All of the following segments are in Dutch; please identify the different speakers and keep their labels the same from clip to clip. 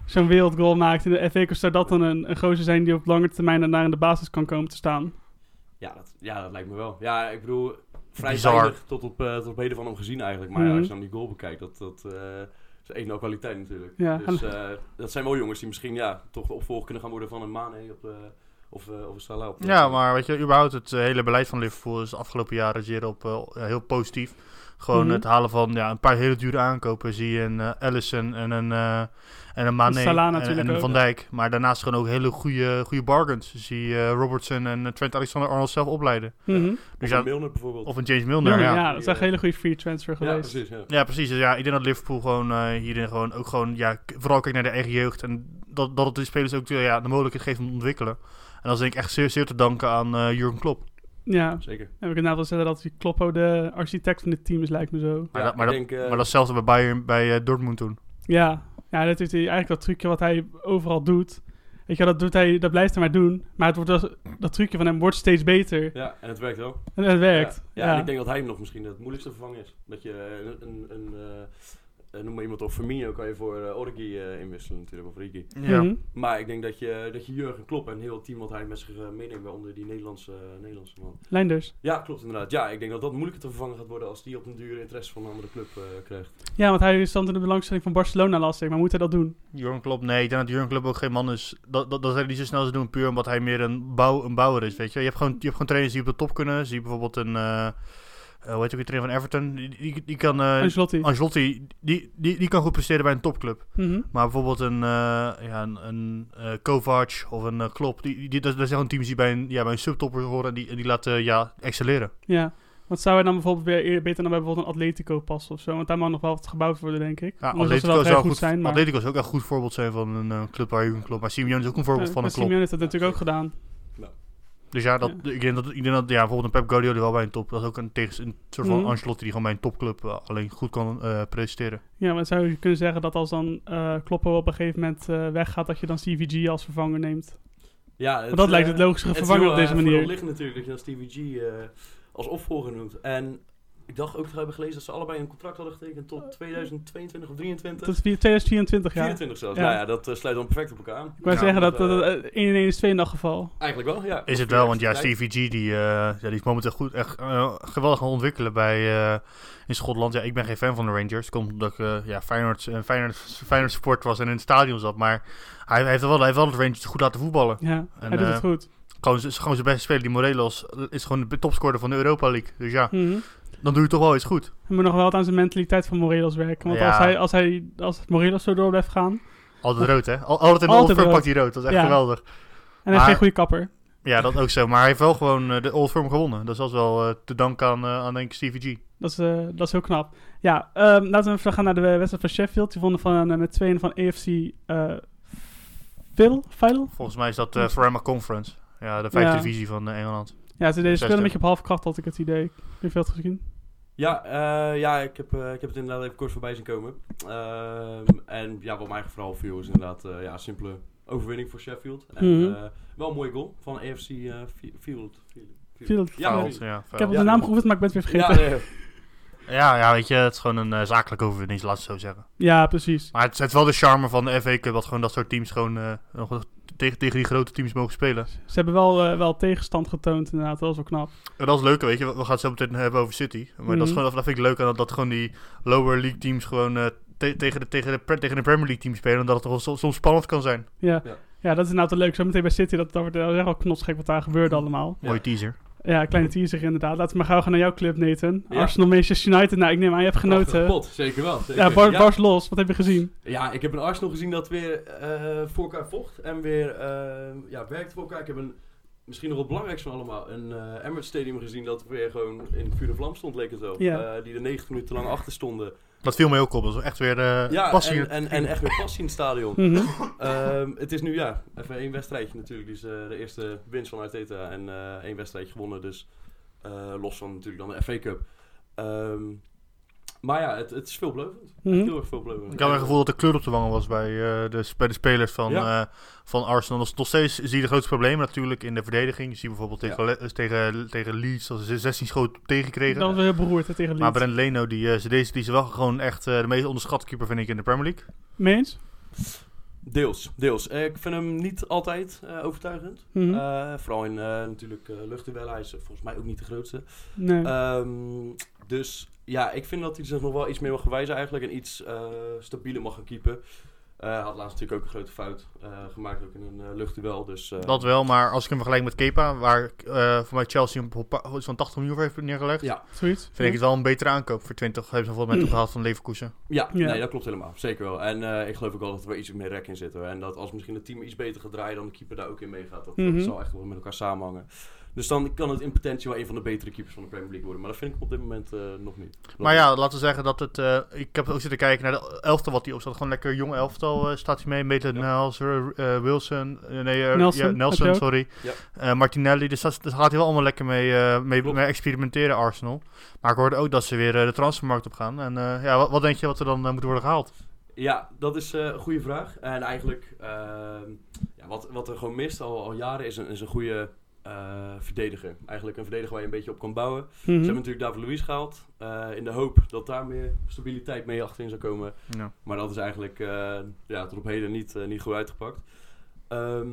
Speaker 1: zo'n wereldgoal maakt in de FA Cup. Zou dat dan een, een gozer zijn die op lange termijn daarna in de basis kan komen te staan?
Speaker 2: Ja dat, ja, dat lijkt me wel. Ja, ik bedoel, vrij
Speaker 3: Bizar.
Speaker 2: weinig tot op, eh, tot op heden van hem gezien eigenlijk. Maar ja,
Speaker 1: Mhm.
Speaker 2: als je dan die goal bekijkt, dat, dat eh, is één nou kwaliteit natuurlijk.
Speaker 1: Ja,
Speaker 2: Dus eh, dat zijn wel jongens die misschien ja, toch de opvolger kunnen gaan worden van een Mane op, eh, of, eh, of een Salah. Op,
Speaker 3: Ja, maar weet je, überhaupt het eh, hele beleid van Liverpool is de afgelopen jaren zeer op eh, heel positief. Gewoon
Speaker 1: Mhm.
Speaker 3: het halen van ja, een paar hele dure aankopen. Zie je een eh, Allison en een, eh en een Mane
Speaker 1: Salah
Speaker 3: en- en,
Speaker 1: natuurlijk
Speaker 3: een
Speaker 1: ook.
Speaker 3: Van Dijk. Maar daarnaast gewoon ook hele goede, goede bargains. Zie je eh, Robertson en eh, Trent Alexander-Arnold zelf opleiden.
Speaker 1: Mhm.
Speaker 3: Dus
Speaker 2: Dus
Speaker 3: ja,
Speaker 2: Milner bijvoorbeeld.
Speaker 3: of een James Milner, ja.
Speaker 1: ja,
Speaker 3: ja.
Speaker 1: dat is echt een hele goede free transfer
Speaker 2: ja,
Speaker 1: geweest.
Speaker 2: precies. Ja.
Speaker 3: precies. Dus ja, ik denk dat Liverpool gewoon eh, hierin gewoon ook gewoon, ja, k- vooral kijk naar de eigen jeugd. En dat, dat het de spelers ook eh, ja, de mogelijkheid geeft om te ontwikkelen. En dat is denk ik echt zeer, zeer te danken aan eh Jurgen Klopp.
Speaker 1: Ja,
Speaker 2: Zeker.
Speaker 1: en we kunnen nou wel zeggen dat die Kloppo de architect van dit team is, lijkt me zo.
Speaker 3: Maar,
Speaker 2: Ja,
Speaker 3: dat, maar,
Speaker 2: ik
Speaker 3: dat,
Speaker 2: denk, eh,
Speaker 3: maar dat is zelfs bij Bayern, bij eh, Dortmund toen.
Speaker 1: Ja, ja dat is hij- eigenlijk dat trucje wat hij overal doet. Weet je, dat, doet hij, dat blijft hij maar doen. Maar het wordt als- dat trucje van hem wordt steeds beter.
Speaker 2: Ja, en het werkt wel.
Speaker 1: En het werkt.
Speaker 2: Ja,
Speaker 1: Ja,
Speaker 2: ja, en ik denk dat hij nog misschien het moeilijkste vervangen is. Dat je eh, een, een, een eh, eh, noem maar iemand op Firmino kan je voor eh, Origi eh, inwisselen natuurlijk, of Origi.
Speaker 3: Ja.
Speaker 1: Mhm.
Speaker 2: Maar ik denk dat je, dat je Jurgen Klopp en heel het team wat hij met zich eh, meeneemt, waaronder die Nederlandse, eh, Nederlandse man.
Speaker 1: Lijnders.
Speaker 2: Ja, klopt inderdaad. Ja, ik denk dat dat moeilijker te vervangen gaat worden als die op een dure interesse van een andere club eh, krijgt.
Speaker 1: Ja, want hij stond in de belangstelling van Barcelona, las ik. Maar moet hij dat doen?
Speaker 3: Jurgen Klopp, nee, ik denk dat Jurgen Klopp ook geen man is. Dat, dat, dat hij niet zo snel zou doen, puur omdat hij meer een, bouw, een bouwer is, weet je. Je hebt, gewoon, je hebt gewoon trainers die op de top kunnen. Zie je bijvoorbeeld een, eh eh, hoe heet ook die trainer van Everton? Die, die, die kan, eh,
Speaker 1: Ancelotti.
Speaker 3: Ancelotti, die, die, die kan goed presteren bij een topclub.
Speaker 1: Mhm.
Speaker 3: Maar bijvoorbeeld een, eh ja, een, een eh, Kovac of een eh, Klopp, die, die, dat, dat zijn gewoon teams die bij een, ja, bij een subtopper horen en die, en die laten ja, excelleren.
Speaker 1: Ja. Want zou hij dan bijvoorbeeld weer eer- beter dan bij bijvoorbeeld een Atletico passen of zo? Want daar mag nog wel wat gebouwd worden, denk ik.
Speaker 3: Ja,
Speaker 1: Ondanks dat ze
Speaker 3: Atletico,
Speaker 1: vrij
Speaker 3: zou goed,
Speaker 1: zijn, maar...
Speaker 3: Atletico zou ook echt een goed voorbeeld zijn van een eh, club waar Jurgen Klopp... Maar Simeone is ook een voorbeeld
Speaker 1: Ja,
Speaker 3: van een
Speaker 1: Simeone
Speaker 3: club.
Speaker 1: heeft dat natuurlijk ook gedaan.
Speaker 3: Dus ja, dat, ik denk dat, ik denk dat ja, bijvoorbeeld een Pep Guardiola wel bij een top... Dat is ook een, tegen, een soort van
Speaker 1: Mhm.
Speaker 3: Ancelotti die gewoon bij een topclub eh, alleen goed kan eh, presteren.
Speaker 1: Ja, maar zou je kunnen zeggen dat als dan eh Kloppo op een gegeven moment eh, weggaat, dat je dan CVG als vervanger neemt?
Speaker 2: Ja, eh,
Speaker 1: Want dat lijkt het logische vervanger op deze manier.
Speaker 2: Het ligt natuurlijk dat je dan Stevie G eh, als opvolger noemt. En ik dacht ook te hebben gelezen dat ze allebei een contract hadden getekend tot 2022 of 23.
Speaker 1: Dat is vier- 2024, ja.
Speaker 2: 24 zelfs.
Speaker 1: Ja.
Speaker 2: Nou ja, dat eh, sluit dan perfect op elkaar aan.
Speaker 1: Ik wou
Speaker 3: Ja,
Speaker 1: zeggen dat,
Speaker 2: want,
Speaker 1: dat,
Speaker 2: eh,
Speaker 1: dat 1 in 1 is 2 in dat geval.
Speaker 2: Eigenlijk wel, ja.
Speaker 3: Is het wel, want ja, Stevie G die, eh, ja, die is momenteel goed, echt eh, geweldig aan het ontwikkelen bij, eh, in Schotland. Ja, ik ben geen fan van de Rangers. Komt omdat ik eh, ja, Feyenoord, eh, Feyenoord, Feyenoord support was en in het stadion zat. Maar hij, hij heeft wel, hij heeft wel de Rangers goed laten voetballen.
Speaker 1: Ja,
Speaker 3: En,
Speaker 1: hij doet
Speaker 3: eh,
Speaker 1: het goed.
Speaker 3: Gewoon, is gewoon zijn beste speler, die Morelos, is gewoon de topscorer van de Europa League. Dus ja,
Speaker 1: Mhm.
Speaker 3: dan doe je toch wel iets goed.
Speaker 1: Hij moet nog wel wat aan zijn mentaliteit van Morelos werken. Want
Speaker 3: Ja.
Speaker 1: als, hij, als, hij, als Morelos zo door blijft gaan...
Speaker 3: Altijd rood, hè? Al- Altijd in de
Speaker 1: Altijd
Speaker 3: Old Firm
Speaker 1: rood.
Speaker 3: pakt hij rood. Dat is echt
Speaker 1: Ja.
Speaker 3: geweldig.
Speaker 1: En hij is
Speaker 3: Maar-
Speaker 1: geen goede kapper.
Speaker 3: Ja, dat ook zo. Maar hij heeft wel gewoon eh, de Old Firm gewonnen. Dat was wel eh, te danken aan, eh, aan denk ik, Stevie G.
Speaker 1: Dat is, eh, dat is heel knap. Ja, ehm, laten we even gaan naar de wedstrijd van Sheffield. Die wonnen van, eh, met 2-1 van AFC eh Phil, Phil?
Speaker 3: Volgens mij is dat eh Forever Conference. Ja, de vijfde
Speaker 1: Ja.
Speaker 3: divisie van eh, Engeland.
Speaker 1: Ja, ze deden spelen een
Speaker 3: Zesde.
Speaker 1: beetje op half kracht, had ik het idee. Heb je veel gezien?
Speaker 2: Ja, eh, ja ik, heb, eh, ik heb het inderdaad even kort voorbij zien komen. Ehm, en ja, wat mij vooral viel is inderdaad eh, ja, een simpele overwinning voor Sheffield. En,
Speaker 1: Mhm.
Speaker 2: eh, wel een mooie goal van AFC eh, Fi- Field. Field.
Speaker 1: Field.
Speaker 2: Ja,
Speaker 1: Field.
Speaker 3: Veld,
Speaker 2: sorry.
Speaker 3: ja,
Speaker 1: Ik heb
Speaker 3: veld.
Speaker 1: op
Speaker 2: Ja.
Speaker 1: de naam geoefend, maar ik ben het weer
Speaker 2: Ja,
Speaker 1: vergeten. Ja,
Speaker 2: nee.
Speaker 3: ja, ja, weet je, het is gewoon een eh, zakelijke overwinning, laat het zo zeggen.
Speaker 1: precies.
Speaker 3: Maar het zet wel de charme van de FA Cup, dat gewoon dat soort teams gewoon eh, nog wel tegen, tegen die grote teams mogen spelen.
Speaker 1: Ze hebben wel, eh, wel tegenstand getoond, inderdaad. Dat was wel knap.
Speaker 3: En dat is leuk, weet je. We we gaan het zo meteen hebben over City. Maar dat,
Speaker 1: Mhm.
Speaker 3: is gewoon, dat vind ik leuk, aan dat, dat gewoon die lower league teams gewoon eh, te- tegen, de, tegen, de, pre- tegen de Premier League teams spelen. En dat het toch wel so- soms spannend kan zijn.
Speaker 1: Ja.
Speaker 2: Ja.
Speaker 1: Ja. dat is inderdaad wel leuk. Zometeen bij City, dat, dat wordt eh, echt wel knotsgek wat daar gebeurde allemaal.
Speaker 3: Mooie teaser.
Speaker 1: Ja, kleine teaser inderdaad. Laten we maar gauw gaan naar jouw club, Nathan.
Speaker 2: Ja.
Speaker 1: Arsenal Manchester United. Nou, ik neem aan, je hebt
Speaker 2: Prachtige
Speaker 1: genoten.
Speaker 2: pot, zeker wel. Zeker.
Speaker 1: Ja, bar,
Speaker 2: ja.
Speaker 1: barst los. Wat heb je gezien?
Speaker 2: Ja, ik heb een Arsenal gezien dat weer eh, voor elkaar vocht en weer eh, ja, werkte voor elkaar. Ik heb een, misschien nog wel belangrijkste van allemaal, een eh Emirates Stadium gezien dat weer gewoon in vuur en vlam stond, leek het wel.
Speaker 1: Ja.
Speaker 2: Eh, die er 90 minuten lang achter stonden.
Speaker 3: Dat viel me ook op. Dat was echt weer eh
Speaker 2: ja,
Speaker 3: passie.
Speaker 2: en, en, en echt weer passie in het stadion.
Speaker 1: Mhm.
Speaker 2: Ehm, het is nu, ja, even één wedstrijdje natuurlijk. Dus eh, de eerste winst van Arteta en eh, één wedstrijdje gewonnen. Dus eh, los van natuurlijk dan de FA Cup. Ehm, maar ja, het, het is veelbelovend. Echt
Speaker 1: Mhm.
Speaker 2: Heel erg veelbelovend.
Speaker 3: Ik had het gevoel dat de kleur op de wangen was bij, eh, de, bij de spelers van,
Speaker 2: Ja.
Speaker 3: eh, van Arsenal. Dus nog steeds zie je de grootste problemen natuurlijk in de verdediging. Je ziet bijvoorbeeld tegen, Le- tegen, tegen Leeds dat ze 16 schoten tegenkregen.
Speaker 1: Dat was wel heel beroerd hè, tegen Leeds.
Speaker 3: Maar Brent Leno, die, eh, ze- deze die is wel gewoon echt eh, de meest onderschatte keeper, vind ik, in de Premier League.
Speaker 1: Meens?
Speaker 2: Deels, deels. Eh, ik vind hem niet altijd eh, overtuigend.
Speaker 1: Mhm.
Speaker 2: Eh, vooral in eh, natuurlijk eh luchtduellen. Hij is eh, volgens mij ook niet de grootste.
Speaker 1: nee.
Speaker 2: Ehm, dus ja, ik vind dat hij zich nog wel iets meer mag wijzen eigenlijk. En iets eh, stabieler mag gaan keepen. Eh, Hij had laatst natuurlijk ook een grote fout eh, gemaakt. Ook in een eh, luchtduel. Dus, eh,
Speaker 3: Dat wel, maar als ik hem vergelijk met Kepa, waar eh, voor mij Chelsea een pa- zo'n 80 miljoen voor heeft neergelegd,
Speaker 2: Ja.
Speaker 1: Zoiets.
Speaker 3: vind ik het wel een betere aankoop. Voor 20 hebben ze bijvoorbeeld met gehaald van Leverkusen.
Speaker 2: Ja,
Speaker 1: Ja.
Speaker 2: nee, dat klopt helemaal. Zeker wel. En eh, ik geloof ook wel dat er wel iets meer rek in zit. Hoor. En dat als misschien het team iets beter gaat draaien, dan de keeper daar ook in meegaat. Dat,
Speaker 1: Mhm.
Speaker 2: dat zal echt wel met elkaar samenhangen. Dus dan kan het in potentie wel een van de betere keepers van de Premier League worden. Maar dat vind ik op dit moment eh, nog niet. Dat-
Speaker 3: Maar ja, laten we zeggen dat het... eh, ik heb ook zitten kijken naar de elftal wat hij opstelt. Gewoon lekker jong elftal eh, staat hij mee. Maitland
Speaker 2: Ja.
Speaker 3: Niles, eh, eh, Wilson, eh, nee, eh,
Speaker 1: Nelson,
Speaker 3: ja,
Speaker 1: heb
Speaker 3: Nelson
Speaker 1: je
Speaker 3: sorry.
Speaker 2: Ja.
Speaker 3: Eh, Martinelli, dus dat, daar gaat hij wel allemaal lekker mee, eh, mee,
Speaker 2: Klopt.
Speaker 3: mee experimenteren, Arsenal. Maar ik hoorde ook dat ze weer eh, de transfermarkt op gaan. En eh, ja, wat, wat denk je wat er dan eh, moet worden gehaald?
Speaker 2: Ja, dat is eh, een goede vraag. En eigenlijk, ehm, ja, wat, wat er gewoon mist al, al jaren, is een, is een goede eh, verdediger. Eigenlijk een verdediger waar je een beetje op kan bouwen.
Speaker 1: Mhm.
Speaker 2: Ze hebben natuurlijk David Luiz gehaald. eh, in de hoop dat daar meer stabiliteit mee achterin zou komen.
Speaker 3: Ja.
Speaker 2: Maar dat is eigenlijk eh, ja, tot op heden niet, eh, niet goed uitgepakt. Ehm,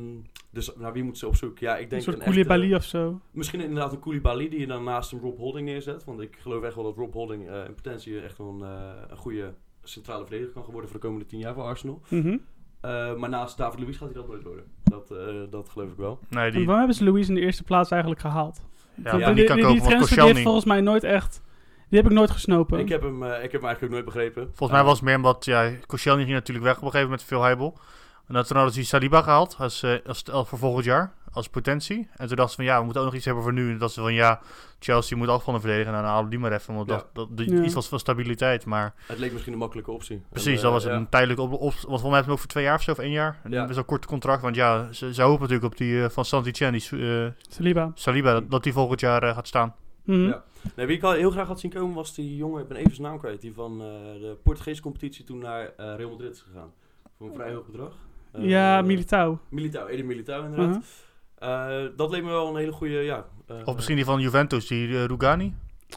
Speaker 2: dus naar wie moeten ze op zoek? Ja, ik
Speaker 1: Een
Speaker 2: denk
Speaker 1: soort
Speaker 2: echte-
Speaker 1: Koulibaly of zo.
Speaker 2: misschien inderdaad een Koulibaly die je dan naast een Rob Holding neerzet. Want ik geloof echt wel dat Rob Holding eh, in potentie echt wel een, eh, een goede centrale verdediger kan worden voor de komende tien jaar voor Arsenal.
Speaker 1: Mhm.
Speaker 2: Eh, maar naast David Luiz gaat hij dat nooit worden. Dat, eh, dat geloof ik wel.
Speaker 3: Nee,
Speaker 1: En
Speaker 3: die,
Speaker 1: waarom hebben ze Louise in de eerste plaats eigenlijk gehaald?
Speaker 3: ja,
Speaker 1: die,
Speaker 3: die kan
Speaker 1: die,
Speaker 3: kopen, want
Speaker 1: die transfer die
Speaker 3: Koscielny-
Speaker 1: heeft volgens mij nooit echt... Die heb ik nooit gesnopen.
Speaker 2: Ik heb, hem, eh, ik heb hem eigenlijk ook nooit begrepen. Eh,
Speaker 3: Volgens mij was het meer omdat, ja, Koscielny ging natuurlijk weg op een gegeven moment veel heibel. En dat, toen hadden ze die Saliba gehaald als, eh, als, als voor volgend jaar, als potentie. En toen dachten ze van, ja, we moeten ook nog iets hebben voor nu. En dat ze van, ja, Chelsea moet af van de verdedigen. Nou, dan halen we die maar even, want
Speaker 2: Ja.
Speaker 3: dat, dat, die,
Speaker 1: Ja.
Speaker 3: iets was van stabiliteit. Maar
Speaker 2: Het leek misschien een makkelijke optie.
Speaker 3: precies,
Speaker 2: En,
Speaker 3: dat
Speaker 2: eh,
Speaker 3: was
Speaker 2: ja.
Speaker 3: een tijdelijke op, op, Want volgens mij hebben we hem ook voor twee jaar of zo, of één jaar. Een
Speaker 2: Ja.
Speaker 3: best wel kort contract, want ja, ze, ze hopen natuurlijk op die eh, van Santi Chen, die eh,
Speaker 1: Saliba.
Speaker 3: Saliba, dat, dat die volgend jaar eh, gaat staan.
Speaker 1: Mhm.
Speaker 2: Ja. Nee, wie ik al heel graag had zien komen was die jongen, ik ben even zijn naam kwijt, die van eh, de Portugese competitie toen naar eh, Real Madrid is gegaan. Voor een vrij hoog bedrag. Eh,
Speaker 1: ja, Militao.
Speaker 2: Militao, Eden Militao inderdaad.
Speaker 1: Mhm.
Speaker 2: Eh, dat leek me wel een hele goede, ja. eh,
Speaker 3: Of misschien die van Juventus, die eh, Rugani.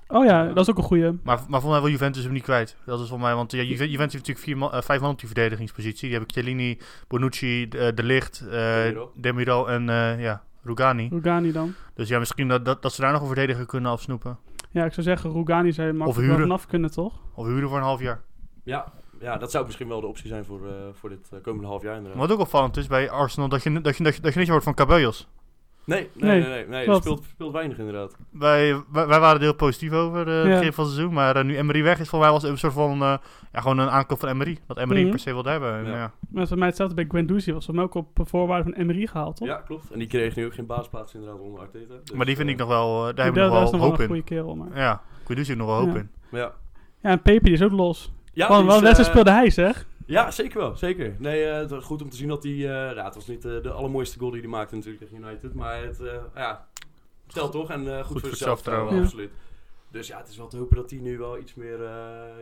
Speaker 1: Oh ja, dat is ook een goeie.
Speaker 3: Maar, maar volgens mij wil Juventus hem niet kwijt. Dat is volgens mij, want ja, Ju- Juventus heeft natuurlijk vier man, eh, vijf man op die verdedigingspositie. Die hebben Chiellini, Bonucci, de, de Ligt, eh,
Speaker 2: Demiral.
Speaker 3: Demiral en eh, ja, Rugani.
Speaker 1: Rugani dan.
Speaker 3: Dus ja, misschien dat, dat, dat ze daar nog een verdediger kunnen afsnoepen.
Speaker 1: Ja, ik zou zeggen, Rugani zou je makkelijk wel
Speaker 3: huren.
Speaker 1: vanaf kunnen, toch?
Speaker 3: Of huren voor een half jaar.
Speaker 2: ja, ja, dat zou misschien wel de optie zijn voor, eh, voor dit eh, komende half jaar inderdaad.
Speaker 3: Wat ook opvallend is bij Arsenal, dat je, dat je, dat je, dat je niks hoort van Cabellos.
Speaker 2: Nee,
Speaker 1: Nee,
Speaker 2: nee, nee. nee, nee.
Speaker 1: klopt.
Speaker 2: Speelt, speelt weinig inderdaad.
Speaker 3: Wij, wij, wij waren er heel positief over eh, het
Speaker 1: Ja.
Speaker 3: begin van het seizoen. Maar eh, nu Emery weg is, voor mij was het een soort van... eh, ja, gewoon een aankoop van Emery. Dat Emery
Speaker 1: Mhm.
Speaker 3: per se wilde hebben. En,
Speaker 2: Ja.
Speaker 3: ja.
Speaker 1: Maar voor mij hetzelfde bij Guendouzi was voor mij ook op voorwaarde van Emery gehaald, toch?
Speaker 2: Ja, klopt. En die kreeg nu ook geen baasplaats inderdaad onder Arteta. Dus,
Speaker 3: Maar die vind
Speaker 2: eh,
Speaker 3: ik nog wel... eh, daar
Speaker 1: Ik
Speaker 3: heb ik nog
Speaker 1: daar
Speaker 3: wel
Speaker 1: is nog wel
Speaker 3: hoop
Speaker 1: een
Speaker 3: in.
Speaker 1: goede kerel, maar...
Speaker 3: Ja, Guidouz nog wel hoop
Speaker 1: Ja.
Speaker 3: in.
Speaker 2: maar Ja,
Speaker 1: Ja, en Pepe die is ook los.
Speaker 2: ja
Speaker 1: Want
Speaker 2: die
Speaker 1: wel
Speaker 2: is,
Speaker 1: wedstrijd
Speaker 2: eh,
Speaker 1: speelde hij, zeg.
Speaker 2: Ja, zeker wel. Zeker. Nee, eh, het was goed om te zien dat hij... eh, ja, het was niet eh, de allermooiste goal die hij maakte natuurlijk tegen United. Maar het, eh, ja, stelt toch. En eh, goed, voor
Speaker 3: voor het
Speaker 2: zichzelf
Speaker 3: zelfvertrouwen.
Speaker 2: zelfvertrouwen,
Speaker 1: Ja.
Speaker 2: absoluut. Dus ja, het is wel te hopen dat hij nu wel iets meer eh,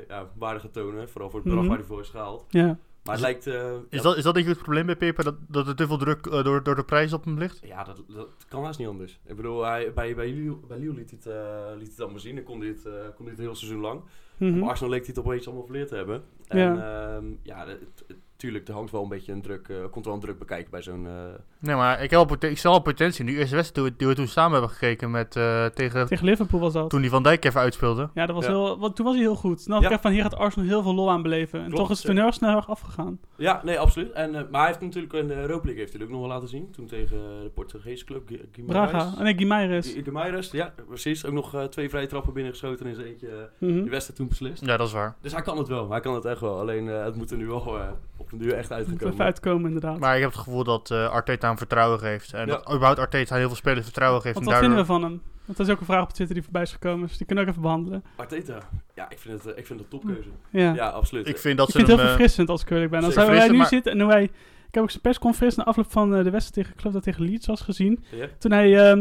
Speaker 2: ja, waarde gaat tonen. Vooral voor het bedrag
Speaker 1: Mhm.
Speaker 2: waar hij voor is gehaald.
Speaker 1: Ja.
Speaker 2: Maar het lijkt... eh,
Speaker 3: Is,
Speaker 2: ja,
Speaker 3: dat, is dat denk je het probleem bij Pepe? Dat, dat er te veel druk eh, door, door de prijs op hem ligt?
Speaker 2: Ja, dat, dat kan haast niet anders. Ik bedoel, hij, bij, bij, Lille, bij Lille liet hij het, eh, liet hij het allemaal zien. Dan kon hij het, eh, kon hij het heel seizoen lang.
Speaker 1: Mhm.
Speaker 2: Maar Oh, Arsenal leek hij het opeens allemaal verleerd te hebben. En ja, ja het- het- tuurlijk, er hangt wel een beetje een druk, eh, komt wel een druk bekijken bij zo'n... eh,
Speaker 3: Nee, maar ik, heb al poten- ik zal al potentie. in Die eerste wedstrijd die we- die we toen samen hebben gekeken met, eh, tegen...
Speaker 1: Tegen Liverpool was dat.
Speaker 3: Toen die Van Dijk even uitspeelde.
Speaker 1: Ja, dat was
Speaker 2: Ja.
Speaker 1: heel... Want toen was hij heel goed. Toen dacht
Speaker 2: Ja.
Speaker 1: ik echt van, hier gaat Arsenal heel veel lol aan beleven. En
Speaker 2: Klopt,
Speaker 1: toch is het toen
Speaker 2: zeker.
Speaker 1: heel erg snel heel erg afgegaan.
Speaker 2: Ja, nee, absoluut. En, eh, maar hij heeft natuurlijk in de Europa League heeft hij het ook nog wel laten zien. Toen tegen eh, de Portugese club, Gu- Guimarães.
Speaker 1: Braga. Oh, nee, Guimaraes.
Speaker 2: Gu- Guimarães, ja, precies. Ook nog eh, twee vrije trappen binnengeschoten en is eentje eh,
Speaker 1: Mhm.
Speaker 2: de wedstrijd toen beslist.
Speaker 3: Ja, dat is waar.
Speaker 2: Dus hij kan het wel, hij kan het echt wel. Alleen eh, het moet er nu wel eh, op de duur echt
Speaker 1: Moet er
Speaker 2: uitgekomen.
Speaker 1: even uitkomen, inderdaad.
Speaker 3: Maar ik heb het gevoel dat eh, Arteta hem vertrouwen geeft. En
Speaker 2: Ja.
Speaker 3: dat überhaupt Arteta heel veel spelers vertrouwen geeft.
Speaker 1: Want
Speaker 3: en
Speaker 1: wat vinden we
Speaker 3: daardoor...
Speaker 1: van hem? Want dat is ook een vraag op Twitter die voorbij is gekomen. Dus die kunnen we ook even behandelen.
Speaker 2: Arteta, ja, ik vind het, eh, ik vind het een topkeuze.
Speaker 1: Ja.
Speaker 2: Ja, absoluut.
Speaker 3: Ik vind dat
Speaker 1: ik
Speaker 3: ze
Speaker 1: vind het
Speaker 3: hem...
Speaker 1: heel
Speaker 3: eh,
Speaker 1: verfrissend als ik eerlijk ben. Als
Speaker 3: zeker
Speaker 1: hij waar hij nu
Speaker 3: verfrissend,
Speaker 1: zit en hoe hij... Ik heb ook zijn persconferentie na afloop van eh, de wedstrijd tegen, ik geloof dat tegen Leeds was gezien.
Speaker 2: Ja.
Speaker 1: Toen hij, ehm,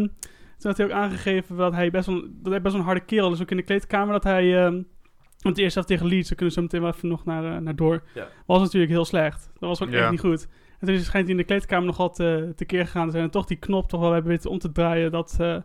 Speaker 1: toen had hij ook aangegeven dat hij best wel, dat hij best wel een harde kerel is. Ook in de kleedkamer dat hij, ehm want de eerste helft tegen Leeds, daar kunnen we zo meteen wel even nog naar, eh, naar door.
Speaker 2: Ja.
Speaker 1: Was natuurlijk heel slecht. Dat was gewoon
Speaker 3: Ja.
Speaker 1: echt niet goed. En toen is schijnt hij in de kleedkamer nogal te, tekeer gegaan te zijn. En toch die knop toch wel hebben weten om te draaien. Dat, eh,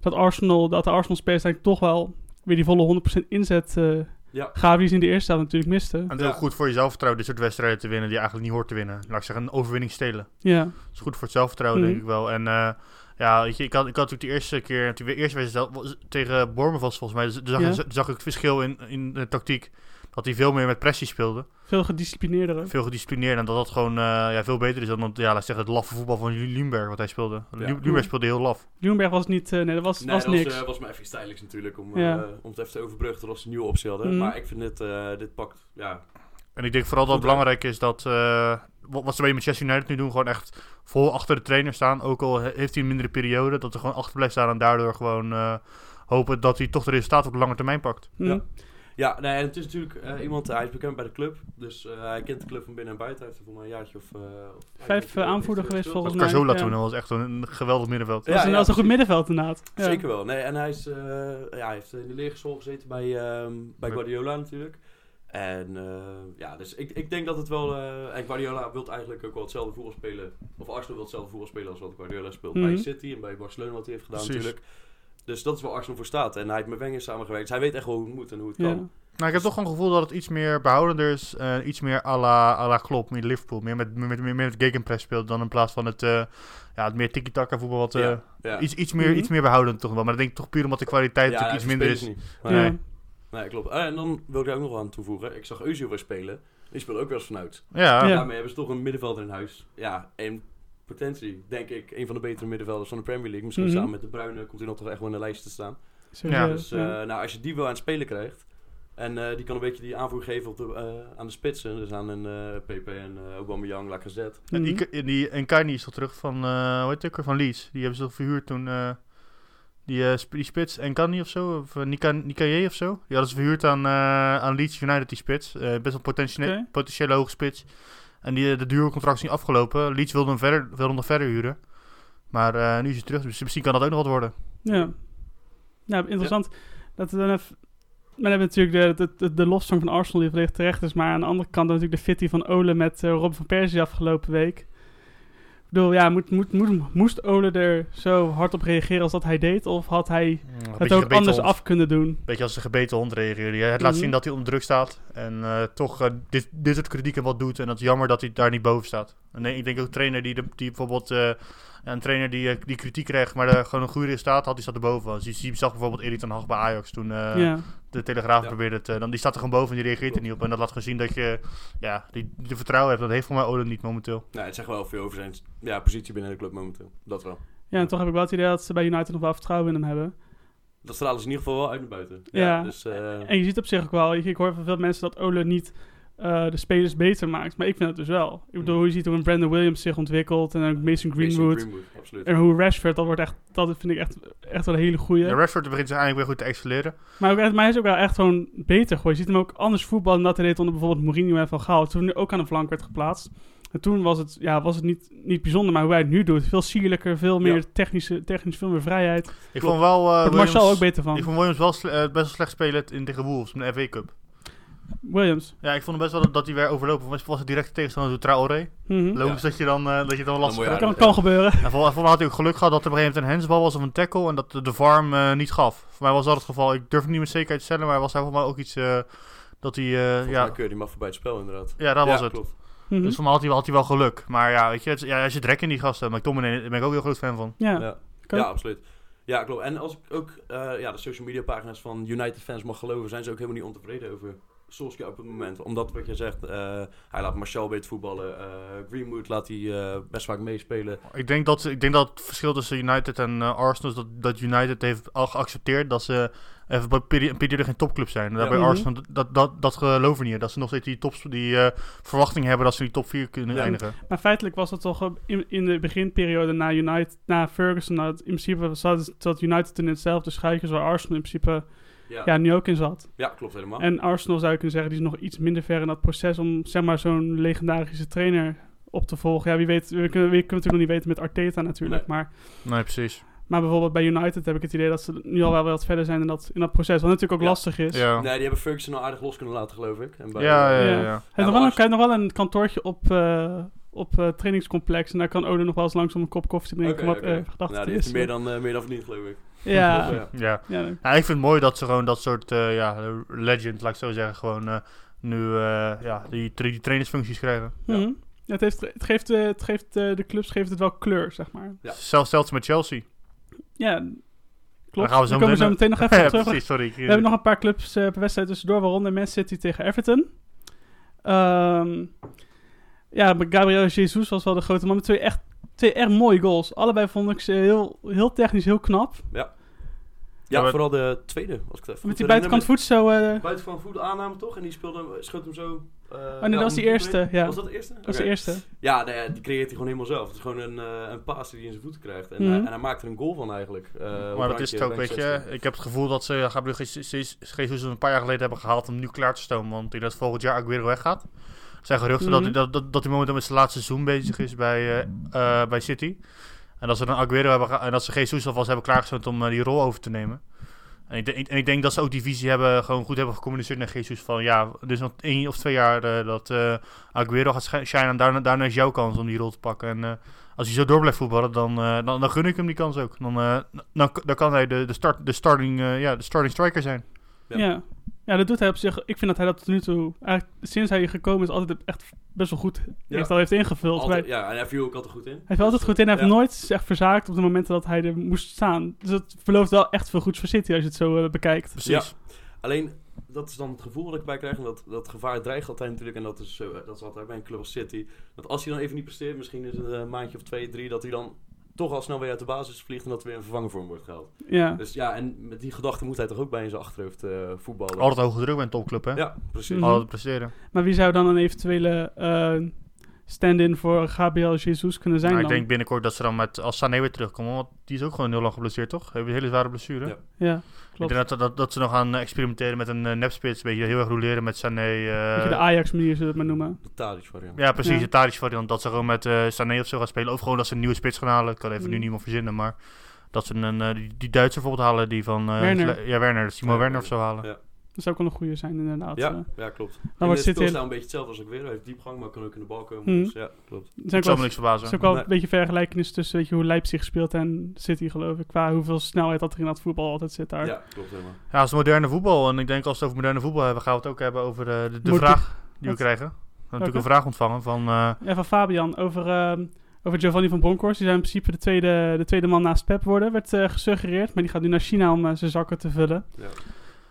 Speaker 1: dat Arsenal, dat de Arsenal spelers eigenlijk toch wel weer die volle 100% inzet eh
Speaker 2: Ja.
Speaker 1: gaven die ze in de eerste helft natuurlijk misten.
Speaker 3: En het is ook
Speaker 2: Ja.
Speaker 3: goed voor je zelfvertrouwen dit soort wedstrijden te winnen die je eigenlijk niet hoort te winnen. Laat ik zeggen, een overwinning stelen.
Speaker 1: Ja.
Speaker 3: Het is goed voor het zelfvertrouwen,
Speaker 1: Mhm.
Speaker 3: denk ik wel. En eh, ja, weet je, ik had, ik had natuurlijk de eerste keer, de eerste wedstrijd was- tegen Bournemouth was volgens mij, dus toen zag,
Speaker 1: Ja.
Speaker 3: toen zag ik het verschil in, in de tactiek. Dat hij veel meer met pressie speelde.
Speaker 1: Veel gedisciplineerder. ook.
Speaker 3: Veel gedisciplineerder. En dat dat gewoon eh, ja, veel beter is dan het, ja, laat ik zeggen, het laffe voetbal van Lu- Lumberg wat hij speelde. Lu-
Speaker 2: Ja.
Speaker 3: Lumberg speelde heel laf.
Speaker 1: Ljungberg was niet, eh, nee, dat was,
Speaker 2: Nee,
Speaker 1: was
Speaker 2: dat
Speaker 1: niks.
Speaker 2: Was, eh, was maar even iets tijdelijks natuurlijk, om,
Speaker 1: Ja.
Speaker 2: eh, om het even te overbruggen totdat ze een nieuwe optie hadden.
Speaker 1: Mhm.
Speaker 2: Maar ik vind dit, eh, dit pakt, ja,
Speaker 3: En ik denk vooral dat het
Speaker 2: Goed, hè?
Speaker 3: belangrijk is dat, eh, wat, wat ze bij Manchester United nu doen, gewoon echt vol achter de trainer staan. Ook al he- heeft hij een mindere periode, dat er gewoon achter blijft staan en daardoor gewoon eh, hopen dat hij toch de resultaten op de lange termijn pakt.
Speaker 1: Hm.
Speaker 2: Ja. Ja, nee, en het is natuurlijk eh, iemand, hij is bekend bij de club. Dus eh, hij kent de club van binnen en buiten. Hij heeft er voor mij een jaartje of... eh, of-
Speaker 1: Vijf,
Speaker 2: heeft-
Speaker 1: eh, aanvoerder
Speaker 2: heeft-
Speaker 1: geweest volgens
Speaker 3: Dat
Speaker 1: mij.
Speaker 2: gespeeld.
Speaker 3: Carzola
Speaker 1: ja.
Speaker 3: toen, dat was echt een, een geweldig middenveld.
Speaker 1: Dat was
Speaker 2: Ja,
Speaker 1: een,
Speaker 2: ja,
Speaker 1: dat was een goed
Speaker 2: precies.
Speaker 1: middenveld inderdaad. Ja.
Speaker 2: Zeker wel. Nee, en hij, is, eh, ja, hij heeft in de leergeschool gezeten bij, ehm, bij
Speaker 3: Ja.
Speaker 2: Guardiola natuurlijk. En eh, ja, dus ik, ik denk dat het wel... eh, en Guardiola wil eigenlijk ook wel hetzelfde voetbal spelen. Of Arsenal wil hetzelfde voetbal spelen als wat Guardiola speelt bij
Speaker 1: Mhm.
Speaker 2: City en bij Barcelona wat hij heeft gedaan
Speaker 3: Precies.
Speaker 2: natuurlijk. Dus dat is waar Arsenal voor staat. En hij heeft met Wenger samengewerkt. Dus hij weet echt wel hoe het moet en hoe het
Speaker 1: Ja.
Speaker 2: kan.
Speaker 3: Nou, ik heb toch gewoon het gevoel dat het iets meer behoudender is. eh, iets meer à la, à la Klopp, meer Liverpool. Meer met, meer, met- meer met Gegenpress speelt dan in plaats van het, eh, ja, het meer tiki-taka voetbal. Wat, eh,
Speaker 2: Ja, ja.
Speaker 3: Iets, iets, meer,
Speaker 1: Mhm.
Speaker 3: iets meer behoudend toch wel. Maar dat denk ik toch puur omdat de kwaliteit
Speaker 2: Ja,
Speaker 3: natuurlijk
Speaker 2: hij
Speaker 3: iets minder
Speaker 2: verspeelt
Speaker 3: is.
Speaker 2: niet. Maar-
Speaker 1: Ja.
Speaker 3: Nee.
Speaker 2: Nee, klopt. Ah, en dan wil ik daar ook nog aan toevoegen. Ik zag Eusio weer spelen. Die speelde ook wel eens vanuit.
Speaker 3: Ja,
Speaker 1: Ja.
Speaker 2: Ah, Daarmee hebben ze toch een middenvelder in huis. Ja, en potentie, denk ik, een van de betere middenvelders van de Premier League. Misschien
Speaker 1: Mhm.
Speaker 2: samen met de Bruine komt hij nog toch echt wel in de lijst te staan.
Speaker 1: Serieus,
Speaker 2: Dus eh,
Speaker 1: ja.
Speaker 2: nou, als je die wel aan het spelen krijgt. En eh, die kan een beetje die aanvoer geven op de, eh, aan de spitsen. Dus aan een eh, PP en eh Aubameyang, Lacazette.
Speaker 3: En
Speaker 1: Mhm.
Speaker 3: die, die Encarni is toch terug van, eh hoe heet het ook weer, van Leeds. Die hebben ze toch verhuurd toen, eh, die, eh, sp- die spits Encarni of zo, of eh, Nika Nikaye of zo. Die hadden ze verhuurd aan, eh, aan Leeds United, die spits. Eh, best wel potentiële,
Speaker 1: Oké.
Speaker 3: potentiële hoge spits. En die, eh, de duurcontract is niet afgelopen. Leeds wilde hem, verder, wilde hem nog verder huren. Maar eh, nu is hij terug, dus misschien kan dat ook nog wat worden.
Speaker 1: Ja. Nou, interessant. Dat we dan even... Maar dan hebben we natuurlijk de, de, de, de lofzang van Arsenal die volledig terecht is. Maar aan de andere kant dan natuurlijk de fitty van Ole met eh, Rob van Persie afgelopen week. Ik bedoel, ja, moet, moet, moet, moest Ole er zo hard op reageren als dat hij deed? Of had hij het ook anders af kunnen doen?
Speaker 3: Beetje als een gebeten hond reageren. Het laat
Speaker 1: Mhm.
Speaker 3: zien dat hij onder druk staat. En eh, toch eh, dit, dit soort kritieken wat doet. En dat is jammer dat hij daar niet boven staat. En nee, ik denk ook een trainer die, de, die bijvoorbeeld... eh, een trainer die, eh, die kritiek krijgt, maar eh, gewoon een goede resultaat had, die staat erboven. Dus je, je zag bijvoorbeeld Erik ten Hag bij Ajax toen eh,
Speaker 1: ja.
Speaker 3: de Telegraaf
Speaker 2: Ja.
Speaker 3: probeerde het. eh, dan, die staat er gewoon boven en die reageert er niet op. En dat laat gewoon zien dat je ja, die, die vertrouwen hebt. Dat heeft voor mij Olen niet momenteel.
Speaker 2: Nou, het zegt wel veel over zijn ja, positie binnen de club momenteel. Dat wel.
Speaker 1: Ja, en toch heb ik wel het idee dat ze bij United nog wel vertrouwen in hem hebben.
Speaker 2: Dat stralen ze in ieder geval wel uit naar buiten.
Speaker 1: Ja.
Speaker 2: dus, eh,
Speaker 1: En je ziet op zich ook wel, ik, ik hoor van veel mensen dat Ole niet eh, de spelers beter maakt. Maar ik vind het dus wel. Ik bedoel, je ziet hoe een Brandon Williams zich ontwikkelt en ook Mason Greenwood.
Speaker 2: absoluut.
Speaker 1: En hoe Rashford, dat, wordt echt, dat vind ik echt, echt wel een hele goeie.
Speaker 3: De Rashford begint zich eigenlijk weer goed te excelleren.
Speaker 1: Maar, ook, echt- maar hij is ook wel echt gewoon beter. Gewoon. Je ziet hem ook anders voetballen dan dat hij deed onder bijvoorbeeld Mourinho en Van Gaal. Toen hij ook aan de flank werd geplaatst. En toen was het, ja, was het niet, niet bijzonder, maar hoe hij het nu doet. Veel sierlijker, veel meer
Speaker 2: Ja.
Speaker 1: technische, technisch veel meer vrijheid. Daar
Speaker 3: Ik vond wel eh,
Speaker 1: wordt
Speaker 3: Williams,
Speaker 1: Marcel ook beter van.
Speaker 3: ik vond Williams wel sle- eh, best wel slecht spelen in tegen Wolves in de FA Cup.
Speaker 1: Williams.
Speaker 3: Ja, ik vond hem best wel dat- dat hij weer overlopen was. Was het direct tegenstander door Traoré?
Speaker 1: Mhm.
Speaker 3: Logisch dat je dan, eh, dat je dan lastig
Speaker 2: moet je
Speaker 3: krijgt.
Speaker 1: kan, kan gebeuren.
Speaker 3: En vol- volgens mij had hij ook geluk gehad dat er op een gegeven moment een handsbal was of een tackle en dat de, de farm niet gaf. Voor mij was dat het geval. Ik durf het niet met zekerheid te stellen, maar was daar volgens mij ook iets eh, dat hij... eh,
Speaker 2: Ja.
Speaker 3: ja,
Speaker 2: Keur, die mag voorbij het spel inderdaad.
Speaker 3: ja, dat
Speaker 2: Ja,
Speaker 3: was het.
Speaker 2: klopt.
Speaker 1: Mhm.
Speaker 3: Dus voor mij had hij, wel- had hij wel geluk. Maar ja, weet je, het, ja, hij zit rek in die gasten. Maar McTominay, daar ben ik ook heel groot fan van.
Speaker 1: ja.
Speaker 2: Ja.
Speaker 1: Kan.
Speaker 2: Ja, absoluut. Ja, klopt. En als ik ook eh, ja, de social media pagina's van United fans mag geloven, zijn ze ook helemaal niet ontevreden over Solskjaer op het moment. Omdat, wat jij zegt, eh, hij laat Marcel beter voetballen. eh, Greenwood laat hij eh, best vaak meespelen.
Speaker 3: Ik denk dat, ik denk dat het verschil tussen United en eh, Arsenal is dat, dat United heeft al geaccepteerd dat ze even een peri- een periode geen topclub zijn. En dat
Speaker 2: Ja.
Speaker 3: bij
Speaker 1: Mhm.
Speaker 3: Arsenal, dat, dat, dat geloven we niet. Dat ze nog steeds die, tops, die eh, verwachting hebben dat ze in die top 4 kunnen
Speaker 2: Ja.
Speaker 3: eindigen.
Speaker 1: Maar feitelijk was dat toch eh, in, in de beginperiode na United, na Ferguson, dat in principe zat, zat United toen in hetzelfde schuitje waar Arsenal in principe
Speaker 2: Ja,
Speaker 1: ja,
Speaker 2: ja.
Speaker 1: nu ook in zat.
Speaker 2: klopt helemaal.
Speaker 1: En Arsenal zou je kunnen zeggen, die is nog iets minder ver in dat proces om zeg maar zo'n legendarische trainer op te volgen. Ja, wie weet, we kunnen, we kunnen natuurlijk nog niet weten met Arteta natuurlijk, maar,
Speaker 3: Nee, precies.
Speaker 1: maar bijvoorbeeld bij United heb ik het idee dat ze nu al wel wat verder zijn in dat, in dat proces, wat natuurlijk ook
Speaker 2: Ja.
Speaker 1: lastig is.
Speaker 3: Ja,
Speaker 2: Dus- Nee, die hebben Ferguson al aardig los kunnen laten, geloof ik. En bij,
Speaker 3: ja, ja. ja,
Speaker 1: Ja.
Speaker 3: ja.
Speaker 1: Hij heeft nog
Speaker 2: maar
Speaker 1: wel een-
Speaker 2: Arsenal-
Speaker 1: hij heeft nog wel een kantoortje op, eh, op eh, trainingscomplex en daar kan Ode nog wel eens langs om een kop koffie te
Speaker 2: Oké,
Speaker 1: drinken, wat
Speaker 2: oké.
Speaker 1: eh, gedachten
Speaker 2: nou, die
Speaker 1: is.
Speaker 2: heeft er meer dan, eh, meer dan verdiend, geloof ik.
Speaker 1: ja,
Speaker 2: Ja.
Speaker 3: Ja.
Speaker 1: ja,
Speaker 3: Ja, ik vind het mooi dat ze gewoon dat soort eh, ja, legend, laat ik zo zeggen, gewoon eh, nu eh, ja, die, tra- die trainersfuncties krijgen.
Speaker 2: Ja.
Speaker 1: Mhm. Ja, het, heeft, het geeft, eh, het geeft eh, de clubs geeft het wel kleur, zeg maar.
Speaker 2: Ja.
Speaker 3: Zelfs zelfs met Chelsea.
Speaker 1: Ja, klopt.
Speaker 3: gaan we zo
Speaker 1: Daar komen we zo meteen
Speaker 3: meteen
Speaker 1: nog even op
Speaker 3: ja,
Speaker 1: terug.
Speaker 3: precies, sorry.
Speaker 1: We hebben nog een paar clubs eh, per wedstrijd tussendoor, waaronder Man City tegen Everton. Ehm, ja, maar Gabriel Jesus was wel de grote man met twee echt, twee echt mooie goals. Allebei vond ik ze heel, heel technisch heel knap.
Speaker 2: Ja,
Speaker 3: maar-
Speaker 2: vooral de tweede, als ik het even
Speaker 1: Met die
Speaker 2: goed herinner.
Speaker 1: buitenkant voet zo... eh,
Speaker 2: Buitenkant voet aanname, toch? En die speelde, schoot hem zo... eh, ja,
Speaker 1: dat was
Speaker 2: om
Speaker 1: die
Speaker 2: de
Speaker 1: eerste,
Speaker 2: keeper heen.
Speaker 1: ja.
Speaker 2: Was dat de eerste?
Speaker 1: dat was de
Speaker 2: Oké.
Speaker 1: eerste.
Speaker 2: Ja, nou ja, die creëert hij gewoon helemaal zelf. Het is gewoon een, eh een paas die hij in zijn voeten krijgt. En,
Speaker 1: Mhm.
Speaker 2: hij- en hij maakt er een goal van eigenlijk. Eh, op
Speaker 3: maar dat
Speaker 2: randje,
Speaker 3: is het ook,
Speaker 2: randje
Speaker 3: weet je.
Speaker 2: 16.
Speaker 3: Ik heb het gevoel dat ze ja, Gabriel Jesus Jesus een paar jaar geleden hebben gehaald om nu klaar te stomen. Want die dat volgend jaar ook weer weggaat. Er zijn geruchten dat
Speaker 1: Mhm.
Speaker 3: hij- dat, dat, dat hij momenteel met zijn laatste seizoen bezig is bij, eh, eh, bij City. En dat ze dan Aguero hebben geha- en dat ze Jesus alvast hebben klaargestoomd om eh, die rol over te nemen. En ik, denk- en ik denk dat ze ook die visie hebben, gewoon goed hebben gecommuniceerd naar Jesus. Van ja, dus nog één of twee jaar eh, dat eh, Aguero gaat sch- shinen. En daarna, daarna is jouw kans om die rol te pakken. En eh, als hij zo door blijft voetballen, dan, eh, dan, dan gun ik hem die kans ook. Dan, eh, dan, dan kan hij de, de, start, de, starting, eh, ja, de starting striker zijn.
Speaker 2: Ja.
Speaker 1: Ja. ja. dat doet hij op zich. Ik vind dat hij dat tot nu toe, eigenlijk sinds hij hier gekomen is, altijd echt best wel goed
Speaker 2: Ja.
Speaker 1: heeft, al heeft ingevuld.
Speaker 2: Altijd-
Speaker 1: Wij-
Speaker 2: ja, en hij viel ook altijd goed in.
Speaker 1: Hij heeft altijd goed in. Hij heeft
Speaker 2: Ja.
Speaker 1: nooit echt verzaakt op de momenten dat hij er moest staan. Dus dat belooft wel echt veel goeds voor City als je het zo eh, bekijkt.
Speaker 3: Precies.
Speaker 2: Alleen, dat is dan het gevoel dat ik bij krijg. En dat, dat gevaar dreigt altijd natuurlijk. En dat is, zo, dat is altijd bij een club als City. Dat als hij dan even niet presteert, misschien is het een maandje of twee, drie... dat hij dan toch al snel weer uit de basis vliegt... en dat er weer een vervanger voor hem wordt gehaald.
Speaker 1: Ja.
Speaker 2: Dus ja, en met die gedachte moet hij toch ook bij in zijn achterhoofd eh, voetballen.
Speaker 3: Altijd hoge druk bij een topclub, hè?
Speaker 2: Ja, precies.
Speaker 1: Mhm.
Speaker 3: Altijd presteren.
Speaker 1: Maar wie zou dan een eventuele eh, stand-in voor Gabriel Jesus kunnen zijn
Speaker 3: Maar Nou, ik denk
Speaker 1: dan?
Speaker 3: binnenkort dat ze dan met als Sané weer terugkomen. Want die is ook gewoon heel lang geblesseerd, toch? Heeft een hele zware blessure.
Speaker 2: Ja.
Speaker 1: Ja,
Speaker 3: Ik
Speaker 1: klopt.
Speaker 3: denk dat, dat, dat ze nog gaan eh, experimenteren met een eh, nepspits. Een beetje heel erg roleren met Sané. eh,
Speaker 1: Beetje de Ajax-manier zullen we het maar noemen.
Speaker 2: De Tadic variant.
Speaker 3: ja, precies.
Speaker 1: Ja.
Speaker 3: De Tadic variant. Dat ze gewoon met eh Sané of zo gaan spelen. Of gewoon dat ze een nieuwe spits gaan halen. Ik kan even nu
Speaker 1: Mm.
Speaker 3: niemand verzinnen, maar... Dat ze een, eh, die, die Duitser bijvoorbeeld halen, die van... eh,
Speaker 1: Werner.
Speaker 3: Ja, Werner. Simon
Speaker 2: Ja,
Speaker 3: Werner of zo halen.
Speaker 2: Ja.
Speaker 1: Dat zou ook wel een goede zijn, inderdaad. Eh,
Speaker 2: Ja, ja, klopt. Dan
Speaker 1: wordt
Speaker 2: wordt
Speaker 1: City-
Speaker 2: City een beetje hetzelfde als ik weer. Hij heeft diepgang, maar kan ook in de bal komen.
Speaker 1: Mhm.
Speaker 2: Dus ja, klopt.
Speaker 1: er zijn
Speaker 3: Ik zou
Speaker 1: ook wel,
Speaker 3: me
Speaker 1: er
Speaker 3: niks verbazen.
Speaker 1: is ook wel
Speaker 2: Nee.
Speaker 1: een beetje vergelijkenis tussen weet je, hoe Leipzig speelt en City, geloof ik. Qua hoeveel snelheid dat er in dat voetbal altijd zit daar.
Speaker 2: Ja, klopt helemaal.
Speaker 3: Ja, het is moderne voetbal. En ik denk als we het over moderne voetbal hebben, gaan we het ook hebben over eh, de, de
Speaker 1: Moet-
Speaker 3: vraag die we
Speaker 1: Wat?
Speaker 3: krijgen. We hebben natuurlijk
Speaker 1: Welke?
Speaker 3: een vraag ontvangen van... eh,
Speaker 1: Ja, van Fabian over, ehm, over Giovanni van Bronckhorst. Die zou in principe de tweede, de tweede man naast Pep worden, werd eh, gesuggereerd. Maar die gaat nu naar China om eh, zijn zakken te vullen.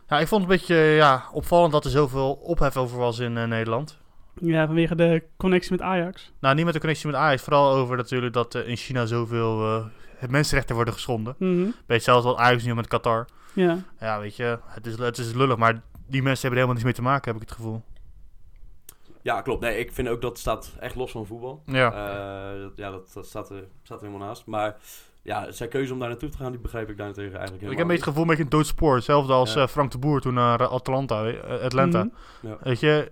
Speaker 3: ja, ik vond het een beetje eh, ja, opvallend dat er zoveel ophef over was in eh, Nederland.
Speaker 1: Ja, vanwege de connectie met Ajax.
Speaker 3: Nou, niet met de connectie met Ajax. Vooral over natuurlijk dat eh, in China zoveel eh, het mensenrechten worden geschonden.
Speaker 1: Mhm.
Speaker 3: Weet je, zelfs wat Ajax nu met Qatar.
Speaker 1: Ja.
Speaker 3: Ja, weet je, het is, het is lullig, maar die mensen hebben er helemaal niks mee te maken, heb ik het gevoel.
Speaker 2: Ja, klopt. Nee, ik vind ook dat staat echt los van voetbal.
Speaker 3: Ja,
Speaker 2: Eh, dat, ja, dat, dat staat, er, staat er helemaal naast. Maar ja, zijn keuze om daar naartoe te gaan, die begrijp ik daarentegen
Speaker 3: ik
Speaker 2: eigenlijk
Speaker 3: heb
Speaker 2: helemaal
Speaker 3: een beetje het gevoel een beetje een dood spoor. Hetzelfde als
Speaker 2: Ja.
Speaker 3: eh, Frank de Boer toen naar eh, Atlanta, eh, Atlanta.
Speaker 1: Mhm.
Speaker 3: Weet je,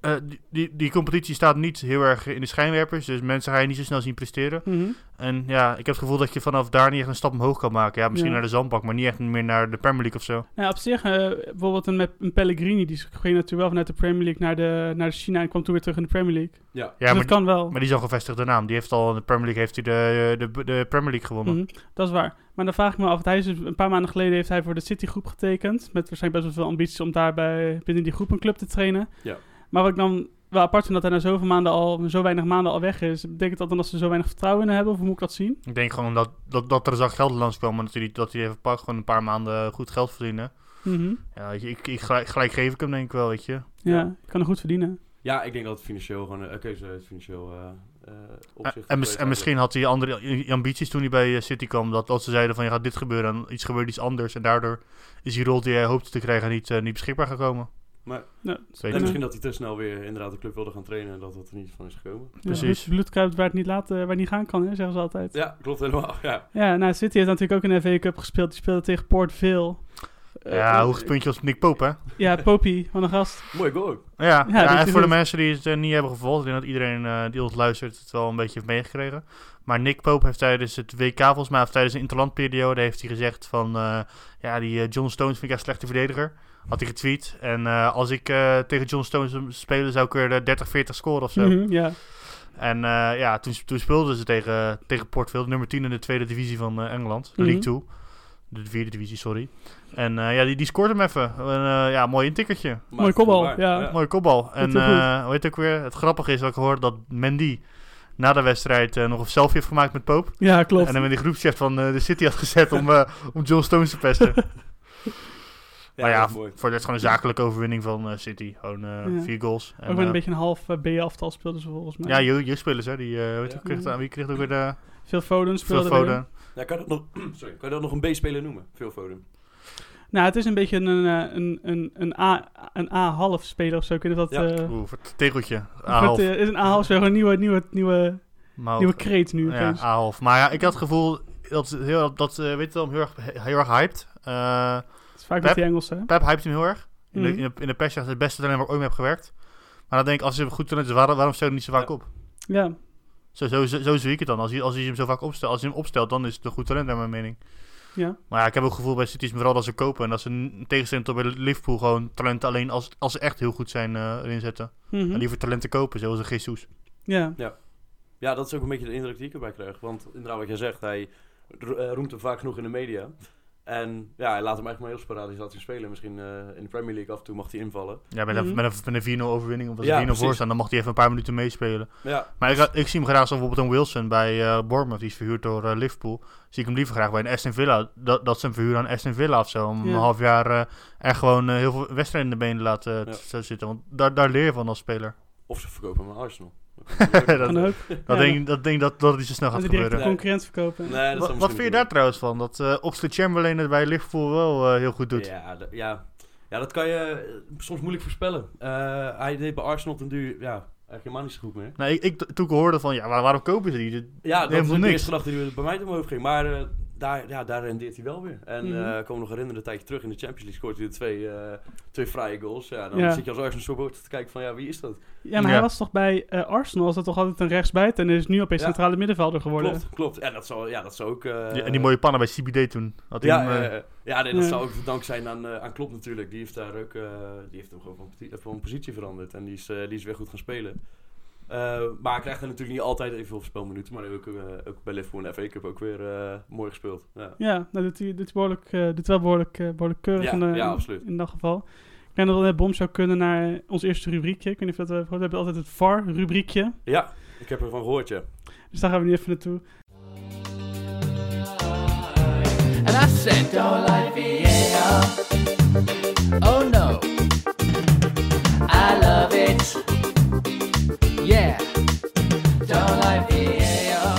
Speaker 3: eh, die, die, die competitie staat niet heel erg in de schijnwerpers. Dus mensen ga je niet zo snel zien presteren.
Speaker 1: Mhm.
Speaker 3: En ja, ik heb het gevoel dat je vanaf daar niet echt een stap omhoog kan maken. Ja, misschien
Speaker 1: Ja.
Speaker 3: naar de zandbak, maar niet echt meer naar de Premier League of zo.
Speaker 1: Nou, op zich, eh, bijvoorbeeld een, met een Pellegrini, die ging natuurlijk wel vanuit de Premier League naar, de, naar China en kwam toen weer terug in de Premier League.
Speaker 2: Ja,
Speaker 3: Ja,
Speaker 1: dus
Speaker 3: maar,
Speaker 1: dat kan wel.
Speaker 3: maar die is al gevestigde naam. Die heeft al in de Premier League heeft hij de, de, de Premier League gewonnen.
Speaker 1: Mhm, dat is waar. Maar dan vraag ik me af, want hij is dus- een paar maanden geleden heeft hij voor de City groep getekend. Met waarschijnlijk best wel veel ambities om daarbij binnen die groep een club te trainen.
Speaker 2: Ja.
Speaker 1: Maar wat ik dan wel apart vind dat hij na zoveel maanden al, zo weinig maanden al weg is. Betekent dat dan dat ze zo weinig vertrouwen in hebben? Of hoe moet ik dat zien?
Speaker 3: Ik denk gewoon dat, dat, dat er zag geld langskwam. En dat hij, dat hij even pak, gewoon een paar maanden goed geld verdienen.
Speaker 1: Mhm.
Speaker 3: Ja, weet je, ik, ik, gelijk, gelijk geef ik hem denk ik wel, weet je.
Speaker 1: Ja,
Speaker 2: Ja.
Speaker 1: kan er goed verdienen.
Speaker 2: ja, ik denk dat het financieel gewoon een een keuze uit financieel eh, eh, opzicht.
Speaker 3: En, mis-
Speaker 2: geweest
Speaker 3: en misschien had hij andere i- ambities toen hij bij eh, City kwam. Dat als ze zeiden van je gaat dit gebeuren en iets gebeurt iets anders. En daardoor is die rol die hij hoopte te krijgen niet, eh, niet beschikbaar gekomen.
Speaker 1: Ja,
Speaker 3: Weet
Speaker 2: En
Speaker 3: je.
Speaker 2: misschien dat hij te snel weer inderdaad de club wilde gaan trainen en dat dat er niet van is gekomen.
Speaker 3: Precies.
Speaker 1: Ja, bloed- bloed kruipt waar het niet, laat, eh, waar het niet gaan kan, hè, zeggen ze altijd.
Speaker 2: Ja, klopt helemaal. Ja,
Speaker 1: Ja, nou, City heeft natuurlijk ook in de FA Cup gespeeld. Die speelde tegen Port Vale. Eh,
Speaker 3: Ja,
Speaker 1: eh,
Speaker 3: hoogtepuntje was Nick Pope, hè?
Speaker 1: Ja, Popie, van een gast.
Speaker 2: mooi goal ook.
Speaker 3: Ja, ja,
Speaker 1: dat
Speaker 3: en
Speaker 1: is
Speaker 3: voor de
Speaker 1: goed.
Speaker 3: mensen die het eh, niet hebben gevolgd, ik denk dat iedereen eh, die ons luistert het wel een beetje heeft meegekregen. Maar Nick Pope heeft tijdens het WK, volgens mij, of tijdens de interlandperiode, heeft hij gezegd van, eh, ja, die eh, John Stones vind ik echt een slechte verdediger. Had hij getweet. En eh, als ik eh, tegen John Stones zou spelen, zou ik weer de 30, 40 scoren of zo.
Speaker 1: Mhm, ja.
Speaker 3: En eh, ja, toen, toen speelden ze tegen, tegen Portville, nummer 10 in de tweede divisie van eh, Engeland, de
Speaker 1: Mhm.
Speaker 3: League Two. De vierde divisie, sorry. En eh, ja, die, die scoort hem even. Een eh, ja, mooi intikkertje.
Speaker 2: Maar
Speaker 1: Mooi kopbal,
Speaker 2: waar.
Speaker 1: ja.
Speaker 3: Mooie kopbal. En
Speaker 1: heel goed.
Speaker 3: eh, hoe heet het ook weer? Het grappige is dat ik hoorde dat Mendy na de wedstrijd eh, nog een selfie heeft gemaakt met Pope.
Speaker 1: ja, klopt.
Speaker 3: En hem in de groepschat van eh, de City had gezet om, eh, om John Stones te pesten. maar ja,
Speaker 2: dat is mooi.
Speaker 3: voor dit is gewoon een zakelijke overwinning van eh, City. Gewoon eh,
Speaker 1: Ja.
Speaker 3: vier goals. En,
Speaker 1: ook wel
Speaker 3: eh,
Speaker 1: een beetje een half eh, B-aftal speelden ze volgens mij.
Speaker 3: ja, jeugd- jeugdspelers hè. Die, eh, weet je,
Speaker 2: Ja.
Speaker 3: kreeg, aan wie kreeg ook weer de
Speaker 1: Veel Foden
Speaker 3: Phil
Speaker 1: speelde
Speaker 3: Foden.
Speaker 1: erin.
Speaker 2: Ja, kan, je dat nog, sorry, kan je dat nog een B-speler noemen? Veel Foden.
Speaker 1: Nou, het is een beetje een, eh, een, een, een, A, een A-half speler of zo. Kunnen dat...
Speaker 2: Ja.
Speaker 1: eh,
Speaker 3: Oeh, voor het tegeltje.
Speaker 1: wordt,
Speaker 3: A-half.
Speaker 1: eh, is een A-half speler, gewoon een nieuwe, nieuwe, nieuwe,
Speaker 3: Maar
Speaker 1: nieuwe
Speaker 3: ook-
Speaker 1: kreet nu.
Speaker 3: Ja,
Speaker 1: opeens.
Speaker 3: A-half. Maar ja, ik had het gevoel dat, ze heel, dat eh, weet je wel, hem heel erg, heel erg hyped. Eh,
Speaker 1: Het is vaak
Speaker 3: Pep?
Speaker 1: met die Engelsen. hè?
Speaker 3: Pep hypt hem heel erg. In de,
Speaker 1: Mhm.
Speaker 3: in de, in de pers zegt hij, het beste talent waar ik ooit mee heb gewerkt. Maar dan denk ik, als hij een goed talent is, waarom, waarom stel je hem niet zo vaak
Speaker 2: Ja.
Speaker 3: op?
Speaker 1: Ja.
Speaker 3: Zo, zo, zo, zo zie ik het dan. Als hij, als hij hem zo vaak opstelt, als hij hem opstelt, dan is het een goed talent naar mijn mening.
Speaker 1: Ja.
Speaker 3: Maar ja, ik heb ook het gevoel bij City is vooral dat ze kopen. En dat ze een tegenstelling tot bij Liverpool gewoon talenten alleen als, als ze echt heel goed zijn eh, erin zetten.
Speaker 1: Mhm.
Speaker 3: En liever talenten kopen, zoals een Jesus.
Speaker 1: ja.
Speaker 2: Ja, dat is ook een beetje de indruk die ik erbij krijg. Want inderdaad, wat jij zegt, hij ro- eh, roemt hem vaak genoeg in de media. En ja, hij laat hem eigenlijk maar heel sporadisch laten spelen. Misschien eh, in de Premier League af en toe mag hij invallen.
Speaker 3: Ja, met,
Speaker 1: Mhm.
Speaker 3: een, met, een, met een 4-0 overwinning of als
Speaker 2: Ja,
Speaker 3: er 4-0 voor
Speaker 2: precies.
Speaker 3: staan, dan mag hij even een paar minuten meespelen.
Speaker 2: Ja,
Speaker 3: Maar ik, ik zie hem graag zoals bijvoorbeeld een Wilson bij eh Bournemouth, die is verhuurd door eh, Liverpool. Zie ik hem liever graag bij een Aston Villa, dat, dat ze hem verhuren aan Aston Villa of zo. Om
Speaker 1: Ja.
Speaker 3: een half jaar eh, er gewoon eh, heel veel wedstrijden in de benen laten eh,
Speaker 2: Ja.
Speaker 3: te- te zitten. Want daar, daar leer je van als speler.
Speaker 2: of ze verkopen hem aan Arsenal.
Speaker 3: dat,
Speaker 1: Kan ook.
Speaker 3: dat
Speaker 1: Ja,
Speaker 3: denk ik dat, denk ik dat, dat het niet zo snel
Speaker 1: Als
Speaker 3: gaat
Speaker 1: ze
Speaker 3: gebeuren.
Speaker 1: direct een
Speaker 2: Nee.
Speaker 1: concurrent verkopen.
Speaker 2: Nee, dat
Speaker 3: Wat,
Speaker 2: zou
Speaker 3: wat
Speaker 2: misschien
Speaker 3: vind je
Speaker 2: niet
Speaker 3: daar trouwens van? Dat eh Oxley Chamberlain het bij Liverpool wel eh, heel goed doet.
Speaker 2: Ja, d- ja. ja, dat kan je eh, soms moeilijk voorspellen. Eh, hij deed bij Arsenal ten duur, ja, eigenlijk helemaal niet zo goed meer.
Speaker 3: Nou, ik, ik, toen ik hoorde van, ja, waar- waarom kopen ze die? Dit-
Speaker 2: Ja, dat
Speaker 3: Helemaal
Speaker 2: is ook de
Speaker 3: niks.
Speaker 2: eerste gedachte die bij mij door mijn hoofd ging. Maar eh, daar, ja, daar rendeert hij wel weer. En
Speaker 1: Mhm.
Speaker 2: eh, ik kan me nog herinneren, een tijdje terug in de Champions League scoort hij de twee, eh, twee vrije goals. Ja, dan
Speaker 1: Ja.
Speaker 2: zit je als Arsenal supporter te kijken van, ja, wie is dat?
Speaker 1: Ja, maar hij
Speaker 3: Ja.
Speaker 1: was toch bij eh, Arsenal, was dat toch altijd een rechtsbuiten en is nu opeens
Speaker 2: Ja.
Speaker 1: centrale middenvelder geworden.
Speaker 2: Klopt, klopt. En dat zou, ja, dat zou ook... eh,
Speaker 3: Ja, en die mooie pannen bij CBD toen. Had hij
Speaker 2: Ja,
Speaker 3: hem, eh,
Speaker 2: eh, ja nee, dat
Speaker 1: Ja.
Speaker 2: zou ook te dank zijn aan, eh, aan Klopp natuurlijk. Die heeft daar ook, eh, die heeft hem gewoon van, poti- van positie veranderd. En die is, eh, die is weer goed gaan spelen. Eh, maar hij krijgt er natuurlijk niet altijd evenveel spelminuten. Maar hij heeft ook, eh, ook bij Liverpool en de FA Cup ook weer eh, mooi gespeeld. Ja.
Speaker 1: Ja, nou, doet hij doet hij behoorlijk, eh, doet wel behoorlijk, eh, behoorlijk keurig
Speaker 2: Ja,
Speaker 1: in, de-
Speaker 2: ja, absoluut.
Speaker 1: in dat geval. Ik denk dat we net bom zou kunnen naar eh, ons eerste rubriekje. Ik weet niet of je dat we gehoord hebben, altijd het VAR-rubriekje.
Speaker 2: ja, ik heb ervan gehoord, ja.
Speaker 1: Dus daar gaan we nu even naartoe.
Speaker 4: And I said, don't like Vienna. Oh no. I love it. Yeah. Don't like Vienna.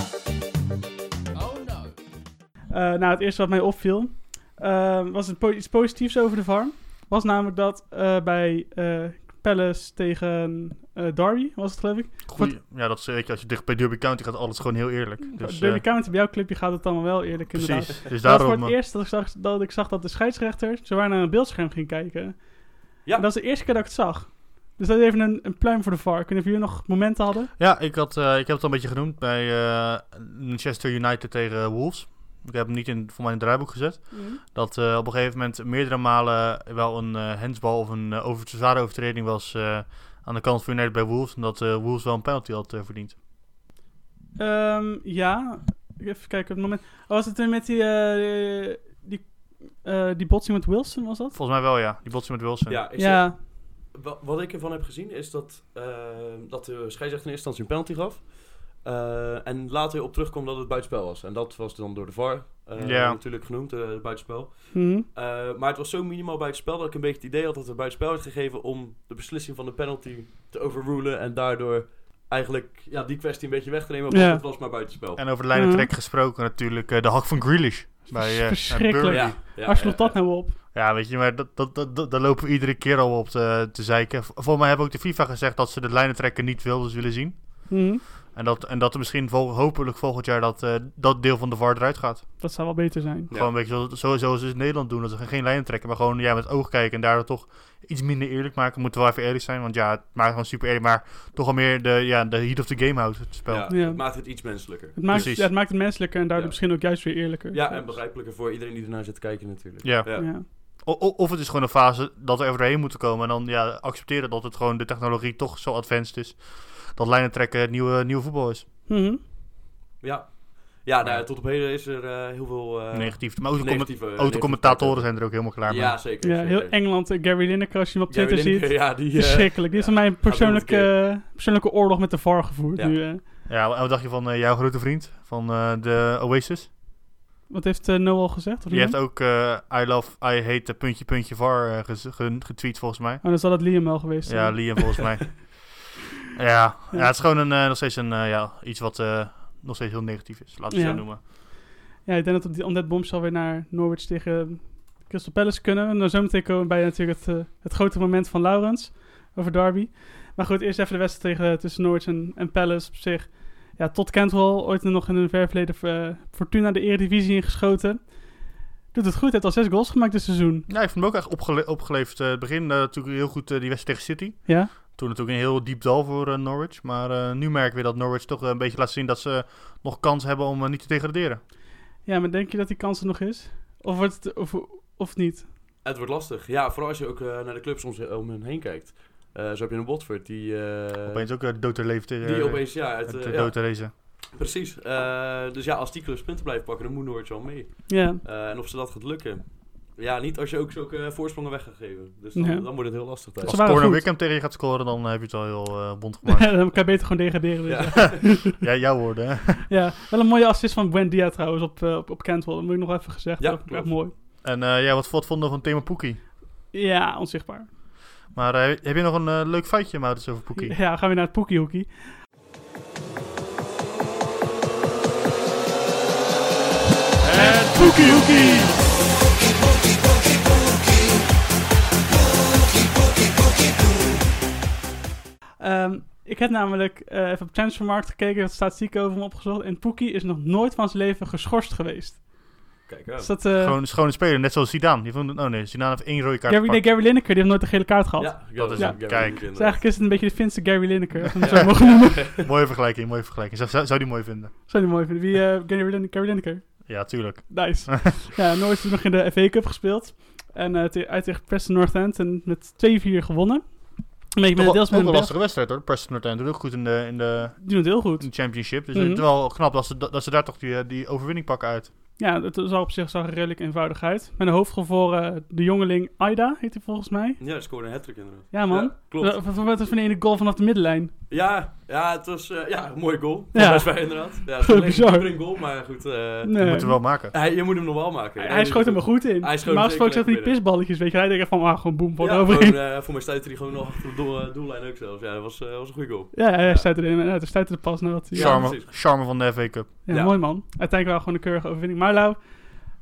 Speaker 4: Oh no.
Speaker 1: nou, het eerste wat mij opviel eh, was een po- iets positiefs over de farm. Was namelijk dat eh, bij eh, Palace tegen eh, Derby, was het geloof ik.
Speaker 3: Goeie. Ja, dat is, weet je, als je dicht bij Derby County gaat, alles gewoon heel eerlijk. Dus,
Speaker 1: Derby
Speaker 3: eh,
Speaker 1: County, bij jouw clubje gaat het allemaal wel eerlijk inderdaad.
Speaker 3: precies. Dus
Speaker 1: Dat was voor
Speaker 3: daarom...
Speaker 1: het
Speaker 3: eh,
Speaker 1: eerst dat ik, zag, dat ik zag dat de scheidsrechter zowaar naar een beeldscherm ging kijken.
Speaker 2: Ja.
Speaker 1: En dat was de eerste keer dat ik het zag. Dus dat is even een, een pluim voor de VAR. Kunnen we hier nog momenten hadden?
Speaker 3: Ja, ik, had, eh, ik heb het al een beetje genoemd bij eh, Manchester United tegen Wolves. Ik heb hem niet in, voor mij in het draaiboek gezet. Dat eh, op een gegeven moment meerdere malen wel een eh handsbal of een eh, over, zware overtreding was eh, aan de kant van United bij Wolves. En dat eh, Wolves wel een penalty had eh, verdiend.
Speaker 1: Ehm, ja, even kijken op het moment. Oh, was het eh, met die, eh, die, eh, die botsing met Wilson, was dat?
Speaker 3: Volgens mij wel, ja. Die botsing met Wilson.
Speaker 2: Ja, ik zeg-
Speaker 1: Ja,
Speaker 2: Wa- Wat ik ervan heb gezien is dat, eh, dat de scheidsrechter in eerste instantie een penalty gaf. Eh, en later op terugkwam dat het buitenspel was. En dat was dan door de VAR eh,
Speaker 3: Ja.
Speaker 2: natuurlijk genoemd, eh, het buitenspel.
Speaker 1: mhm.
Speaker 2: Eh, maar het was zo minimaal buitenspel dat ik een beetje het idee had dat er buitenspel werd gegeven om de beslissing van de penalty te overrulen. En daardoor eigenlijk ja, die kwestie een beetje weg te nemen. Want
Speaker 1: Ja.
Speaker 2: het was maar buitenspel.
Speaker 3: En over de lijnen
Speaker 1: Mhm.
Speaker 3: trek gesproken natuurlijk eh, de hak van Grealish. Bij, eh,
Speaker 1: Verschrikkelijk.
Speaker 3: Burnley.
Speaker 2: ja, ja,
Speaker 1: Waar sloeg
Speaker 2: ja,
Speaker 1: dat nou op?
Speaker 3: Ja, weet je, maar dat, dat, dat, dat- daar lopen we iedere keer al op eh, te, te zeiken. V- Volgens mij hebben ook de FIFA gezegd dat ze de lijnentrekker niet wilden willen zien.
Speaker 1: Mhm.
Speaker 3: En dat, en dat er misschien vol- hopelijk volgend jaar dat, eh, dat deel van de VAR eruit gaat.
Speaker 1: Dat zou wel beter zijn.
Speaker 2: Ja.
Speaker 3: Gewoon een beetje zo- zo, zoals ze in Nederland doen. Dat ze geen lijnen trekken, maar gewoon ja, met het oog kijken. En daardoor toch iets minder eerlijk maken. Moeten we wel even eerlijk zijn. Want ja, het maakt gewoon super eerlijk. Maar toch al meer de, ja, de heat of the game houdt het spel.
Speaker 2: Ja,
Speaker 1: Ja.
Speaker 2: Het maakt het iets menselijker.
Speaker 1: Het maakt,
Speaker 3: Precies.
Speaker 1: ja, het maakt het menselijker en daardoor
Speaker 2: Ja.
Speaker 1: misschien ook juist weer eerlijker.
Speaker 2: Ja, en begrijpelijker voor iedereen die ernaar zit te kijken natuurlijk.
Speaker 3: Ja.
Speaker 1: Ja.
Speaker 3: O- o- of het is gewoon een fase dat we er doorheen moeten komen. En dan ja, accepteren dat het gewoon de technologie toch zo advanced is. Dat lijnen trekken het nieuwe, nieuwe voetbal is.
Speaker 1: Mhm.
Speaker 2: Ja, ja nou, ja, tot op heden is er eh, heel veel eh,
Speaker 3: Negatief. Maar ook de commen-
Speaker 2: negatieve...
Speaker 3: Autocommentatoren zijn er ook helemaal klaar mee.
Speaker 2: Ja, zeker.
Speaker 1: Ja,
Speaker 2: zeker.
Speaker 1: heel Engeland. eh, Gary Lineker, als je hem op
Speaker 2: Gary
Speaker 1: Twitter
Speaker 2: Lineker,
Speaker 1: ziet.
Speaker 2: Ja, die... eh,
Speaker 1: Verschrikkelijk. Dit is
Speaker 2: ja.
Speaker 1: voor mij een
Speaker 2: doen we het
Speaker 1: persoonlijke, persoonlijke oorlog met de VAR gevoerd
Speaker 2: Ja.
Speaker 1: nu. eh.
Speaker 3: Ja, en wat dacht je van eh, jouw grote vriend van eh, de Oasis?
Speaker 1: Wat heeft eh, Noel gezegd? Of
Speaker 3: Die
Speaker 1: Liam?
Speaker 3: heeft ook eh, I love, I hate eh, puntje puntje var eh, gez- ge- getweet volgens mij.
Speaker 1: Oh, dan zal het Liam wel geweest zijn.
Speaker 3: Ja, Liam volgens mij. Ja, ja, het is gewoon een, eh, nog steeds een, eh, ja, iets wat eh, nog steeds heel negatief is. Laten we het
Speaker 1: Ja.
Speaker 3: zo noemen.
Speaker 1: Ja, ik denk dat op die Undead Bombshell weer naar Norwich tegen eh, Crystal Palace kunnen. En dan zometeen komen bij natuurlijk het, eh, het grote moment van Laurens over Derby. Maar goed, eerst even de wedstrijd tegen, eh, tussen Norwich en, en Palace op zich. Ja, tot Cantwell, ooit nog in een ver verleden eh, Fortuna de Eredivisie ingeschoten. Doet het goed, heeft al zes goals gemaakt dit seizoen.
Speaker 3: Ja, ik vond hem ook echt opgele- opgeleefd. Eh, het begin eh, natuurlijk heel goed eh, die wedstrijd tegen City.
Speaker 1: Ja,
Speaker 3: Toen natuurlijk een heel diep dal voor eh, Norwich. Maar eh, nu merk ik weer dat Norwich toch eh, een beetje laat zien dat ze eh, nog kans hebben om eh, niet te degraderen.
Speaker 1: ja maar denk je dat die kans er nog is? Of, wordt het, of, of niet?
Speaker 2: Het wordt lastig. Ja, vooral als je ook eh, naar de clubs om, ze- om hen heen kijkt. Eh, zo heb je een Watford die... eh,
Speaker 3: Opeens ook eh, dood ter leefte. eh,
Speaker 2: Die opeens, ja, het,
Speaker 3: Het,
Speaker 2: eh,
Speaker 3: eh,
Speaker 2: ja,
Speaker 3: dood te racen.
Speaker 2: precies. Eh, dus ja, als die clubs punten blijven pakken, dan moet Noord wel mee.
Speaker 1: Ja,
Speaker 2: Eh, en of ze dat gaat lukken. Ja, niet als je ook zulke eh, voorsprongen weg gaat geven. Dus dan,
Speaker 1: Ja.
Speaker 2: dan wordt het heel lastig. thuis.
Speaker 1: Ze
Speaker 3: Als
Speaker 1: waren
Speaker 3: Corner
Speaker 1: goed.
Speaker 3: Wickham tegen je gaat scoren, dan heb je het al heel eh bond gemaakt.
Speaker 1: dan kan je beter gewoon degraderen. dus
Speaker 2: Ja.
Speaker 1: ja.
Speaker 3: ja, jouw woorden. hè.
Speaker 1: Ja, wel een mooie assist van Buendia trouwens op, eh, op, op Cantwell. Dat moet ik nog even gezegd
Speaker 2: Ja,
Speaker 1: hebben. Dat vond ik Echt
Speaker 2: klopt.
Speaker 1: mooi.
Speaker 3: En eh, ja, wat, wat vonden we van Thema Poekie?
Speaker 1: Ja, onzichtbaar.
Speaker 3: Maar eh, heb je nog een eh, leuk feitje, Maurits, over Poekie?
Speaker 1: Ja, gaan we naar het poekiehoekie.
Speaker 3: Het Poekiehoekie!
Speaker 1: Ehm ik heb namelijk eh, even op Transfermarkt gekeken, wat statistieken over hem opgezocht. En Poekie is nog nooit van zijn leven geschorst geweest.
Speaker 2: Kijk, ja.
Speaker 1: Dus dat... eh
Speaker 3: Gewoon een schone speler, net zoals Zidane. Die vond, oh nee, Zidane heeft één rode kaart
Speaker 1: Gary, nee,
Speaker 3: gepakt.
Speaker 1: Gary Lineker, die heeft nooit een gele kaart gehad.
Speaker 2: Ja,
Speaker 3: Dat is
Speaker 1: hem.
Speaker 2: Gary
Speaker 3: Kijk.
Speaker 2: Lineker,
Speaker 1: Dus
Speaker 2: inderdaad.
Speaker 1: eigenlijk is het een beetje de Finse Gary Lineker, als we hem zo mogen noemen.
Speaker 3: Mooie vergelijking, mooie vergelijking. Zou, zou, zou die mooi vinden?
Speaker 1: Zou je mooi vinden. Wie, eh, Gary, Lin- Gary Lineker?
Speaker 3: Ja, tuurlijk.
Speaker 1: Nice. ja, Norwich heeft nog in de FA Cup gespeeld. En eh, te- uit tegen Preston North End en met 2-4 gewonnen. Een beetje met
Speaker 3: Toch
Speaker 1: de
Speaker 3: wel-
Speaker 1: deels
Speaker 3: ook wel
Speaker 1: met
Speaker 3: een lastige
Speaker 1: een
Speaker 3: wedstrijd hoor. Preston North End doet ook goed in de, in de,
Speaker 1: Die doen het heel
Speaker 3: in
Speaker 1: goed.
Speaker 2: Mm.
Speaker 3: de championship. Dus
Speaker 1: Mhm.
Speaker 3: het is wel knap dat ze, da- dat ze daar toch die, eh, die overwinning pakken uit.
Speaker 1: Ja, het zag op zich zag er redelijk eenvoudig uit. Met een hoofdrol voor eh, de jongeling Aida, heet hij volgens mij.
Speaker 2: Ja, hij scoorde een hat-trick inderdaad.
Speaker 1: Ja, man.
Speaker 2: Ja, klopt.
Speaker 1: Wat wat was van de ene goal vanaf de middenlijn?
Speaker 2: Ja, ja, het was eh, ja, een mooie goal.
Speaker 1: Ja.
Speaker 2: Ja. Best bij inderdaad. Ja, het was alleen
Speaker 1: Bizar.
Speaker 2: een prima goal, maar goed. eh,
Speaker 1: Nee.
Speaker 3: Dat moeten we wel maken.
Speaker 2: hij, je moet hem nog wel maken.
Speaker 1: Hij, hij schoot hem er goed in.
Speaker 2: Hij schoot
Speaker 1: maar als
Speaker 2: hem zeker
Speaker 1: gesproken zat van die
Speaker 2: lekker binnen.
Speaker 1: pisballetjes, weet je. Hij denkt van, ah, gewoon boem, voor
Speaker 2: Ja,
Speaker 1: de overheen.
Speaker 2: gewoon, eh, voor mij stuitte hij gewoon nog achter de doel- eh, doellijn ook zelfs. Ja, dat was, eh, was een goede goal.
Speaker 1: Ja, hij stuitte erin. En hij stuitte er pas naar wat hij...
Speaker 2: Ja,
Speaker 3: Charme,
Speaker 2: precies.
Speaker 3: charme van de FA Cup.
Speaker 1: Ja,
Speaker 2: Ja.
Speaker 1: mooi man. Uiteindelijk wel gewoon een keurige overwinning. Maar Lau,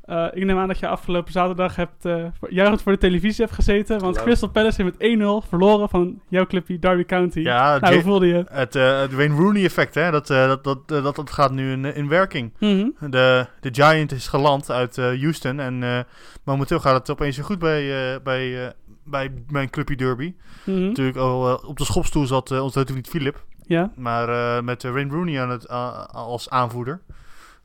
Speaker 1: Eh, ik neem aan dat je afgelopen zaterdag hebt, eh, voor- juichend voor de televisie hebt gezeten. Want
Speaker 2: Hallo.
Speaker 1: Crystal Palace heeft met 1-0 verloren van jouw clubje Derby County.
Speaker 3: Ja,
Speaker 1: nou,
Speaker 3: Ja,
Speaker 1: hoe voelde je?
Speaker 3: het, eh, het Wayne Rooney effect, hè? Dat, eh, dat, dat, eh, dat, dat gaat nu in, in werking.
Speaker 1: Mhm.
Speaker 3: De, de Giant is geland uit eh, Houston en eh, momenteel gaat het opeens weer goed bij, eh, bij, eh, bij mijn clubje Derby.
Speaker 1: Mhm.
Speaker 3: Natuurlijk al eh, op de schopstoel zat eh, ons natuurlijk niet Philip,
Speaker 1: Ja.
Speaker 3: maar eh, met eh, Wayne Rooney aan het, a- als aanvoerder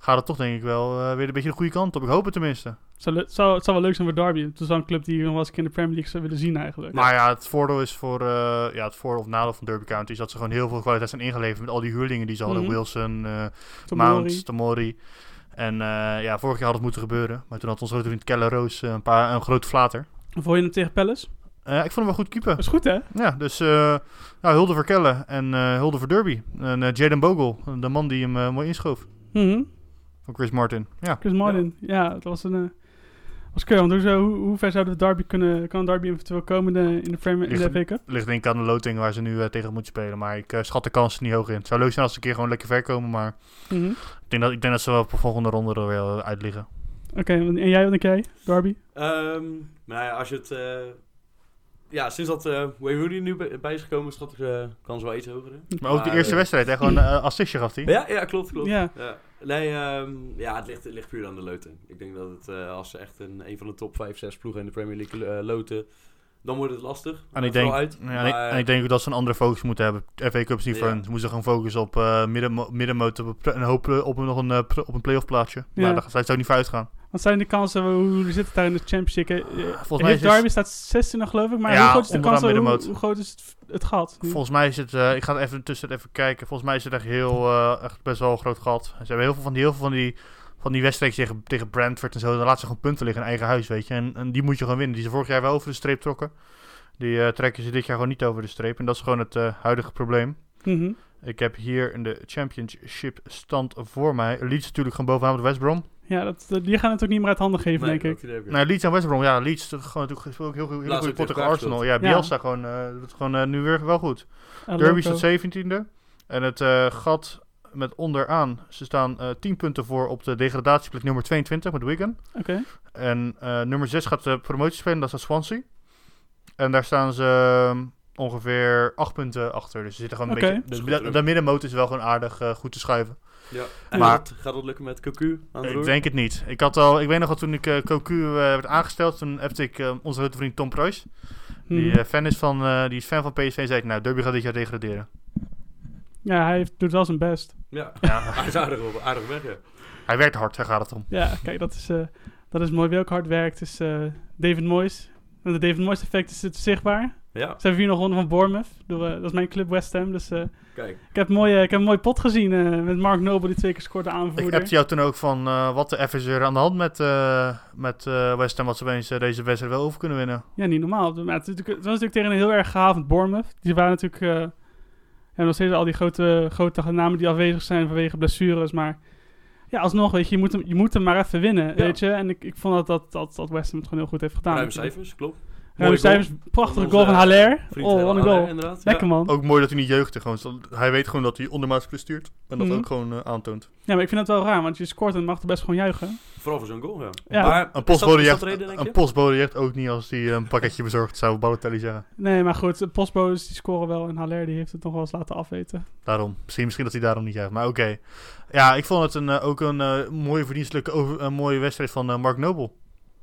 Speaker 3: gaat het toch denk ik wel eh, weer een beetje de goede kant op. Ik hoop het tenminste.
Speaker 1: Zou le- zou- Het zou wel leuk zijn voor Derby. Het is wel een club die we wel eens een keer in de Premier League zou willen zien eigenlijk.
Speaker 3: Maar ja, het voordeel is voor eh, ja, het voordeel of nadeel van Derby County is dat ze gewoon heel veel kwaliteit zijn ingeleverd met al die huurlingen die ze hadden.
Speaker 1: Mhm.
Speaker 3: Wilson, eh
Speaker 1: Tomori.
Speaker 3: Mount, Tomori. En eh, ja, vorig jaar had het moeten gebeuren. Maar toen had ons grote vriend Keller Roos eh, een, paar, een groot flater.
Speaker 1: Vond je hem tegen Palace?
Speaker 3: Eh, ik vond hem wel goed keeper.
Speaker 1: Dat is goed, hè?
Speaker 3: Ja, dus eh ja, hulde voor Keller en eh, hulde voor Derby. En eh, Jaden Bogle, de man die hem eh, mooi inschoof.
Speaker 1: Mhm.
Speaker 3: Van Chris Martin. Ja,
Speaker 1: Chris Martin. Ja, het was een... eh, was keur, want hoezo- hoe, hoe ver zouden we Derby kunnen... Kan Derby eventueel komen in de, in de, Premier, in de
Speaker 3: Ligt-
Speaker 1: FA Cup?
Speaker 3: ligt denk ik aan de loting waar ze nu eh, tegen moeten spelen. Maar ik eh, schat de kansen niet hoog in. Het zou leuk zijn als ze een keer gewoon lekker ver komen. Maar
Speaker 1: Mhm.
Speaker 3: ik denk dat, ik denk dat ze wel op de volgende ronde er weer eh, uit liggen.
Speaker 1: Oké, en jij, wat denk jij? Derby?
Speaker 2: Ehm, nou ja, als je het... eh, ja, sinds dat eh Wayne Rooney nu bij, bij is gekomen, schat ik de kans wel iets hoger in.
Speaker 3: Maar ook de
Speaker 2: Maar,
Speaker 3: eerste
Speaker 2: eh,
Speaker 3: wedstrijd, hè? gewoon een assistje gaf hij.
Speaker 2: Ja, ja klopt, klopt.
Speaker 1: Ja.
Speaker 2: Nee, ehm, ja, het ligt, het ligt puur aan de loting. Ik denk dat het, eh, als ze echt een, een van de top 5, 6 ploegen in de Premier League eh, loten, dan wordt het lastig.
Speaker 3: En
Speaker 2: Maakt
Speaker 3: ik,
Speaker 2: wel
Speaker 3: denk,
Speaker 2: Uit,
Speaker 3: ja, en ik-
Speaker 2: maar,
Speaker 3: en ik denk ook dat ze een andere focus moeten hebben. FA Cup is niet voor
Speaker 2: Ja.
Speaker 3: hen. Ze moeten gewoon focussen op eh midden, middenmotor op een hoop op een, nog een, eh, pl- op een playoff plaatsje.
Speaker 1: Ja.
Speaker 3: Maar daar zou ik niet voor uitgaan.
Speaker 1: Wat zijn de kansen? Hoe hoe zit het daar in de Championship? Eh, eh,
Speaker 3: volgens mij
Speaker 1: heeft
Speaker 3: is het- dus
Speaker 1: Derby staat 16 geloof ik, maar
Speaker 3: Ja,
Speaker 1: hoe groot is de
Speaker 3: onderaan
Speaker 1: kans? Hoe,
Speaker 3: middenmoot.
Speaker 1: hoe groot is het, het gat? nu?
Speaker 3: Volgens mij is het, eh, ik ga het even tussen even kijken. Volgens mij is het echt heel, eh, echt best wel een groot gat. Ze hebben heel veel van die, heel veel van die, van die wedstrijden tegen, tegen Brentford en zo. Dan laten ze gewoon punten liggen in eigen huis, weet je. En, en die moet je gewoon winnen. Die ze vorig jaar wel over de streep trokken. Die eh, trekken ze dit jaar gewoon niet over de streep. En dat is gewoon het eh, huidige probleem.
Speaker 1: Mhm.
Speaker 3: Ik heb hier in de Championship stand voor mij. Leeds natuurlijk gewoon bovenaan met West Brom.
Speaker 1: Ja, dat, dat- die gaan het ook niet meer uit handen geven,
Speaker 2: Nee,
Speaker 1: denk ik.
Speaker 2: dat idee heb ik.
Speaker 3: Nou, Leeds en West Brom. Ja, Leeds toch gewoon natuurlijk gespeeld. Heel goed, heel
Speaker 2: Laatst
Speaker 3: goed pot
Speaker 2: ook tegen
Speaker 3: tegen
Speaker 2: elkaar
Speaker 3: Arsenal. Ja,
Speaker 1: Ja.
Speaker 3: Bielsa gewoon, eh, doet gewoon eh, nu weer wel goed.
Speaker 1: Eh,
Speaker 3: Derby
Speaker 1: Loco.
Speaker 3: staat 17e. En het eh, gat met onderaan. Ze staan eh 10 punten voor op de degradatieplek nummer 22 met Wigan.
Speaker 1: Oké.
Speaker 3: En eh, nummer 6 gaat de promotie spelen. Dat is Swansea. En daar staan ze ehm, ongeveer 8 punten achter. Dus ze zitten gewoon een
Speaker 1: Oké.
Speaker 3: beetje... Dus
Speaker 2: Goed
Speaker 3: de,
Speaker 2: terug.
Speaker 3: de middenmoot is wel gewoon aardig eh, goed te schuiven.
Speaker 2: Ja. En
Speaker 3: Maar-
Speaker 2: dat- gaat dat lukken met Cocu aan de
Speaker 3: Ik
Speaker 2: roer?
Speaker 3: denk het niet. Ik, had al, ik weet nog dat toen ik eh Cocu eh, werd aangesteld, toen heb ik eh, onze grote vriend Tom Preuss,
Speaker 1: Mhm.
Speaker 3: die, eh, fan is van, eh, die is fan van PSV, zei ik, nou, Derby gaat dit jaar degraderen.
Speaker 1: Ja, hij heeft, doet wel zijn best.
Speaker 2: Ja,
Speaker 3: Ja,
Speaker 2: hij is aardig, op, aardig weg, ja.
Speaker 3: hij werkt hard, daar gaat het om.
Speaker 1: Ja, kijk, dat is, eh, dat is mooi. Wie ook hard werkt is eh, David Moyes. Met het David Moyes effect is het zichtbaar.
Speaker 2: Ja,
Speaker 1: Ze hebben hier nog gewonnen van Bournemouth. Door, eh, dat is mijn club West Ham. Dus eh,
Speaker 2: kijk.
Speaker 3: Nou,
Speaker 1: ik, heb een mooie, ik heb een mooie pot gezien eh, met Mark Noble die twee keer scoorde
Speaker 3: Ik
Speaker 1: aanvoerder.
Speaker 3: heb jou toen ook van, eh, wat de F is er aan de hand met, eh, met eh, West Ham, wat ze opeens eh, deze wedstrijd wel over kunnen winnen.
Speaker 1: Ja, niet normaal. Maar het, is natuurlijk- het was natuurlijk tegen een heel erg gehavend Bournemouth. Die waren natuurlijk... eh en nog steeds al die grote, grote namen die afwezig zijn vanwege blessures. Maar ja, alsnog, weet je, je moet hem, je moet hem maar even winnen,
Speaker 2: Ja.
Speaker 1: weet je. En ik, ik vond dat, dat, dat, dat West Ham het gewoon heel goed heeft gedaan.
Speaker 2: Ruime
Speaker 1: natuurlijk.
Speaker 2: cijfers, klopt.
Speaker 1: Ruime
Speaker 2: Mooie goal
Speaker 1: cijfers. Prachtige
Speaker 2: onze
Speaker 1: goal van Haller.
Speaker 2: vriend
Speaker 1: Oh, wat
Speaker 2: Haller,
Speaker 1: een goal.
Speaker 2: Inderdaad.
Speaker 1: Lekker
Speaker 2: ja.
Speaker 1: man.
Speaker 3: Ook mooi dat hij niet jeugdig gewoon is. want Hij weet gewoon dat hij ondermaats presteert en dat
Speaker 1: Mhm.
Speaker 3: ook gewoon eh, aantoont.
Speaker 1: Ja, maar ik vind dat wel raar, want je scoort en mag er best gewoon juichen.
Speaker 2: Vooral voor zo'n goal, ja.
Speaker 1: Ja.
Speaker 2: Maar
Speaker 3: Een
Speaker 2: is dat,
Speaker 3: postbode
Speaker 2: is dat
Speaker 3: jaagt
Speaker 2: de reden, denk
Speaker 3: een
Speaker 2: je?
Speaker 3: postbode jaagt ook niet als hij eh, een pakketje bezorgt, zou Balotelli zeggen.
Speaker 1: Nee, maar goed, de postbodes die scoren wel en Haller die heeft het nog wel eens laten afweten.
Speaker 3: Daarom. Misschien, misschien dat hij daarom niet juicht. Maar oké. Ja, ik vond het een, eh, ook een eh, mooie verdienstelijke over, een mooie wedstrijd van eh, Mark Noble.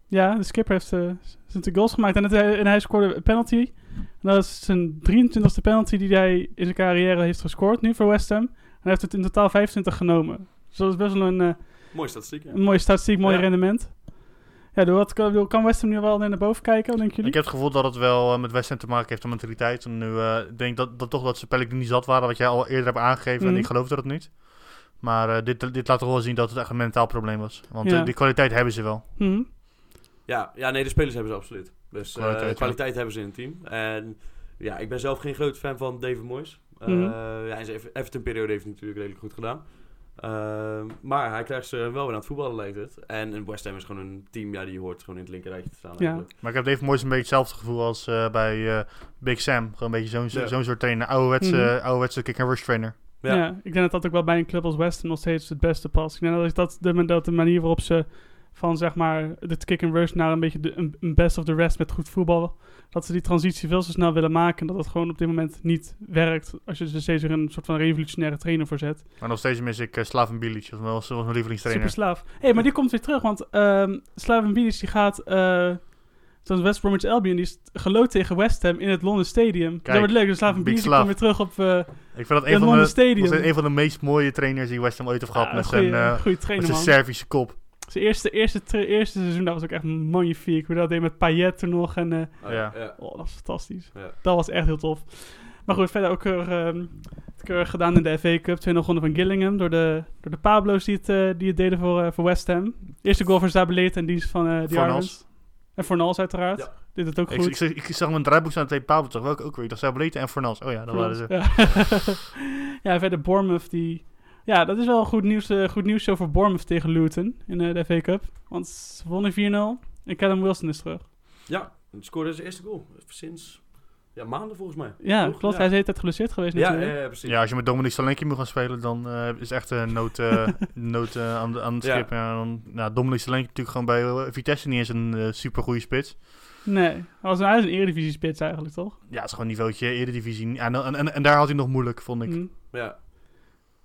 Speaker 1: Ja, de skipper heeft eh, zijn twee goals gemaakt en, het, eh, en hij scoorde een penalty. En dat is zijn 23e penalty die hij in zijn carrière heeft gescoord, nu voor West Ham. En hij heeft het in totaal 25 genomen. Dus dat is best wel een, eh,
Speaker 2: Mooi statistiek. ja.
Speaker 1: een mooie statistiek, mooi
Speaker 2: Ja.
Speaker 1: rendement. Ja, door wat, kan kan West Ham nu wel naar boven kijken, wat
Speaker 3: Ik
Speaker 1: denken jullie?
Speaker 3: heb het gevoel dat het wel eh, met West Ham te maken heeft, de mentaliteit. En nu eh, ik denk dat, dat toch dat ze Pellegrini niet zat waren, wat jij al eerder hebt aangegeven.
Speaker 1: Mhm.
Speaker 3: En ik geloofde dat niet. Maar eh, dit, dit laat toch wel zien dat het echt een mentaal probleem was. Want
Speaker 1: Ja.
Speaker 3: eh, die kwaliteit hebben ze wel.
Speaker 1: Mhm.
Speaker 2: Ja, ja, nee, de spelers hebben ze absoluut. Dus eh,
Speaker 3: Kwaliteit,
Speaker 2: kwaliteit,
Speaker 3: ja.
Speaker 2: hebben ze in het team. En ja, ik ben zelf geen groot fan van David Moyes. Eh
Speaker 1: Mhm.
Speaker 2: ja, in zijn Ever- Everton-periode heeft hij natuurlijk redelijk goed gedaan. Ehm, maar hij krijgt ze wel weer aan het voetballen, lijkt het. En een West Ham is gewoon een team ja, die hoort gewoon in het linkerrijtje te staan.
Speaker 1: Ja.
Speaker 2: Eigenlijk.
Speaker 3: Maar ik heb Dave Moyes een beetje hetzelfde gevoel als eh, bij eh, Big Sam. Gewoon een beetje zo'n
Speaker 2: Ja.
Speaker 3: zo'n soort trainer. Ouderwetse,
Speaker 1: Mhm.
Speaker 3: ouderwetse kick-and-rush trainer.
Speaker 1: Ja.
Speaker 2: Ja.
Speaker 1: ik denk dat dat ook wel bij een club als West Ham nog steeds het beste past. Ik denk dat is dat de, dat de manier waarop ze Van zeg maar het kick and rush naar een beetje de, een, een best of the rest met goed voetbal. Dat ze die transitie veel te snel willen maken. En dat het gewoon op dit moment niet werkt. Als je ze steeds weer een soort van revolutionaire trainer voor zet.
Speaker 3: Maar nog steeds mis ik eh, Slaven Bilic. Dat was, dat was mijn
Speaker 1: Super
Speaker 3: lievelingstrainer.
Speaker 1: slaaf. Hé, hey, maar die komt weer terug. Want ehm Slaven Bilic die gaat... eh zoals West Bromwich Albion. Die is geloot tegen West Ham in het Londen Stadium. dat wordt leuk. Dus Slaven
Speaker 3: Big
Speaker 1: Bilic
Speaker 3: Slav.
Speaker 1: komt weer terug op... eh
Speaker 3: Ik vind dat
Speaker 1: in
Speaker 3: een van,
Speaker 1: Londen
Speaker 3: de,
Speaker 1: Stadium.
Speaker 3: dat is een van de meest mooie trainers die West Ham ooit heeft gehad. met zijn, eh,
Speaker 1: goede
Speaker 3: met
Speaker 1: trainer,
Speaker 3: zijn
Speaker 1: man.
Speaker 3: Servische kop.
Speaker 1: Zijn eerste, eerste, tra- eerste seizoen, dat was ook echt magnifiek. Hoe dat deed met Payet toen nog. En, eh,
Speaker 3: Ja.
Speaker 1: oh, dat was fantastisch.
Speaker 2: Ja.
Speaker 1: Dat was echt heel tof. Maar goed, verder ook keurig, ehm, keurig gedaan in de FA Cup. 2-0 gewonnen van Gillingham door de, door de Pablo's die het, eh, die het deden voor, eh, voor West Ham. Eerste goal voor Zabaleta en dienst van eh
Speaker 3: Fornals.
Speaker 1: Diarmid. En Fornals uiteraard.
Speaker 2: Ja.
Speaker 1: Dit het ook
Speaker 3: Ik,
Speaker 1: goed.
Speaker 3: ik, ik zag mijn draaiboek staan twee Pabel toch ook, ook weer. Ik dacht Sabaleta en Fornals. Oh ja, dat waren ze.
Speaker 1: Ja. ja, verder Bournemouth die... Ja, dat is wel goed nieuws, eh, goed nieuws zo voor Bournemouth tegen Luton in eh, de FA Cup. Want ze wonnen 4-0 en Callum Wilson is terug.
Speaker 2: Ja, hij scoorde zijn eerste goal. Sinds ja, maanden volgens mij.
Speaker 1: Ja,
Speaker 2: Toch?
Speaker 1: klopt. Hij is de hele tijd geblesseerd geweest
Speaker 2: ja,
Speaker 1: natuurlijk.
Speaker 2: ja, ja, precies.
Speaker 3: Ja, als je met Dominic Solanke moet gaan spelen, dan eh, is echt een nood, eh, nood eh, aan, de- aan het
Speaker 2: Ja.
Speaker 3: schip. Ja. dan, nou, Dominic Solanke natuurlijk gewoon bij eh, Vitesse niet eens een eh, supergoeie spits.
Speaker 1: Nee, hij was een, hij is een eredivisie spits eigenlijk, toch?
Speaker 3: Ja, het is gewoon een niveautje Eredivisie. Ja, en, en, en, en daar had hij nog moeilijk, vond ik.
Speaker 1: Mm.
Speaker 2: Ja.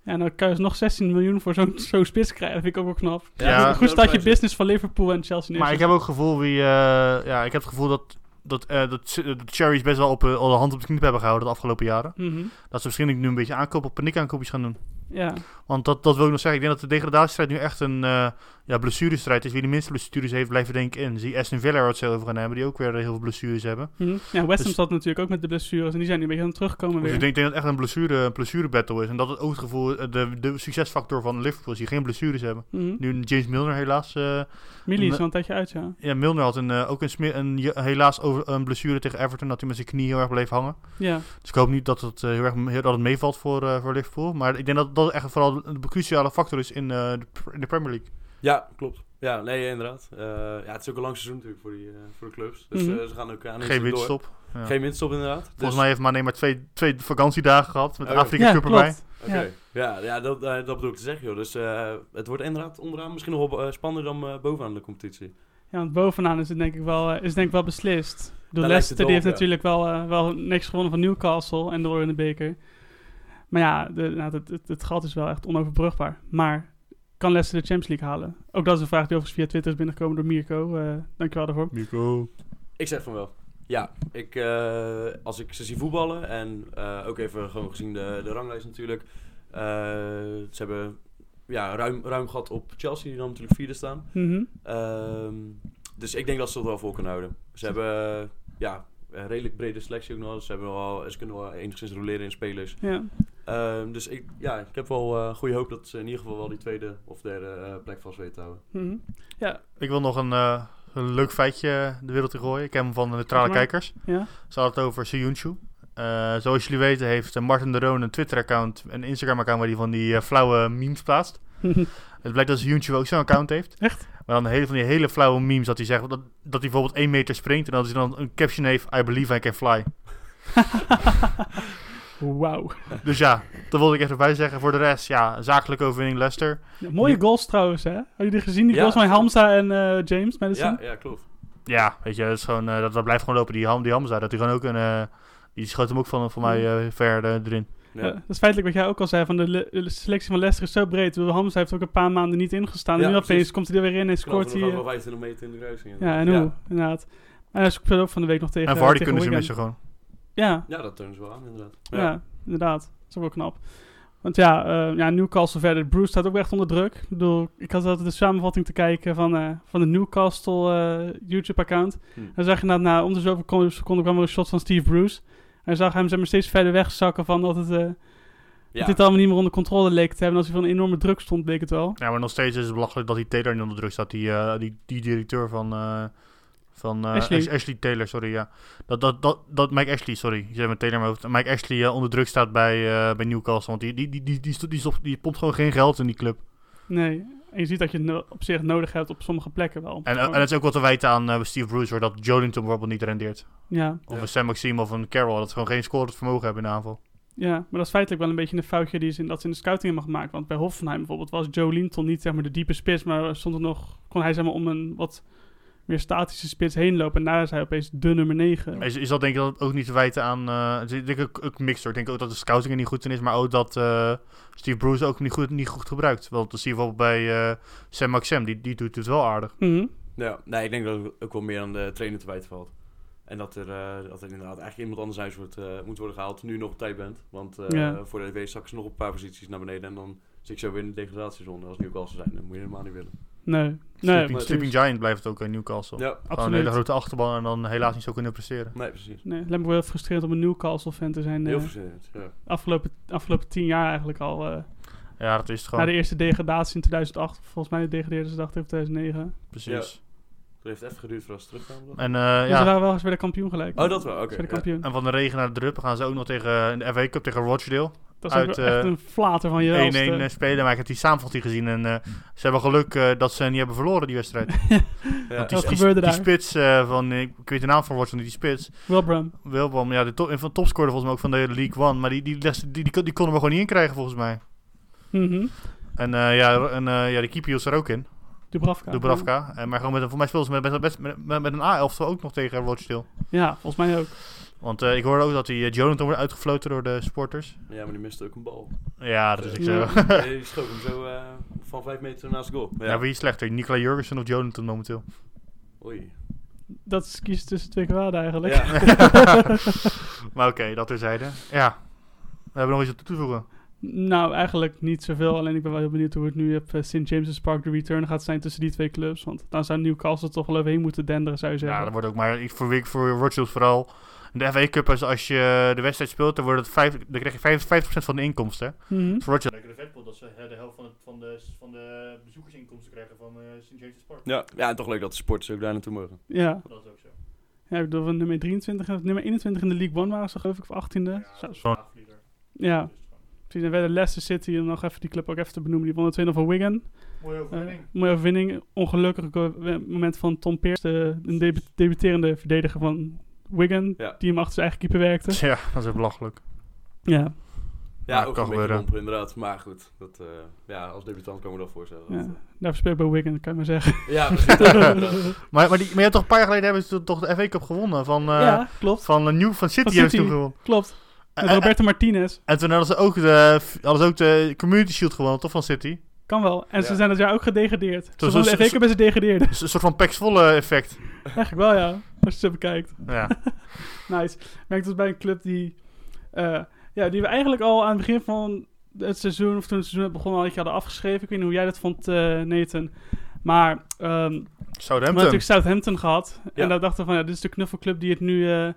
Speaker 1: Ja, en dan kan je dus nog 16 miljoen voor zo'n zo'n spits krijgen. Dat vind ik ook wel knap.
Speaker 3: Ja,
Speaker 1: Goed-
Speaker 3: dat
Speaker 1: goed staat je business van Liverpool en Chelsea neer.
Speaker 3: Maar ik heb ook het gevoel wie, eh, ja, ik heb het gevoel dat, dat, eh dat, dat Cherries best wel op, eh, al de hand op de knip hebben gehouden de afgelopen jaren.
Speaker 1: Mhm.
Speaker 3: Dat ze misschien nu een beetje aankopen, paniekaankoopjes gaan doen.
Speaker 1: Ja,
Speaker 3: Want dat, dat wil ik nog zeggen. Ik denk dat de degradatiestrijd nu echt een eh ja, blessurestrijd is. Wie de minste blessures heeft, blijven denk ik in. Zie Aston Villa er wat zo over gaan hebben, die ook weer heel veel blessures hebben.
Speaker 1: Mhm. ja West Ham
Speaker 3: Dus-
Speaker 1: zat natuurlijk ook met de blessures. En die zijn nu een beetje aan het terugkomen
Speaker 3: Dus
Speaker 1: weer.
Speaker 3: ik denk, ik denk dat het echt een blessure, een blessurebattle is. En dat het ook het gevoel, eh, de, de succesfactor van Liverpool is, die geen blessures hebben.
Speaker 1: Mhm.
Speaker 3: Nu James Milner helaas... eh,
Speaker 1: Millie is
Speaker 3: Me-
Speaker 1: al een tijdje uit, ja.
Speaker 3: ja, Milner had een, eh, ook een, smeer- een, je- helaas over, een blessure tegen Everton, dat hij met zijn knie heel erg bleef hangen.
Speaker 1: Ja,
Speaker 3: Dus ik hoop niet dat het, eh, heel erg, heel- dat het meevalt voor, eh, voor Liverpool. Maar ik denk dat dat echt vooral een cruciale factor is in, eh, de, pr- in de Premier League.
Speaker 2: Ja, klopt. Ja, nee, inderdaad. Eh, ja, het is ook een lang seizoen natuurlijk voor, die, eh, voor de clubs. Dus
Speaker 1: Mhm.
Speaker 2: eh, ze gaan ook aan
Speaker 3: Geen winststop. ja.
Speaker 2: Geen winststop, inderdaad. Dus-
Speaker 3: Volgens mij heeft Mane maar twee, twee vakantiedagen gehad met de
Speaker 2: Oh.
Speaker 3: Afrika
Speaker 1: ja
Speaker 3: Cup erbij.
Speaker 1: klopt.
Speaker 2: Oké. Ja, ja dat, eh, dat bedoel ik te zeggen, joh. Dus eh, het wordt inderdaad onderaan misschien nog wel eh, spannender dan eh, bovenaan de competitie.
Speaker 1: Ja, want bovenaan is het denk ik wel, eh, is het denk ik wel beslist. Door
Speaker 2: Daar lijkt
Speaker 1: Leicester,
Speaker 2: het
Speaker 1: die
Speaker 2: op,
Speaker 1: heeft
Speaker 2: ja.
Speaker 1: natuurlijk wel, eh, wel niks gewonnen van Newcastle en door in de beker. Maar ja, de, nou, het, het, het gat is wel echt onoverbrugbaar. Maar kan Leicester de Champions League halen? Ook dat is een vraag die overigens via Twitter is binnengekomen door Mirko. eh dankjewel daarvoor.
Speaker 3: Nico.
Speaker 2: Ik zeg van wel. Ja, ik, eh, als ik ze zie voetballen en eh, ook even gewoon gezien de, de ranglijst natuurlijk. eh, ze hebben ja, ruim, ruim gat op Chelsea, die dan natuurlijk vierde staan.
Speaker 1: Mhm.
Speaker 2: Ehm, dus ik denk dat ze het wel vol kunnen houden. Ze hebben eh, ja, een redelijk brede selectie ook nog. Dus Ze, hebben wel, ze kunnen wel enigszins roleren in spelers.
Speaker 1: Ja.
Speaker 2: Ehm, dus ik, ja, ik heb wel eh, goede hoop dat ze in ieder geval wel die tweede of derde eh, plek vast weten te houden.
Speaker 1: Mhm.
Speaker 3: Ik wil nog een, eh, een leuk feitje de wereld in gooien. Ik heb hem van de
Speaker 1: Zeg
Speaker 3: neutrale
Speaker 1: maar.
Speaker 3: kijkers.
Speaker 1: ja.
Speaker 3: Ze hadden het over Seyunchu. Eh, zoals jullie weten heeft eh, Martin de Roon een Twitter-account en een Instagram-account waar hij van die eh, flauwe memes plaatst. Het blijkt dat Seyunchu ook zo'n account heeft.
Speaker 1: Echt?
Speaker 3: Maar dan hele, van die hele flauwe memes dat hij zegt dat, dat hij bijvoorbeeld 1 meter springt en dat hij dan een caption heeft I believe I can fly.
Speaker 1: Wauw.
Speaker 3: Dus ja, dat wilde ik even bij zeggen. Voor de rest, ja, zakelijke overwinning Leicester.
Speaker 1: Ja, mooie goals trouwens, hè? Hebben jullie gezien? Die
Speaker 2: Ja.
Speaker 1: goals van Hamza en eh, James Madison?
Speaker 2: Ja, ja, klopt.
Speaker 3: Ja, weet je, dat, is gewoon, eh, dat, dat blijft gewoon lopen. Die, ham, die Hamza, dat hij gewoon ook een... eh, die schoot hem ook van, van mij eh, ver eh, erin.
Speaker 2: Ja.
Speaker 1: Ja, dat is feitelijk wat jij ook al zei. Van de, le- de selectie van Leicester is zo breed. Ik bedoel, Hamza heeft ook een paar maanden niet ingestaan.
Speaker 2: Ja,
Speaker 1: en nu opeens
Speaker 2: precies.
Speaker 1: komt hij er weer in en scoort
Speaker 2: Scoort
Speaker 1: hij.
Speaker 2: nog
Speaker 1: eh,
Speaker 2: wel 25 meter in de kruising.
Speaker 1: Ja, en hoe? Inderdaad. En hij speelde ook van de week nog tegen.
Speaker 3: en Vardy
Speaker 1: eh, tegen
Speaker 3: kunnen ze missen
Speaker 1: Wigan.
Speaker 3: gewoon.
Speaker 1: Ja,
Speaker 2: Ja, dat tonen ze wel aan, inderdaad.
Speaker 1: ja. inderdaad. Dat is ook wel knap. Want ja, eh, ja, Newcastle verder. Bruce staat ook echt onder druk. Ik bedoel, ik had altijd de samenvatting te kijken van, eh, van de Newcastle eh, YouTube-account.
Speaker 2: Hm.
Speaker 1: En dan zag je na, na om de zoveel kon- seconden kwam er een shot van Steve Bruce. En zag hem zeg maar, steeds verder wegzakken van dat het... eh,
Speaker 2: Ja.
Speaker 1: dat dit allemaal niet meer onder controle leek te hebben. Als hij van enorme druk stond, bleek het wel.
Speaker 3: Ja, maar nog steeds is het belachelijk dat die Taylor niet onder druk staat. Die, eh, die, die directeur van... eh, van eh,
Speaker 1: Ashley.
Speaker 3: Ash- Ashley Taylor, sorry, ja. Dat, dat, dat, dat Mike Ashley, sorry. Ik zei met Taylor in mijn hoofd. Mike Ashley eh, onder druk staat bij, eh, bij Newcastle. Want die, die, die, die, die, stopt- die, stopt- die pompt gewoon geen geld in die club.
Speaker 1: Nee. En je ziet dat je het no- op zich nodig hebt op sommige plekken wel.
Speaker 3: En, eh, en het is ook wat te wijten aan eh, Steve Bruce, hoor, dat Jolinton bijvoorbeeld niet rendeert.
Speaker 1: Ja.
Speaker 3: Of
Speaker 2: Ja.
Speaker 3: een Sam Maxime of een Carroll. Dat ze gewoon geen scorend vermogen hebben in de aanval.
Speaker 1: Ja, maar dat is feitelijk wel een beetje een foutje die ze in, dat ze in de scouting hebben gemaakt. Want bij Hoffenheim bijvoorbeeld was Joe Linton niet zeg maar, de diepe spits, maar stond er nog, kon hij zeg maar, om een wat meer statische spits heen lopen. En daar is hij opeens de nummer 9.
Speaker 3: Is, is dat denk ik dat ook niet te wijten aan... eh, het is- ik denk ook, ook mixed hoor. Ik denk ook dat de scouting er niet goed in is. Maar ook dat eh, Steve Bruce ook niet goed, niet goed gebruikt. Want dat zie je bijvoorbeeld bij eh Sam Maxem. Die, die doet het wel aardig.
Speaker 1: Mhm.
Speaker 2: Ja, nee, ik denk dat het ook wel meer aan de trainer te wijten valt. En dat er, eh, dat er inderdaad eigenlijk iemand anders uit wordt, eh, moet worden gehaald, nu je nog op tijd bent. Want eh,
Speaker 1: Ja.
Speaker 2: voor de W zakken ze nog een paar posities naar beneden en dan zit ik zo weer in de degradatiezone. Als het nu ook al zou zijn, dan moet je helemaal niet willen.
Speaker 1: Nee, nee,
Speaker 3: Sleeping,
Speaker 1: precies.
Speaker 3: Sleeping Giant blijft ook in Newcastle.
Speaker 2: Ja,
Speaker 3: Gewoon een hele
Speaker 1: absoluut.
Speaker 3: grote achterban en dan helaas niet zo kunnen presteren.
Speaker 2: nee, precies.
Speaker 1: Nee, het lijkt me wel heel frustrerend om een Newcastle-fan te zijn. eh,
Speaker 2: Heel vervelend, ja.
Speaker 1: afgelopen, afgelopen tien jaar eigenlijk al. eh,
Speaker 3: Ja, dat is het
Speaker 1: na
Speaker 3: gewoon.
Speaker 1: de eerste degradatie in 2008. Volgens mij degradeerden ze dacht ik in 2009.
Speaker 3: Precies.
Speaker 2: Het heeft even geduurd voordat ze terugkwamen. toch?
Speaker 3: En, eh,
Speaker 1: Ja. Dus Ze
Speaker 3: ja.
Speaker 1: waren wel eens weer de kampioen gelijk.
Speaker 2: Oh, dat wel, oké.
Speaker 1: Ze werden
Speaker 2: ja.
Speaker 1: kampioen.
Speaker 3: en van de regen naar de drup gaan ze ook nog tegen, in de FA Cup tegen Rochdale.
Speaker 1: Dat is ook
Speaker 3: uit,
Speaker 1: wel echt
Speaker 3: eh,
Speaker 1: een flater van je
Speaker 3: 1-1 eh, spelen. Maar ik heb die samenvatting gezien. En eh, ze hebben geluk eh, dat ze niet hebben verloren, die wedstrijd.
Speaker 2: Ja.
Speaker 3: Die,
Speaker 1: Wat
Speaker 3: die,
Speaker 1: gebeurde
Speaker 3: die
Speaker 1: daar?
Speaker 3: spits eh, van... Ik, ik weet de naam van Watson, die spits.
Speaker 2: eh,
Speaker 1: Wilbram.
Speaker 3: Wilbram, ja, de top, een van de topscorer volgens mij ook van de League One. Maar die, die, les- die, die, kon- die konden we gewoon niet in krijgen, volgens mij.
Speaker 1: Mhm.
Speaker 3: En, eh, ja, en eh, ja, de keeper hield ze er ook in,
Speaker 1: Dubravka.
Speaker 3: Dubravka. En, maar gewoon met, voor mij speelden ze met, met, met, met, met een A-elftal ook nog tegen Rochdale.
Speaker 1: Ja, volgens mij ook.
Speaker 3: Want eh, ik hoorde ook dat die eh, Jonathan wordt uitgefloten door de supporters.
Speaker 2: ja, maar die miste ook een bal.
Speaker 3: Ja, dat is echt zo.
Speaker 1: Ja.
Speaker 3: Ja.
Speaker 2: Nee, die schoot hem zo eh, van vijf meter naast de goal. Ja,
Speaker 3: wie is slechter, Nicola Jurgensen of Jonathan momenteel?
Speaker 2: Oei.
Speaker 1: Dat is kiezen tussen twee kwaden eigenlijk.
Speaker 2: Ja.
Speaker 3: maar oké, dat terzijde. Ja, we hebben nog iets op toe te voegen.
Speaker 1: Nou, eigenlijk niet zoveel. Alleen ik ben wel heel benieuwd hoe het nu op eh, St. James's Park de return gaat zijn tussen die twee clubs. Want dan zou Newcastle toch wel even heen moeten denderen, zou je zeggen.
Speaker 3: Ja, dat wordt ook maar ik- voor, week- voor Rochdale vooral. In de FA Cup, als- als je de wedstrijd speelt, dan, wordt het vijf, dan krijg je 55% van de inkomsten.
Speaker 1: Mhm.
Speaker 3: Voor Roger. de Vetpot dat ze de helft van, van, de, van de bezoekersinkomsten krijgen van St. James's Park.
Speaker 2: Ja. ja, en toch leuk dat de sporters ook daar naartoe mogen.
Speaker 1: Ja.
Speaker 3: Dat is ook zo.
Speaker 1: ja, ik bedoel, van nummer 23 en nummer 21 in de League One waren ze geloof ik, of 18e. Zou- Ja, precies. En werden Leicester City, om nog even die club ook even te benoemen, die wonnen 2-0 van Wigan.
Speaker 3: Mooie
Speaker 1: Eh, mooie overwinning. Ongelukkig ook wel een moment van Tom Peers, de, een debu- debuterende verdediger van Wigan,
Speaker 2: Ja.
Speaker 1: die hem achter zijn eigen keeper werkte.
Speaker 3: ja, dat is echt belachelijk.
Speaker 1: Ja,
Speaker 2: Ja,
Speaker 3: Ja,
Speaker 2: ook
Speaker 3: kan
Speaker 2: een beetje
Speaker 3: gebeuren.
Speaker 2: domper inderdaad. Maar goed, dat, eh, ja, als debutant kan ik me dat voorstellen.
Speaker 1: Ja.
Speaker 2: Dat, eh,
Speaker 1: daar verspeelt bij Wigan, kan je maar zeggen.
Speaker 2: Ja, precies.
Speaker 3: Maar, maar, die, maar je hebt toch een paar jaar geleden hebben ze toch de FA Cup gewonnen van, eh,
Speaker 1: ja, klopt.
Speaker 3: van eh, New van City.
Speaker 1: Van
Speaker 3: hebben ze
Speaker 1: City.
Speaker 3: toen gewonnen.
Speaker 1: Klopt. Met
Speaker 3: Eh, eh,
Speaker 1: Roberto Martinez.
Speaker 3: en toen hadden ze, ook de, hadden ze ook de Community Shield gewonnen, toch, van City?
Speaker 1: Kan wel. En ze
Speaker 2: Ja.
Speaker 1: zijn dat jaar ook gedegradeerd. Ze
Speaker 3: Zo-
Speaker 1: vonden
Speaker 3: zo-
Speaker 1: echt zeker bij ze degradeerden.
Speaker 3: Dus een soort van Pax Volle effect.
Speaker 1: Eigenlijk wel, ja. Als je ze bekijkt.
Speaker 3: Ja,
Speaker 1: Nice. Ik Merk dat bij een club die... eh, ja, die we eigenlijk al aan het begin van het seizoen... of toen het seizoen begon al een beetje hadden afgeschreven. Ik weet niet hoe jij dat vond, eh Nathan. Maar ehm, we hebben
Speaker 3: Southampton.
Speaker 1: natuurlijk Southampton gehad.
Speaker 2: Ja.
Speaker 1: En daar dachten we van... Ja, dit is de knuffelclub die het nu... eh,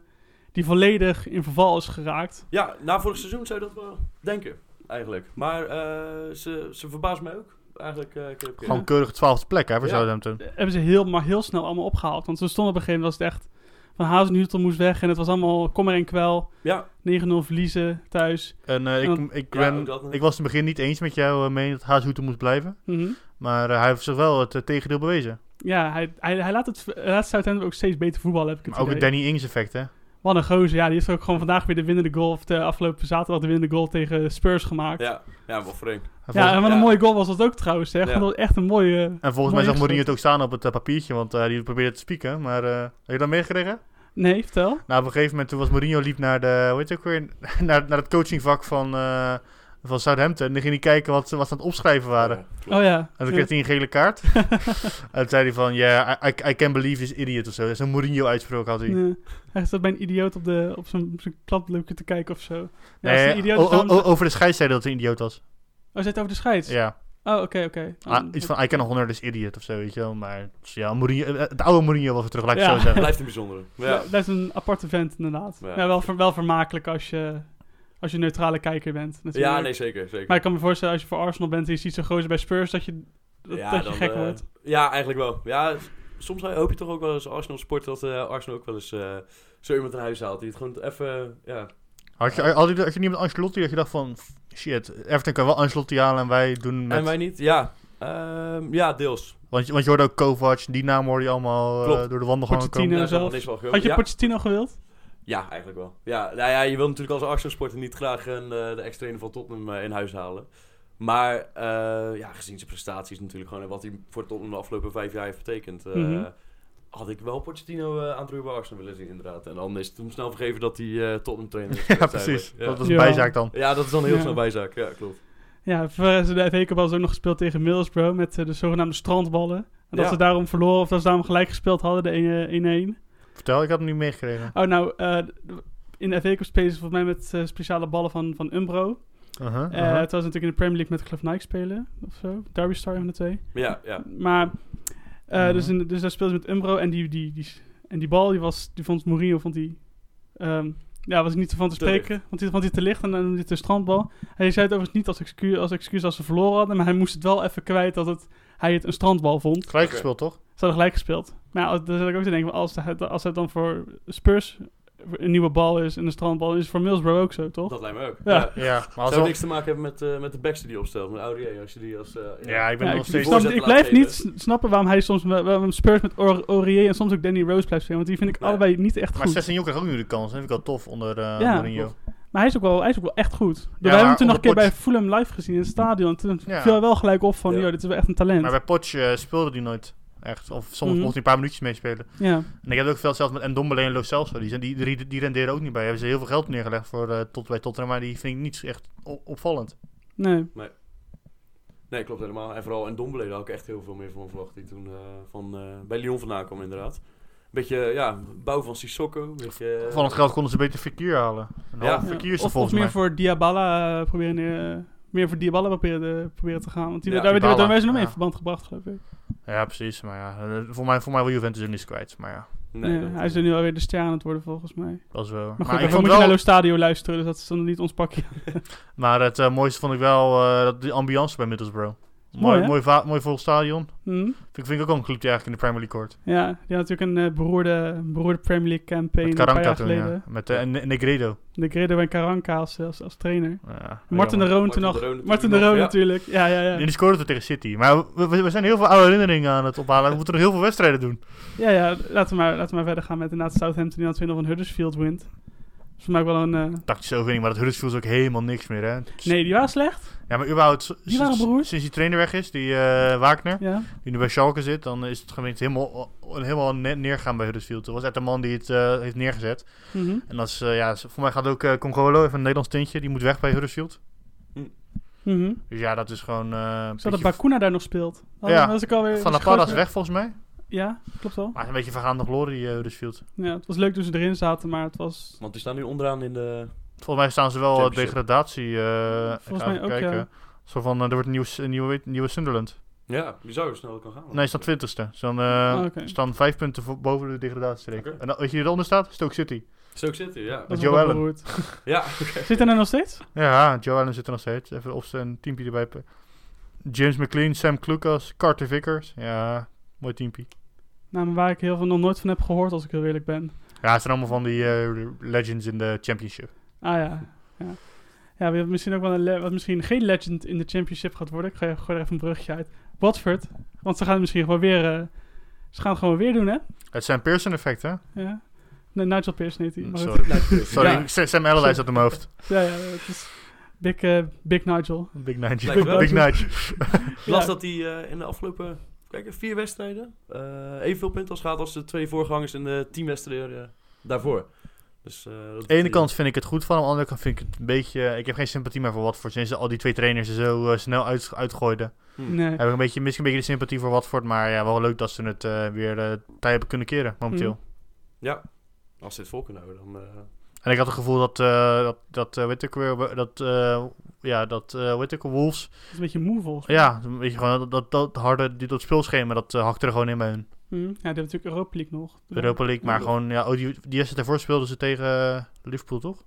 Speaker 1: die volledig in verval is geraakt.
Speaker 2: ja, na vorig seizoen zou je dat wel denken, eigenlijk. Maar eh, ze, ze verbaast mij ook, eigenlijk. eh, keer op keer.
Speaker 3: Gewoon keurig twaalfde plek hè, voor
Speaker 2: Ja.
Speaker 3: Southampton.
Speaker 1: Eh, Hebben ze heel, maar heel snel allemaal opgehaald. Want ze stonden op een gegeven moment... was het echt... Van Hazenhutel moest weg. En het was allemaal kommer en kwel.
Speaker 2: Ja,
Speaker 1: 9-0 verliezen thuis.
Speaker 3: En eh, ik,
Speaker 1: Ja.
Speaker 3: ik,
Speaker 2: Ja,
Speaker 3: ben,
Speaker 2: ook dat, eh.
Speaker 3: ik was in het begin niet eens met jou eh, mee dat Haashoeten moest blijven.
Speaker 1: Mhm.
Speaker 3: Maar eh, hij heeft zich wel het eh, tegendeel bewezen.
Speaker 1: Ja, hij, hij, hij laat, het, hij laat Southampton ook steeds beter voetballen, heb ik het
Speaker 3: Maar ook het
Speaker 1: idee.
Speaker 3: Danny Ings effect, hè?
Speaker 1: Wat een gozer. Ja, die heeft ook gewoon vandaag weer de winnende goal, of de afgelopen zaterdag de winnende goal tegen Spurs gemaakt. Ja,
Speaker 2: ja, ja, wel vreemd.
Speaker 3: En volgens,
Speaker 1: en wat een
Speaker 2: ja.
Speaker 1: mooie goal was dat ook trouwens. Zeg.
Speaker 2: Ja.
Speaker 1: Dat was echt een mooie... eh,
Speaker 3: en volgens mij
Speaker 1: mooi
Speaker 3: zag Mourinho het ook staan op het eh, papiertje, want eh, die probeerde te spieken. Maar eh, heb je dat meegekregen?
Speaker 1: Nee, vertel.
Speaker 3: Nou, op een gegeven moment toen was Mourinho liep naar de, hoe heet het ook weer, naar, naar het coachingvak van, eh, van Southampton. En dan ging hij kijken wat ze wat ze aan het opschrijven waren.
Speaker 2: Ja, klopt.
Speaker 1: Oh ja.
Speaker 3: En toen kreeg hij een gele kaart. en toen zei hij van, ja, I, I, I can believe this idiot of zo. Dat is een Mourinho-uitspraak had hij.
Speaker 1: Nee. Hij staat bij een idioot op, de, op zijn, zijn kladblokje te kijken of zo. Ja, als
Speaker 3: Nee,
Speaker 1: een idioot
Speaker 3: o-
Speaker 1: is, dan-
Speaker 2: Oh,
Speaker 3: o- o- over de scheids zei hij dat hij een idioot was.
Speaker 1: Oh, zit over de scheids?
Speaker 3: Ja,
Speaker 1: Oh, oké, oké.
Speaker 3: Ah,
Speaker 1: Dan-
Speaker 3: iets van I can honor this idiot of zo, weet je wel. Maar ja, Mourinho, eh, het oude Mourinho was er terug, laat ik
Speaker 1: Ja.
Speaker 3: het zo zeggen.
Speaker 2: Blijft een bijzondere. Maar
Speaker 1: Ja,
Speaker 2: Ja.
Speaker 1: dat is een apart event inderdaad.
Speaker 2: Ja.
Speaker 1: Ja. wel, ver- wel vermakelijk als je, als je een neutrale kijker bent. Natuurlijk.
Speaker 2: ja, nee, zeker. zeker.
Speaker 1: Maar ik kan me voorstellen, als je voor Arsenal bent en je ziet zo'n gozer bij Spurs, dat je, dat,
Speaker 2: Ja,
Speaker 1: dat je
Speaker 2: dan,
Speaker 1: gek
Speaker 2: eh,
Speaker 1: wordt.
Speaker 2: Ja, eigenlijk wel. Ja, s- soms hoop je toch ook wel eens Arsenal sport dat eh, Arsenal ook wel eens eh, zo iemand naar huis haalt. Die het gewoon even, ja,
Speaker 3: Had je, had, je, had je niet met Ancelotti dat je dacht van, shit, Everton kan wel Ancelotti halen en wij doen met...
Speaker 2: En wij niet? Ja. Ehm, ja, deels.
Speaker 3: Want, je- want je hoorde ook Kovac, die naam hoorde je allemaal eh,
Speaker 2: Klopt.
Speaker 3: door de wandelgangen
Speaker 1: Pochettino.
Speaker 3: komen.
Speaker 2: Daar is
Speaker 1: zelf.
Speaker 2: nog niks van gekomen.
Speaker 1: Had je
Speaker 2: ja.
Speaker 1: Pochettino gewild?
Speaker 2: Ja, eigenlijk wel. Ja, nou ja, je wil natuurlijk als Arsenal-sporter niet graag een, eh, de extreme van Tottenham eh, in huis halen. Maar eh, ja, gezien zijn prestaties natuurlijk gewoon en wat hij voor Tottenham de afgelopen vijf jaar heeft betekend, eh,
Speaker 1: Mhm.
Speaker 2: had ik wel Pochettino eh aan het roeien bij Arsenal willen zien inderdaad. En dan is het hem snel vergeven dat hij eh, Tottenham trainer is.
Speaker 3: Ja, precies.
Speaker 2: geweest eigenlijk. Ja.
Speaker 3: Dat was
Speaker 1: Ja.
Speaker 3: een bijzaak dan.
Speaker 2: Ja, dat is dan heel
Speaker 1: Ja.
Speaker 2: snel bijzaak. Ja, klopt.
Speaker 1: Ja, verder is de FA Cup hadden ze ook nog gespeeld tegen Middlesbrough met eh, de zogenaamde strandballen. En dat
Speaker 2: Ja.
Speaker 1: ze daarom verloren of dat ze daarom gelijk gespeeld hadden, de een- eh, 1-1.
Speaker 3: Vertel, ik had hem niet meegekregen.
Speaker 1: Oh, nou, eh, in de FA Cup spelen ze volgens mij met eh, speciale ballen van, van Umbro.
Speaker 3: Uh-huh,
Speaker 1: Eh
Speaker 3: uh-huh.
Speaker 1: Terwijl ze natuurlijk in de Premier League met Club Nike spelen of zo. Derby Star van de twee.
Speaker 2: Ja, ja.
Speaker 1: Maar, eh,
Speaker 3: Mhm.
Speaker 1: dus, in, dus daar speelden ze met Umbro en die, die, die, en die bal, die, was, die vond Mourinho, vond die, ehm, ja, was ik niet van te
Speaker 2: Te
Speaker 1: spreken, want die vond hij te licht en dan noemde hij het een strandbal. Hij zei het overigens niet als excuus, als excuus als ze verloren hadden, maar hij moest het wel even kwijt dat het, hij het een strandbal vond.
Speaker 3: Gelijk
Speaker 2: oké.
Speaker 3: gespeeld, toch?
Speaker 1: Ze hadden gelijk gespeeld. Maar ja, als- dan zat ik ook te denken, als het, als het dan voor Spurs een nieuwe bal is en een strandbal, is het voor Middlesbrough ook zo, toch?
Speaker 2: Dat lijkt me ook.
Speaker 1: Ja.
Speaker 2: Ja.
Speaker 3: Ja, maar
Speaker 2: Zou
Speaker 3: alsnog...
Speaker 2: niks te maken hebben met, eh, met de backs die hij opstelt, met Aurier, als je die als... eh,
Speaker 3: Ja, ik ben
Speaker 1: Ja,
Speaker 3: er
Speaker 1: ik,
Speaker 3: nog
Speaker 1: ik,
Speaker 3: steeds...
Speaker 1: snap-
Speaker 2: Voorzet
Speaker 1: ik
Speaker 2: laat
Speaker 1: blijf niet
Speaker 2: geven.
Speaker 1: s- snappen waarom hij soms waarom Spurs met Or- Aurier en soms ook Danny Rose blijft spelen. Want die vind ik
Speaker 2: Nee.
Speaker 1: allebei niet echt
Speaker 3: Maar
Speaker 1: goed.
Speaker 3: 16 krijgt ook nu de kans. Dat vind ik al tof onder eh
Speaker 1: Ja,
Speaker 3: Mourinho.
Speaker 1: Maar hij is ook wel, hij is ook wel echt goed. we
Speaker 3: maar
Speaker 1: hebben hem toen nog een
Speaker 3: onder
Speaker 1: keer bij
Speaker 3: Poch-
Speaker 1: Fulham live gezien in het stadion. En toen
Speaker 3: Ja.
Speaker 1: viel hij wel gelijk op van,
Speaker 2: Ja.
Speaker 1: joh, dit is wel echt een talent.
Speaker 3: Maar bij Potch speelde hij nooit echt. Of soms
Speaker 1: Mhm.
Speaker 3: mocht hij een paar minuutjes meespelen.
Speaker 1: ja.
Speaker 3: En ik heb ook veel zelfs met Ndombele en Lo Celso. Die, zijn, die, die, die renderen ook niet bij. Hebben ze heel veel geld neergelegd voor, eh, tot bij Tottenham. Maar die vind ik niet echt o- opvallend.
Speaker 1: Nee.
Speaker 2: Nee, klopt helemaal. En vooral in Dombele daar had ik echt heel veel meer van verwacht. Die toen eh, van, eh, bij Lyon vandaan kwam inderdaad. Beetje, ja, bouw van Sissoko. Beetje, eh,
Speaker 3: Van het geld konden ze beter verkeer halen. Een
Speaker 2: Ja.
Speaker 3: half
Speaker 1: Ja.
Speaker 3: verkeer is er
Speaker 1: Of, of
Speaker 3: volgens
Speaker 1: meer
Speaker 3: mij.
Speaker 1: voor Diabala eh, proberen neer- meer voor Diabala proberen, te- proberen te gaan. Want die,
Speaker 2: Ja,
Speaker 1: daar werd hij
Speaker 3: Dybala,
Speaker 1: daar zijn nog mee in
Speaker 3: ja.
Speaker 1: verband gebracht, geloof ik.
Speaker 3: Ja, precies. Maar ja, eh, voor mij, voor mij wil Juventus hem niet kwijt. Maar ja,
Speaker 2: Nee,
Speaker 1: Ja,
Speaker 2: dat-
Speaker 1: hij is er nu alweer de ster aan het worden, volgens mij.
Speaker 3: dat is wel...
Speaker 1: Maar goed,
Speaker 3: ik
Speaker 1: daarvoor
Speaker 3: vond
Speaker 1: moet
Speaker 3: wel-
Speaker 1: je naar Lo Stadio luisteren, dus dat is dan niet ons pakje.
Speaker 3: Maar het eh, mooiste vond ik wel eh, dat die ambiance bij Middlesbrough. Mooi,
Speaker 1: Mooi,
Speaker 3: mooi,
Speaker 1: hè?
Speaker 3: va- mooi vol stadion.
Speaker 1: Hm?
Speaker 3: Vind, ik- vind ik ook wel een club die eigenlijk in de Premier League hoort.
Speaker 1: Ja, die had natuurlijk een eh, beroerde, beroerde Premier League campaign
Speaker 3: Met
Speaker 1: een paar
Speaker 3: Karanka
Speaker 1: jaar
Speaker 3: toen, ja.
Speaker 1: geleden.
Speaker 3: Met eh, en en Negredo.
Speaker 1: De Gredo en Karanka als, eh, als, als trainer.
Speaker 3: Ja,
Speaker 1: Martin de
Speaker 3: jammer.
Speaker 1: Roon toen
Speaker 2: Oh Martin
Speaker 1: nog.
Speaker 2: de Roon natuurlijk
Speaker 1: Martin de
Speaker 2: nog,
Speaker 1: Roon
Speaker 2: ja.
Speaker 1: natuurlijk. Ja, ja,
Speaker 3: En
Speaker 1: ja.
Speaker 3: die scoorde toen tegen City. Maar we, we- we zijn heel veel oude herinneringen aan het ophalen. We moeten nog heel veel wedstrijden doen.
Speaker 1: Ja, ja. Laten we maar, laten we maar verder gaan met inderdaad Southampton die aan 2 nog een Huddersfield wint. Dat is voor mij ook wel een... eh,
Speaker 3: Tactische overwinning, maar dat Huddersfield is ook helemaal niks meer. Hè.
Speaker 1: Nee, die waren slecht.
Speaker 3: Ja, maar überhaupt, s-
Speaker 1: Die waren
Speaker 3: sinds,
Speaker 1: beroerd.
Speaker 3: sinds die trainer weg is, die eh Wagner,
Speaker 1: Ja.
Speaker 3: die nu bij Schalke zit, dan is het gemeente helemaal, helemaal ne- neergaan bij Huddersfield. Dat was echt de man die het eh, heeft neergezet.
Speaker 1: Mhm.
Speaker 3: En dat is, eh, ja, voor mij gaat ook eh Congolo, even een Nederlands tintje, die moet weg bij Huddersfield.
Speaker 1: Mhm.
Speaker 3: Dus ja, dat is gewoon... eh een
Speaker 1: Zodat
Speaker 3: beetje
Speaker 1: Bakuna daar nog speelt. Dan
Speaker 3: Ja.
Speaker 1: was ik alweer...
Speaker 3: Van
Speaker 1: was
Speaker 3: de
Speaker 1: ik
Speaker 3: Parra is
Speaker 1: groot-
Speaker 3: weg volgens mij.
Speaker 1: Ja, klopt wel.
Speaker 3: Maar het is een beetje vergaande glorie eh, Huddersfield.
Speaker 1: Ja, het was leuk toen ze erin zaten, maar het was...
Speaker 2: Want die staan nu onderaan in de...
Speaker 3: Volgens mij staan ze wel eh,
Speaker 2: Championship.
Speaker 3: degradatie. eh ik
Speaker 1: Volgens
Speaker 3: ga
Speaker 1: mij
Speaker 3: even
Speaker 1: ook,
Speaker 3: kijken.
Speaker 1: ja.
Speaker 3: Zo van, eh, er wordt een nieuwe, een nieuwe, nieuwe Sunderland.
Speaker 2: Ja, bizar hoe snel het kan gaan.
Speaker 3: Nee, ze staan twintigste. Ze staan, eh,
Speaker 1: Ah, oké.
Speaker 3: staan vijf punten voor, boven de degradatiestreek.
Speaker 2: Oké.
Speaker 3: En dan- weet je wie eronder staat? Stoke City.
Speaker 2: Stoke City, ja.
Speaker 1: Dat is
Speaker 3: Joe
Speaker 1: wel
Speaker 3: Allen.
Speaker 1: beroerd.
Speaker 2: Ja,
Speaker 1: Zit hij er nog steeds?
Speaker 3: Ja, Joe Allen zit er nog steeds. Even op zijn teampje erbij. pe- James McLean, Sam Klukas, Carter Vickers. Ja, mooi teampje.
Speaker 1: Nou, maar waar ik heel veel nog nooit van heb gehoord, als ik heel eerlijk ben.
Speaker 3: Ja, het zijn allemaal van die eh, legends in de championship.
Speaker 1: Ah ja. Ja, ja we hebben misschien ook wel een le- wat misschien geen legend in de championship gaat worden. Ik ga gooi er even een brugje uit. Watford. Want ze gaan het misschien gewoon weer. eh, ze gaan het gewoon weer doen, hè?
Speaker 3: Het zijn Pearson effect, hè?
Speaker 1: Ja. Nee, Nigel Pearson heet hij. maar
Speaker 3: Mm,
Speaker 1: goed.
Speaker 3: Sorry, Sorry.
Speaker 2: Ja.
Speaker 3: Sa- Sam Allardyce had hem hoofd.
Speaker 1: Ja, ja, het is Big, eh, Big Nigel.
Speaker 3: Big Nigel.
Speaker 2: Lijkt
Speaker 1: wel.
Speaker 3: Big Nigel.
Speaker 2: Ik las
Speaker 1: Ja.
Speaker 2: dat hij eh, in de afgelopen kijk, vier wedstrijden eh evenveel punten als gehad als de twee voorgangers in de tien wedstrijden eh, daarvoor. Dus, eh, dat
Speaker 3: Aan de ene
Speaker 2: die-
Speaker 3: kant vind ik het goed van hem, aan de andere kant vind ik het een beetje... Ik heb geen sympathie meer voor Watford. Sinds al die twee trainers er zo eh, snel uit, uitgooiden.
Speaker 2: Hm.
Speaker 1: Nee.
Speaker 3: Mm. Heb ik een beetje, misschien een beetje de sympathie voor Watford. Maar ja, wel leuk dat ze het eh, weer eh tij hebben kunnen keren, momenteel.
Speaker 2: Mm. Ja, als ze het vol kunnen houden, dan... eh,
Speaker 3: En ik had het gevoel dat... eh dat, dat eh, weet ik weer... Dat, eh, ja, dat... eh weet ik Wolves...
Speaker 1: Dat is een beetje moe volgens mij.
Speaker 3: Ja, weet je gewoon... Dat, dat, dat harde... die- Dat speelschema, dat eh, hakte er gewoon in bij hun.
Speaker 1: Hm. Ja, die hebben natuurlijk Europa League nog.
Speaker 3: Europa League, maar
Speaker 2: Ja.
Speaker 3: gewoon... Ja, oh, die, die wedstrijd daarvoor speelden ze tegen eh, Liverpool, toch?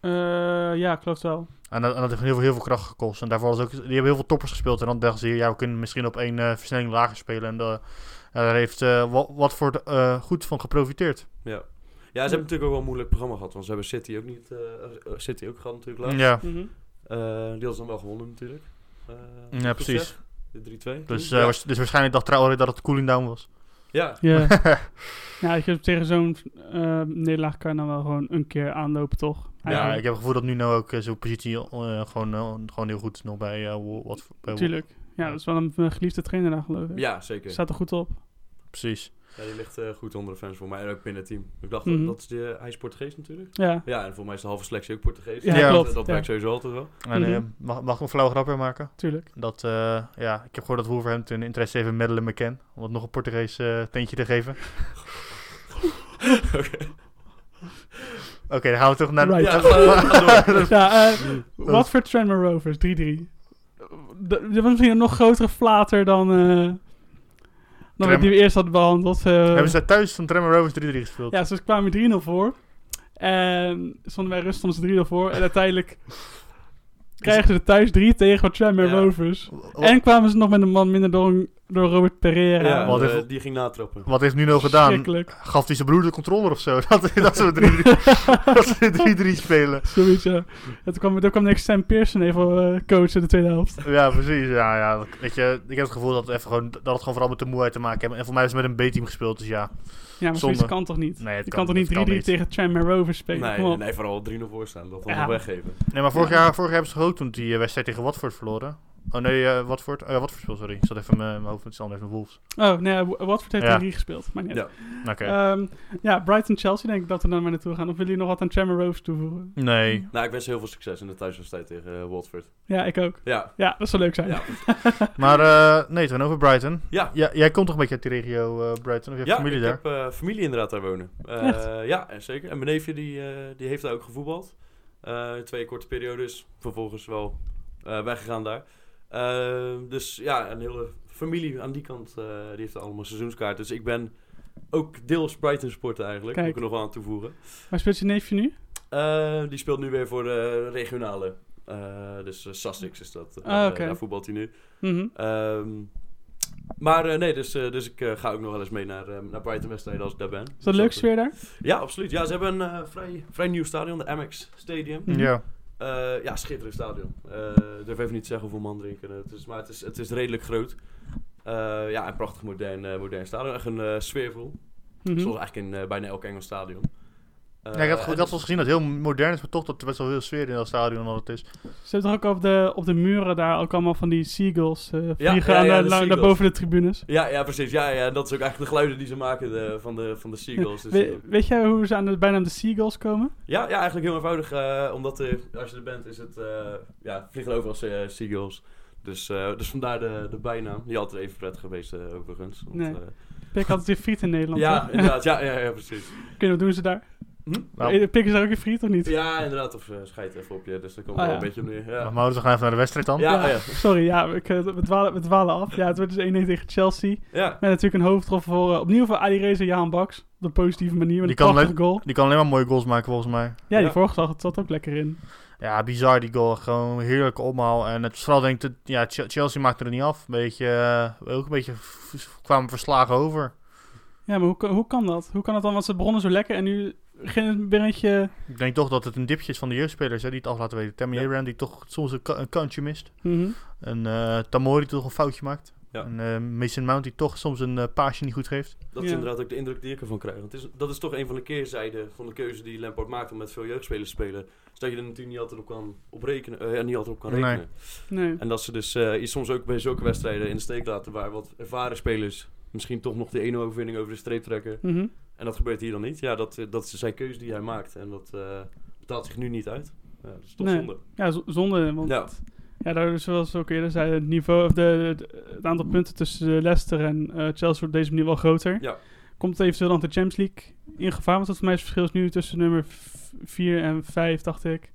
Speaker 1: Eh, ja, klopt wel.
Speaker 3: En dat, en dat heeft heel veel, heel veel kracht gekost. En daarvoor was ook, die hebben heel veel toppers gespeeld. En dan dachten ze, ja, we kunnen misschien op één eh, versnelling lager spelen. En, eh, en daar heeft eh, Wa- Watford eh, goed van geprofiteerd.
Speaker 2: Ja. Ja, ze hebben natuurlijk ook wel een moeilijk programma gehad. Want ze hebben City ook niet... eh, eh, City ook gehad natuurlijk laatst.
Speaker 3: Ja,
Speaker 1: Mhm.
Speaker 2: Eh, die hadden ze dan wel gewonnen natuurlijk. Eh,
Speaker 3: Ja,
Speaker 2: goed
Speaker 3: precies.
Speaker 2: zeg? De 3-2.
Speaker 3: dus,
Speaker 2: toen?
Speaker 3: eh,
Speaker 2: Ja.
Speaker 3: waars- dus waarschijnlijk dacht Traoré dat het cooling down was.
Speaker 2: Ja,
Speaker 1: Ja. ja, ik heb tegen zo'n eh, nederlaag kan je dan wel gewoon een keer aanlopen, toch?
Speaker 3: Ja, ik
Speaker 1: Eigenlijk.
Speaker 3: heb het gevoel dat nu nou ook eh, zo'n positie eh, gewoon, eh, gewoon heel goed is nog bij eh, Wa- wat bij Wa-
Speaker 1: Tuurlijk. Ja, dat is wel een eh, geliefde trainer daar, geloof ik.
Speaker 2: ja zeker.
Speaker 1: Staat er goed op.
Speaker 3: Precies.
Speaker 2: Ja, die ligt eh, goed onder de fans voor mij. En ook binnen het team. Ik dacht,
Speaker 1: Mhm.
Speaker 2: dat is de, hij is Portugees natuurlijk.
Speaker 1: Ja.
Speaker 2: Ja, en voor mij is de halve selectie ook Portugees.
Speaker 1: Ja,
Speaker 2: dat-
Speaker 1: klopt,
Speaker 2: Dat
Speaker 1: ja.
Speaker 2: werkt sowieso altijd wel.
Speaker 3: En, eh,
Speaker 1: Mhm.
Speaker 3: mag, mag ik een flauw grapje maken?
Speaker 1: Tuurlijk.
Speaker 3: Dat, eh, ja, ik heb gehoord dat Wolverhampton interesse heeft in Madeleine McCann. Om het nog een Portugees eh, tintje te geven. Oké, dan gaan we terug naar... de-
Speaker 1: Right.
Speaker 2: Ja, ga- ga door.
Speaker 1: Ja, eh,
Speaker 3: Oh.
Speaker 1: Watford Tranmere Rovers, 3-3. D- Dat was misschien een nog grotere flater dan, eh dan
Speaker 3: Tranmere.
Speaker 1: wat die we eerst hadden behandeld. eh.
Speaker 3: Hebben ze thuis van Tremor Rovers 3-3 gespeeld?
Speaker 1: Ja, ze kwamen 3-0 voor. En stonden bij rust stonden ze 3-0 voor. En uiteindelijk krijgen ze er thuis 3 tegen van Tranmere
Speaker 2: Ja.
Speaker 1: Rovers.
Speaker 3: Wa-
Speaker 1: En kwamen ze nog met een man minder door, door Robert Pereira.
Speaker 2: Ja,
Speaker 3: Wat
Speaker 2: eh,
Speaker 3: heeft-
Speaker 2: die ging natrappen.
Speaker 3: Wat heeft Nuno gedaan?
Speaker 1: Schrikkelijk.
Speaker 3: Gaf hij zijn broer de controller of zo? Dat, dat ze 3-3 dat ze 3-3 spelen.
Speaker 1: Zoiets, ja. En toen kwam, toen kwam niks Sam Pearson even eh coachen in de tweede helft.
Speaker 3: Ja, precies. Ja, ja. dat- Weet je, ik heb het gevoel dat het, even gewoon, dat het gewoon vooral met de moeheid te maken heeft. En voor mij is het met een B-team gespeeld, dus ja.
Speaker 1: Ja, maar
Speaker 3: Zonde.
Speaker 1: zoiets kan toch niet?
Speaker 3: Nee, het
Speaker 1: Je
Speaker 3: kan-
Speaker 1: kan, toch
Speaker 3: het
Speaker 1: niet
Speaker 3: kan
Speaker 1: 3-3
Speaker 3: niet.
Speaker 1: tegen Tranmere Rovers spelen?
Speaker 2: Nee,
Speaker 1: Kom op.
Speaker 2: nee, vooral 3-0 voor staan. Dat dan
Speaker 1: Ja.
Speaker 2: nog weggeven.
Speaker 3: Nee, maar vorig, jaar, vorig jaar hebben ze toch ook toen die eh, wedstrijd tegen Watford verloren. Oh nee, eh, Watford. Oh ja, Watford speelt, sorry. Ik zat even in mijn hoofd met z'n anders met Wolves.
Speaker 1: Oh, nee, Wa- Watford heeft
Speaker 3: Ja.
Speaker 1: 3-3 gespeeld. Maar niet.
Speaker 2: Ja.
Speaker 1: uit.
Speaker 3: Oké.
Speaker 1: Ehm, ja, Brighton-Chelsea denk ik dat we dan maar naartoe gaan. Of willen jullie nog wat aan Tranmere Rovers toevoegen?
Speaker 3: nee.
Speaker 2: Nou, ik wens je heel veel succes in de thuiswedstrijd tegen eh, Watford.
Speaker 1: Ja, ik ook.
Speaker 2: Ja,
Speaker 1: Ja, dat zou leuk zijn.
Speaker 2: Ja.
Speaker 3: Maar eh nee, toen over Brighton.
Speaker 2: ja.
Speaker 3: Ja, jij komt toch een beetje uit die regio eh, Brighton? Of je hebt
Speaker 2: Ja,
Speaker 3: familie
Speaker 2: ik
Speaker 3: daar?
Speaker 2: heb eh, familie inderdaad daar wonen. Eh, ja, en zeker. En mijn neefje die, eh, die heeft daar ook gevoetbald. Eh, twee korte periodes. Vervolgens wel eh, weggegaan daar. Eh, dus ja, een hele familie aan die kant eh, die heeft daar allemaal seizoenskaart. Dus ik ben ook deels Brighton supporter eigenlijk.
Speaker 1: Kijk.
Speaker 2: Moet ik er nog wel aan toevoegen.
Speaker 1: Maar speelt je neefje nu?
Speaker 2: Eh, die speelt nu weer voor de regionale. Eh, dus eh, Sussex is dat. Eh,
Speaker 1: Ah, oké.
Speaker 2: Daar voetbalt hij nu.
Speaker 1: Mhm.
Speaker 2: Ehm, maar eh, nee, dus, eh, dus ik eh, ga ook nog wel eens mee naar, eh, naar Brighton wedstrijden als ik daar ben.
Speaker 1: Is dat een leuke sfeer daar?
Speaker 2: Ja, absoluut. Ja, ze hebben een eh, vrij, vrij nieuw stadion, de Amex Stadium.
Speaker 1: Mhm.
Speaker 3: Ja.
Speaker 2: Eh, ja, schitterend stadion. Eh durf even niet te zeggen hoeveel man drinken. Het is, maar het is, het is redelijk groot. Eh, ja, een prachtig modern, eh, modern stadion. Echt een eh, sfeervol.
Speaker 1: Mhm.
Speaker 2: Zoals eigenlijk in eh, bijna elk Engels stadion. Eh,
Speaker 3: ja, ik had, ge-
Speaker 2: en-
Speaker 3: ik had wel gezien dat het heel modern is, maar toch dat er best wel veel sfeer in dat stadion altijd is.
Speaker 1: Ze hebben toch ook op de, op de muren daar ook allemaal van die seagulls eh, vliegen
Speaker 2: ja,
Speaker 1: aan
Speaker 2: ja,
Speaker 1: de- la-
Speaker 2: de seagulls.
Speaker 1: naar boven de tribunes.
Speaker 2: Ja, ja, precies. Ja, ja, dat is ook eigenlijk de geluiden die ze maken de, van, de, van de Seagulls. Dus,
Speaker 1: We- weet jij hoe ze aan de bijnaam de seagulls komen?
Speaker 2: Ja, ja, eigenlijk heel eenvoudig. eh, omdat eh, als je er bent, is het, eh, ja, vliegen er overal eh, seagulls. Dus, eh, dus vandaar de, de bijnaam. Die altijd even prettig geweest, eh, overigens. Want,
Speaker 1: Nee.
Speaker 2: eh,
Speaker 1: Pik altijd weer friet in Nederland.
Speaker 2: ja,
Speaker 1: toch?
Speaker 2: inderdaad. Ja, ja, ja precies.
Speaker 1: Oké, wat doen ze daar? Eh,
Speaker 2: Hm?
Speaker 3: Nou,
Speaker 1: Pikken ze daar ook weer friet of niet?
Speaker 2: Ja, inderdaad. Of eh scheid even op je. Dus daar komt
Speaker 1: Ah,
Speaker 2: wel
Speaker 1: ja.
Speaker 2: een beetje op neer.
Speaker 3: maar
Speaker 2: Ja.
Speaker 3: we houden toch even naar de wedstrijd dan?
Speaker 2: Ja,
Speaker 1: Ja.
Speaker 2: ah, ja.
Speaker 1: Sorry, ja, ik, eh, we, dwalen, we dwalen af. Ja, het wordt dus 1-1 tegen Chelsea.
Speaker 2: ja.
Speaker 1: Met natuurlijk een hoofdrol voor, eh, opnieuw voor Ali Reza Jaan Baks. Op een positieve manier, met
Speaker 3: Die
Speaker 1: een
Speaker 3: kan
Speaker 1: prachtige goal.
Speaker 3: Die kan alleen maar mooie goals maken volgens mij.
Speaker 1: Ja, die
Speaker 2: Ja.
Speaker 1: vorige dag zat ook lekker in.
Speaker 3: Ja, bizar die goal. Gewoon heerlijke omhaal. En het vooral denk ik, dat- ja, Ch- Chelsea maakte er niet af. Beetje, eh, ook een beetje v- kwamen verslagen over.
Speaker 1: Ja, maar hoe, kan- hoe kan dat? Hoe kan dat dan? Want ze begonnen zo lekker en nu beginnen ze weer een beetje...
Speaker 3: Ik denk toch dat het een dipje is van de jeugdspelers hè, die het af laten weten. Tammy
Speaker 2: Ja.
Speaker 3: Abraham die toch soms een, ka- een kantje mist.
Speaker 1: Mhm.
Speaker 3: En eh Tamori die toch een foutje maakt.
Speaker 2: Ja.
Speaker 3: En eh, Mason Mount die toch soms een eh, paasje niet goed geeft.
Speaker 2: Dat is
Speaker 1: Ja.
Speaker 2: inderdaad ook de indruk die ik ervan krijg. Want het is, dat is toch een van de keerzijden van de keuze die Lampard maakt om met veel jeugdspelers te spelen. Is dat je er natuurlijk niet altijd op kan, op rekenen, eh, ja, niet altijd op kan
Speaker 3: Nee.
Speaker 2: rekenen.
Speaker 1: Nee.
Speaker 2: En dat ze dus eh, iets soms ook bij zulke wedstrijden in de steek laten waar wat ervaren spelers misschien toch nog de ene overwinning over de streep trekken.
Speaker 1: Mhm.
Speaker 2: En dat gebeurt hier dan niet. Ja, dat, eh, dat is zijn keuze die hij maakt. En dat eh, betaalt zich nu niet uit. Ja, dat is toch
Speaker 1: Nee.
Speaker 2: zonde.
Speaker 1: Ja, z- zonde. Want
Speaker 2: Ja.
Speaker 1: ja. daar is zoals we ook eerder zei, het niveau of de, de- het aantal punten tussen eh, Leicester en eh, Chelsea wordt op deze manier wel groter.
Speaker 2: Ja.
Speaker 1: Komt het eventueel dan de Champions League in gevaar? Want dat voor mij is het verschil is nu tussen nummer 4 en 5, dacht ik.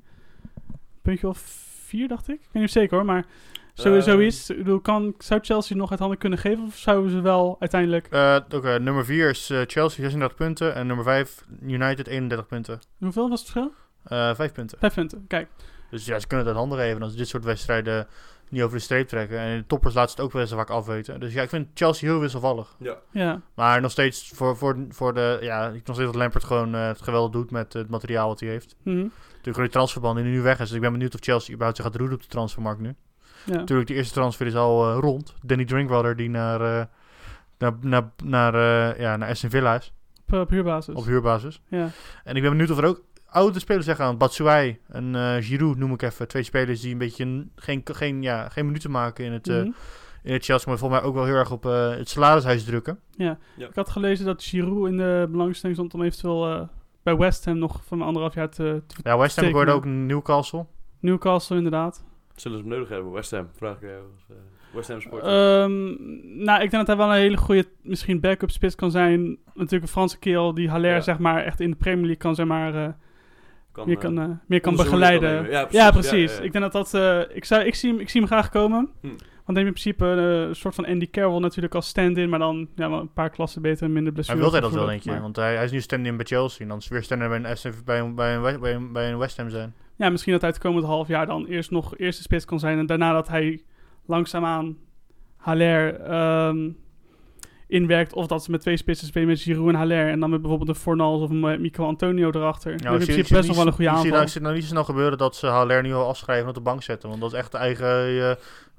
Speaker 1: Puntje of 4, dacht ik. Ik weet niet zeker hoor, maar sowieso
Speaker 2: Eh.
Speaker 1: is. Ik bedoel, kan, zou Chelsea nog uit handen kunnen geven? Of zouden ze wel uiteindelijk...
Speaker 3: Eh, Oké, nummer 4 is eh, Chelsea 36 punten. En nummer 5 United 31 punten.
Speaker 1: Hoeveel was het verschil?
Speaker 3: Eh 5 punten.
Speaker 1: 5 punten, kijk.
Speaker 3: Dus ja, ze kunnen het uit handen geven als ze dit soort wedstrijden niet over de streep trekken. En de toppers laten ze het ook wel eens vaak afweten. Dus ja, ik vind Chelsea heel wisselvallig.
Speaker 1: Ja,
Speaker 3: Maar nog steeds voor, voor, voor de... Ja, ik nog steeds dat Lampert gewoon eh, het geweldig doet met eh, het materiaal wat hij heeft.
Speaker 1: mhm.
Speaker 3: Natuurlijk door die transferband die nu weg is. Dus ik ben benieuwd of Chelsea überhaupt zich gaat roeren op de transfermarkt nu.
Speaker 1: ja.
Speaker 3: Natuurlijk, de eerste transfer is al eh, rond. Danny Drinkwater die naar... eh, naar, naar, naar, eh, ja, naar Aston Villa is,
Speaker 1: Op, op huurbasis.
Speaker 3: op huurbasis.
Speaker 1: ja.
Speaker 3: En ik ben benieuwd of er ook oude spelers zeggen aan. Batshuayi en eh Giroud noem ik even. Twee spelers die een beetje n- geen, geen, ja, geen minuten maken in het, eh,
Speaker 1: Mhm.
Speaker 3: in het Chelsea. Maar volgens mij ook wel heel erg op eh, het salarishuis drukken.
Speaker 1: Ik had gelezen dat Giroud in de belangstelling stond om eventueel eh, bij West Ham nog van anderhalf jaar te, te-
Speaker 3: Ja, West Ham ik hoorde
Speaker 1: Zeker.
Speaker 3: ook Newcastle.
Speaker 1: Newcastle inderdaad.
Speaker 2: Zullen ze hem nodig hebben? West Ham, vraag ik jou. als, eh, West Ham Sport.
Speaker 1: Ehm, nou, ik denk dat hij wel een hele goede, misschien backup spits kan zijn. Natuurlijk een Franse kerel die Haller,
Speaker 2: Ja.
Speaker 1: zeg maar, echt in de Premier League kan, zeg maar, eh,
Speaker 2: kan,
Speaker 1: meer
Speaker 2: eh,
Speaker 1: kan, eh, meer kan
Speaker 2: onderzoek
Speaker 1: begeleiden.
Speaker 2: kan nemen. Ja, precies.
Speaker 1: ja, precies.
Speaker 2: Ja, ja.
Speaker 1: Ik denk dat dat, eh, ik, zou, ik, zie hem, ik zie hem graag komen.
Speaker 2: Hm.
Speaker 1: Want dan heb je in principe eh, een soort van Andy Carroll natuurlijk als stand-in, maar dan ja, wel een paar klassen beter en
Speaker 3: Hij
Speaker 1: minder blessure.
Speaker 3: wil hij dat wel, denk
Speaker 1: denk
Speaker 3: je? Want hij, hij is nu stand-in bij Chelsea. En dan is weer stand-in bij een, Aston- bij, een, bij, een, West- bij, een, bij een West Ham zijn.
Speaker 1: Ja, misschien dat hij het komend half jaar dan eerst nog eerste spits kan zijn. En daarna dat hij langzaamaan Haller ehm, inwerkt. Of dat ze met twee spitsen spelen met Giroud en Haller. En dan met bijvoorbeeld een Fornals of een eh, Mico Antonio erachter. dat is in principe best nog wel een goede
Speaker 3: Ik zie nou-
Speaker 1: aanval.
Speaker 3: ik zie nou niet zo snel gebeuren dat ze Haller nu al afschrijven en op de bank zetten. Want dat is echt de eigen eh,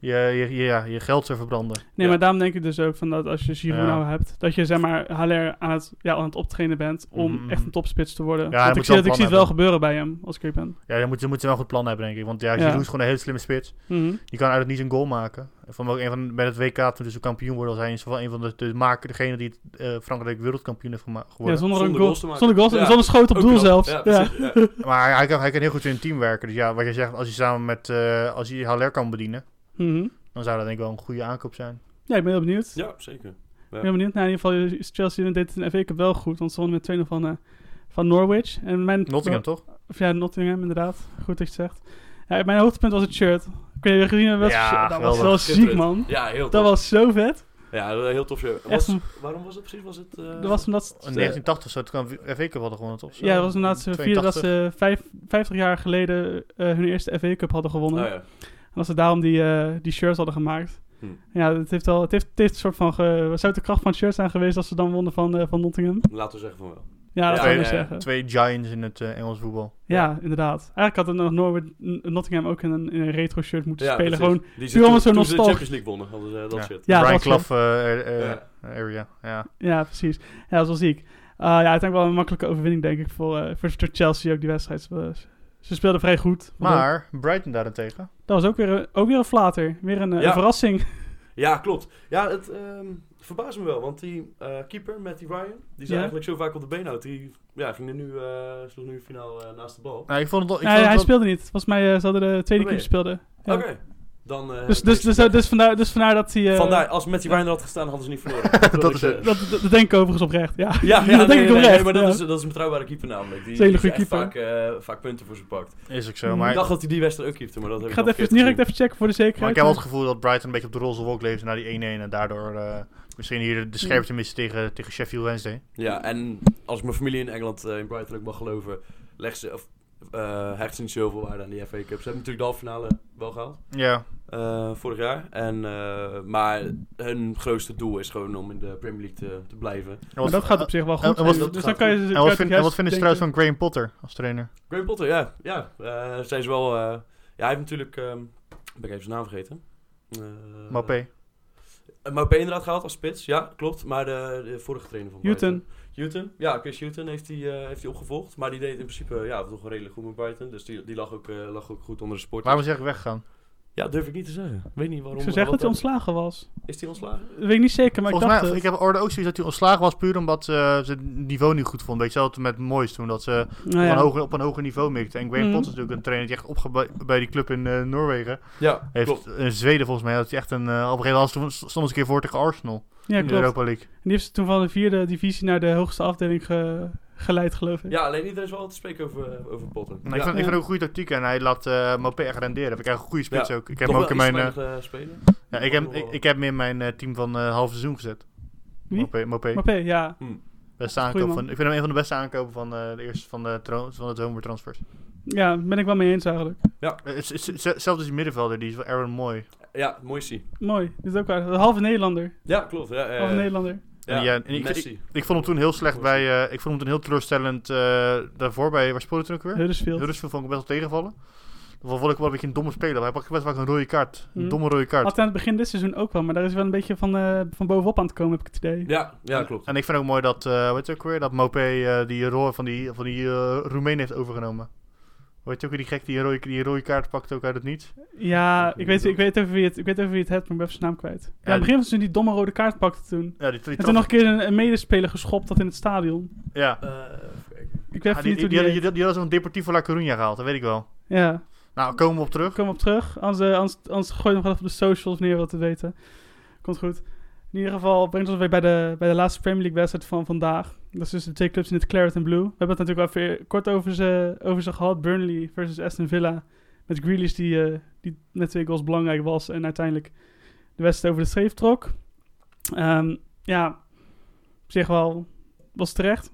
Speaker 3: je, je, je, je- ja, je geld te verbranden.
Speaker 1: Nee,
Speaker 2: Ja.
Speaker 1: maar daarom denk ik dus ook van dat als je
Speaker 3: Ja.
Speaker 1: Giroud nou hebt, dat je zeg maar Haller aan het, ja, aan het optrainen bent om
Speaker 3: Mhm.
Speaker 1: echt een topspits te worden.
Speaker 3: hij
Speaker 1: Want ik
Speaker 3: moet
Speaker 1: zie,
Speaker 3: wel
Speaker 1: dat, ik
Speaker 3: plan
Speaker 1: zie het wel
Speaker 3: hebben.
Speaker 1: gebeuren bij hem, als ik er ben.
Speaker 3: Ja, dan moet je moet je wel een goed plan hebben, denk ik. Want ja,
Speaker 1: Ja.
Speaker 3: Giroud is gewoon een hele slimme spits.
Speaker 1: Mhm.
Speaker 3: Die kan eigenlijk niet een goal maken. Van ook een van, bij het WK toen ze kampioen worden, was hij in ieder geval een van de, de maker, degene die eh, Frankrijk wereldkampioen heeft gema-
Speaker 1: Ja,
Speaker 3: geworden.
Speaker 1: zonder,
Speaker 2: Zonder
Speaker 1: een goal,
Speaker 2: goals te maken.
Speaker 1: zonder, goals,
Speaker 2: Ja.
Speaker 1: zonder schoot op
Speaker 2: Ook
Speaker 1: doel
Speaker 2: knap.
Speaker 1: zelfs.
Speaker 2: Ja,
Speaker 1: ja.
Speaker 2: precies, ja.
Speaker 3: Maar hij kan, hij kan heel goed in een team werken. Dus ja, wat jij zegt, als hij samen met eh, als hij Haller kan bedienen,
Speaker 1: Mhm.
Speaker 3: dan zou dat denk ik wel een goede aankoop zijn.
Speaker 1: ja, ik ben heel benieuwd.
Speaker 2: Ja, zeker.
Speaker 1: Ik ben benieuwd. Nou, in ieder geval is Chelsea deed het in de FA Cup wel goed. Want ze wonnen met 2-0 van, eh, van Norwich. En mijn,
Speaker 3: Nottingham, toch?
Speaker 1: Of ja, Nottingham inderdaad. Goed dat je het zegt. Ja, mijn hoogtepunt was het shirt. Kun je gezien hebben?
Speaker 3: Ja,
Speaker 1: dat was
Speaker 3: geweldig.
Speaker 1: wel ziek, man.
Speaker 2: Ja,
Speaker 1: Dat
Speaker 2: heel tof.
Speaker 1: was zo vet.
Speaker 2: Ja, dat was een heel tof show.
Speaker 1: Echt
Speaker 2: Was, waarom was het precies? Was het... eh,
Speaker 1: Dat was omdat
Speaker 3: In
Speaker 1: ze...
Speaker 3: 1980 zou het kan FA Cup hadden gewonnen, toch? Zo,
Speaker 1: Ja, dat was omdat ze vierde dat
Speaker 3: 82.
Speaker 1: ze vijf, 50 jaar geleden eh, hun eerste FA Cup hadden
Speaker 2: Oh,
Speaker 1: gewonnen.
Speaker 2: ja.
Speaker 1: En dat ze daarom die, eh, die shirts hadden gemaakt.
Speaker 2: Hm.
Speaker 1: Ja, het heeft, al, het heeft, het heeft een soort van... Ge, wat zou de kracht van het shirt zijn geweest als ze dan wonnen van, eh, van Nottingham?
Speaker 2: Laten we zeggen van wel.
Speaker 1: Ja, dat
Speaker 2: Ja,
Speaker 1: zou ik
Speaker 2: ja,
Speaker 1: wel
Speaker 2: ja.
Speaker 1: zeggen.
Speaker 3: Twee giants in het eh, Engels voetbal.
Speaker 1: Ja, inderdaad. Eigenlijk had er nog Norwood, Nottingham ook in een, in een retro shirt moeten
Speaker 2: Ja,
Speaker 1: spelen.
Speaker 2: precies.
Speaker 1: Gewoon,
Speaker 2: Die
Speaker 1: puur
Speaker 2: toen,
Speaker 1: omdat ze
Speaker 2: toen ze de
Speaker 1: nostalg-
Speaker 2: Champions League wonnen, hadden ze eh, dat
Speaker 3: Ja.
Speaker 2: shit.
Speaker 1: Ja,
Speaker 3: Brian
Speaker 1: dat was
Speaker 3: Clough eh, eh,
Speaker 2: Ja.
Speaker 3: area. Ja.
Speaker 1: ja, precies. Ja, dat was wel ziek. Eh, ja, uiteindelijk wel een makkelijke overwinning, denk ik, voor, eh, voor, voor Chelsea ook die wedstrijd. Ze, ze speelden vrij goed.
Speaker 3: Maar Brighton daarentegen.
Speaker 1: Dat was ook weer, een- ook weer een flater. Weer een, eh,
Speaker 2: Ja.
Speaker 1: een verrassing.
Speaker 2: Ja, klopt. Ja, het ehm verbaast me wel, want die eh, keeper, Matty Ryan, die ze
Speaker 1: Ja.
Speaker 2: eigenlijk zo vaak op de been houdt, die ja, ging er nu, eh, sloeg nu finaal eh, naast de bal.
Speaker 3: Nou, ik vond het wel- ik
Speaker 1: Nee,
Speaker 3: vond het
Speaker 1: hij
Speaker 3: wel-
Speaker 1: speelde niet. Volgens mij eh, ze hadden de tweede keeper
Speaker 2: Oh, nee.
Speaker 1: speelden. Ja.
Speaker 2: Oké, dan... eh,
Speaker 1: Dus, dus, dus, dus, vandaar, dus vandaar dat hij... eh,
Speaker 2: Vandaar, als Matty Ryan er had gestaan, hadden ze niet verloren. dat wil ik
Speaker 3: is
Speaker 2: zeggen.
Speaker 1: Dat, dat, dat denk ik overigens oprecht, ja.
Speaker 2: Ja, ja,
Speaker 1: dat
Speaker 2: nee,
Speaker 1: denk ik
Speaker 2: nee,
Speaker 1: oprecht.
Speaker 2: nee, maar dat,
Speaker 1: ja.
Speaker 2: is, dat is een betrouwbare keeper namelijk. Die,
Speaker 1: is een hele
Speaker 2: die
Speaker 1: goede
Speaker 2: echt Vaak,
Speaker 1: keeper.
Speaker 2: eh, vaak punten voor zijn pakt.
Speaker 3: Is ook zo.
Speaker 1: Mm.
Speaker 3: Maar,
Speaker 2: Ik dacht dat hij die wedstrijd ook keepte, maar dat heb
Speaker 1: Ik
Speaker 2: ik
Speaker 1: ga het
Speaker 2: dan
Speaker 1: even
Speaker 2: verkeerd
Speaker 1: direct even checken voor de zekerheid.
Speaker 3: maar ik heb wel het gevoel dat Brighton een beetje op de roze wolk leefde na die 1-1. En daardoor eh, misschien hier de scherpte missen tegen, tegen Sheffield Wednesday.
Speaker 2: gezien. Ja, en als ik mijn familie in Engeland, eh, in Brighton ook mag geloven, legt ze, of, eh, hecht ze niet zoveel waarde aan die FA Cup. Ze hebben natuurlijk de halve finale wel gehaald.
Speaker 3: Ja,
Speaker 2: eh, vorig jaar. En, eh, maar hun grootste doel is gewoon om in de Premier League te, te blijven.
Speaker 1: Maar dat gaat op zich wel
Speaker 3: en
Speaker 1: goed.
Speaker 3: wat-
Speaker 1: Dus-
Speaker 2: dat
Speaker 1: dus dan
Speaker 2: gaat
Speaker 1: kan je...
Speaker 2: goed.
Speaker 1: dus-
Speaker 3: En wat,
Speaker 1: kan
Speaker 3: vind,
Speaker 1: je
Speaker 3: en wat vinden ze
Speaker 1: denken-
Speaker 3: trouwens van Graham Potter als trainer?
Speaker 2: Graham Potter, ja. ja eh, zijn ze wel... eh, ja, hij heeft natuurlijk... ehm, ben ik even zijn naam vergeten. Eh,
Speaker 3: Mbappé.
Speaker 2: Eh, Mbappé inderdaad gehaald als spits, ja, klopt. Maar de, de vorige trainer van
Speaker 1: Newton.
Speaker 2: Brighton... Newton. Ja, Chris Newton heeft hij eh, heeft hij opgevolgd. Maar die deed in principe ja, toch wel redelijk goed met Brighton. Dus die, die lag, ook, eh, lag ook goed onder de sport.
Speaker 3: Waarom zeg ik weggegaan?
Speaker 2: Ja, durf ik niet te zeggen. Weet niet
Speaker 1: Ik
Speaker 2: waarom. eh,
Speaker 1: zou zeggen dat
Speaker 2: wat
Speaker 1: hij ontslagen was.
Speaker 2: dat- Is hij ontslagen?
Speaker 1: Dat weet ik niet zeker, maar
Speaker 3: Volgens
Speaker 1: ik
Speaker 3: mij,
Speaker 1: dacht
Speaker 3: ik
Speaker 1: het.
Speaker 3: heb hoorde ook zoiets dat hij ontslagen was puur omdat eh, ze het niveau niet goed vonden. Weet je wel, toen met Moyes toen, dat ze
Speaker 1: Nou
Speaker 3: op,
Speaker 1: ja.
Speaker 3: een hoger, op een hoger niveau mikte. En Graham
Speaker 1: Mhm.
Speaker 3: Potter is natuurlijk een trainer die echt opgebouwd bij die club in eh, Noorwegen.
Speaker 2: Ja,
Speaker 3: Heeft
Speaker 2: klopt.
Speaker 3: in Zweden volgens mij, dat hij echt een, eh, op een gegeven moment stond stond eens een keer voor tegen Arsenal
Speaker 1: ja,
Speaker 3: in de
Speaker 1: klopt.
Speaker 3: Europa League.
Speaker 1: En die heeft ze toen van de vierde divisie naar de hoogste afdeling ge- geleid, geloof ik.
Speaker 2: Ja, alleen iedereen is wel te spreken over, eh, over Potter.
Speaker 3: En ik,
Speaker 2: ja.
Speaker 3: vind, ik vind ook een goede tactiek en hij laat eh Mopé echt renderen. Vind ik echt een goede spits
Speaker 2: Ja.
Speaker 3: ook. Ik heb
Speaker 2: Toch
Speaker 3: hem
Speaker 2: wel
Speaker 3: ook in mijn, eh,
Speaker 2: iets weinig, eh, spelen.
Speaker 3: ja, ik,
Speaker 2: Toch
Speaker 3: heb,
Speaker 2: wel-
Speaker 3: ik, ik heb hem in mijn eh, team van eh half seizoen gezet.
Speaker 1: Wie?
Speaker 3: Mopé, Mopé.
Speaker 1: Maar P, ja.
Speaker 3: Beste
Speaker 1: Goeie
Speaker 3: aankoop
Speaker 1: man.
Speaker 3: van, ik vind hem een van de beste aankopen van, eh, de eerste, van, de, tro- van het zomertransfers.
Speaker 1: Ja, ben ik wel mee eens eigenlijk.
Speaker 3: Eh, het is- het is- Zelfs als die middenvelder, die is wel Aaron mooi.
Speaker 2: Ja, mooi zie.
Speaker 1: Mooi. Dit is ook waar. Halve Nederlander.
Speaker 2: Ja, klopt. Ja, eh,
Speaker 1: Halve Nederlander.
Speaker 2: ja,
Speaker 3: Ja, en ik-
Speaker 2: Messi.
Speaker 3: Ik vond hem toen heel slecht bij... eh, ik vond hem toen heel teleurstellend eh, daarvoor bij... Waar speelde hij toen ook weer?
Speaker 1: Huddersfield.
Speaker 3: Huddersfield vond ik hem best wel tegenvallen. Dat vond ik wel een beetje een domme speler. maar Hij pakte best vaak een rode kaart. Een
Speaker 1: Hm.
Speaker 3: domme rode kaart.
Speaker 1: Had hij aan het begin dit seizoen ook wel, maar daar is wel een beetje van, eh, van bovenop aan het komen, heb ik het idee.
Speaker 2: Ja, ja klopt.
Speaker 3: En ik vind ook mooi dat, eh weet je ook weer, dat Mopé eh, die rol van die, van die eh, Roemeen heeft overgenomen. Weet je ook weer die gek die een rode, die een rode kaart pakt ook uit het niets?
Speaker 1: Ja, ik weet, ik weet even wie het, ik weet even wie het hebt, maar ik ben even zijn naam kwijt. Ja, aan het begin van het seizoen die domme rode kaart pakte toen.
Speaker 3: Ja, die, die
Speaker 1: En
Speaker 3: trap-
Speaker 1: toen nog een keer een, een medespeler geschopt dat in het stadion.
Speaker 3: Ja,
Speaker 1: Ik weet
Speaker 3: Ah,
Speaker 1: even
Speaker 3: die,
Speaker 1: niet
Speaker 3: die, die,
Speaker 1: hoe die
Speaker 3: had-
Speaker 1: heet.
Speaker 3: die- die had zo'n Deportivo La Coruña gehaald, dat weet ik wel.
Speaker 1: Ja,
Speaker 3: Nou, komen we op terug.
Speaker 1: kom op terug. Anders, eh, anders, anders gooi je nog wel even op de socials neer wat te weten. Komt goed. In ieder geval brengt ons weer bij de, bij de laatste Premier League wedstrijd van vandaag. Dat is dus de twee clubs in het Claret en Blue. We hebben het natuurlijk wel even kort over ze, over ze gehad. Burnley versus Aston Villa. Met Grealish die, eh, die met twee goals belangrijk was. En uiteindelijk de wedstrijd over de streep trok. Ehm, ja, op zich wel was het terecht.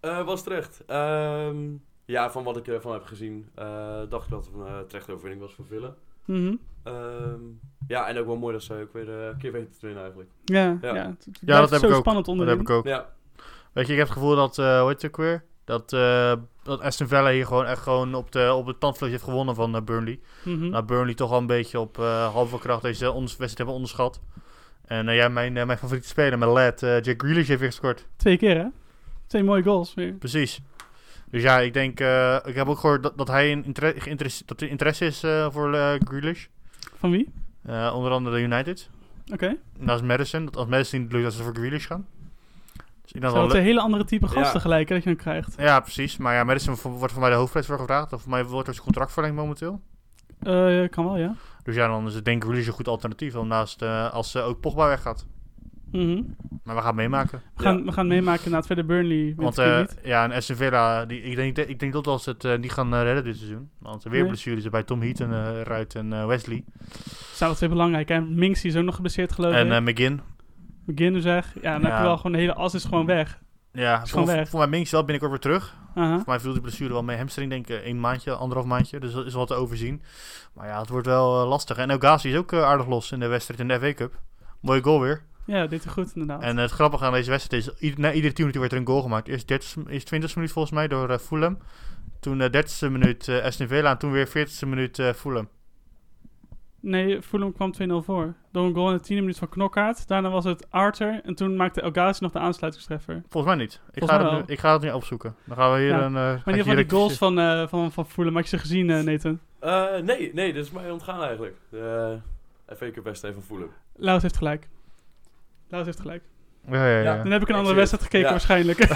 Speaker 2: Eh, was terecht. Ehm, ja, van wat ik ervan heb gezien, eh, dacht ik dat het een eh, terechte overwinning was voor Villa.
Speaker 1: Mhm.
Speaker 2: Ehm, ja, en ook wel mooi dat ze ook weer eh, een keer weten te winnen eigenlijk.
Speaker 1: Ja, ja.
Speaker 2: Ja.
Speaker 1: het, het
Speaker 3: Ja, dat
Speaker 1: blijft
Speaker 3: heb
Speaker 1: zo
Speaker 3: ik ook.
Speaker 1: spannend
Speaker 3: Dat
Speaker 1: onderin.
Speaker 3: heb ik ook.
Speaker 2: Ja,
Speaker 3: Weet je, ik heb het gevoel dat, eh hoe heet het ook weer? Dat, eh, dat Aston Villa hier gewoon echt gewoon op, de, op het tandvlees heeft gewonnen van eh, Burnley.
Speaker 1: Mhm.
Speaker 3: Nou, Burnley toch al een beetje op eh, halve kracht deze onders- wedstrijd hebben onderschat. En eh, ja, mijn, eh, mijn favoriete speler, mijn lad, eh, Jack Grealish heeft weer gescoord.
Speaker 1: Twee keer, hè? Twee mooie goals weer.
Speaker 3: Precies. Dus ja, ik denk, eh, ik heb ook gehoord dat, dat hij een inter- geïnteresse- dat er interesse is eh, voor eh Grealish.
Speaker 1: Van wie?
Speaker 3: Eh, onder andere United.
Speaker 1: Oké.
Speaker 3: En dat is Madison. Dat als Madison niet lukt, dat ze voor Grealish gaan. Dus ik denk dat
Speaker 1: Zijn
Speaker 3: wel
Speaker 1: dat twee hele andere type gasten
Speaker 2: Ja.
Speaker 1: gelijk hè, dat je dan krijgt.
Speaker 3: le- ja, precies. Maar ja, Madison vo- wordt voor mij de hoofdprijs voor gevraagd. Of voor mij wordt er zijn contract verlengd momenteel.
Speaker 1: Eh, kan wel, ja.
Speaker 3: Dus ja, dan is het denk ik Grealish een goed alternatief. Om naast, eh, als eh, ook Pogba weggaat.
Speaker 1: Mhm.
Speaker 3: Maar we gaan het meemaken.
Speaker 1: we, gaan, we gaan meemaken na het verder Burnley.
Speaker 3: Want
Speaker 1: Want,
Speaker 3: eh,
Speaker 1: niet.
Speaker 3: ja, en SC Villa, die, ik, denk, ik denk dat als het eh, niet gaan eh, redden dit seizoen. Want er weer
Speaker 1: Nee.
Speaker 3: blessures bij Tom Heaton, eh Ruit en eh, Wesley.
Speaker 1: Zijn dat twee belangrijk. En Minks die is ook nog geblesseerd geloof ik.
Speaker 3: En eh, McGinn.
Speaker 1: McGinn zeg. Ja, dan heb
Speaker 3: ja.
Speaker 1: je wel gewoon de hele as is gewoon weg.
Speaker 3: Ja,
Speaker 1: gewoon
Speaker 3: voor,
Speaker 1: weg.
Speaker 3: voor mij Minks wel binnenkort weer terug.
Speaker 1: Aha.
Speaker 3: Voor mij viel die blessure wel mee. Hamstring denk ik eh, een maandje, anderhalf maandje. Dus dat is wel te overzien. Maar ja, het wordt wel eh, lastig. En Ogazi is ook eh, aardig los in de wedstrijd in de FA Cup. Mooie goal weer.
Speaker 1: Ja, dit is goed inderdaad.
Speaker 3: En het grappige aan deze wedstrijd is, ieder, na iedere 10 minuten werd er een goal gemaakt. Eerst, 30, eerst 20 minuut volgens mij door eh, Fulham. Toen eh 30e minuut eh Aston Villa en toen weer 40e minuut eh Fulham.
Speaker 1: Nee, Fulham kwam 2-0 voor. Door een goal in de tiende minuut van Knokkaart. Daarna was het Arthur. En toen maakte El Ghazi nog de aansluitingstreffer.
Speaker 3: Volgens mij niet. Ik,
Speaker 1: Volgens
Speaker 3: ga,
Speaker 1: mij
Speaker 3: het nu,
Speaker 1: wel.
Speaker 3: ik ga het nu opzoeken. Dan gaan we hier
Speaker 1: Ja.
Speaker 3: een... eh, ga
Speaker 1: Maar
Speaker 3: ik
Speaker 1: in ieder geval
Speaker 3: hier
Speaker 1: die goals
Speaker 3: even-
Speaker 1: van, eh, van, van Fulham. Heb je ze gezien, eh, Nathan?
Speaker 2: Eh, nee, nee, dat is mij ontgaan eigenlijk. Eh, De FA Cup wedstrijd van Fulham.
Speaker 1: Laus heeft gelijk. Laus heeft gelijk.
Speaker 3: Ja, ja, ja.
Speaker 2: Ja.
Speaker 1: Dan heb ik een
Speaker 2: Ik
Speaker 1: andere
Speaker 2: zie het.
Speaker 1: wedstrijd gekeken
Speaker 2: Ja.
Speaker 1: waarschijnlijk.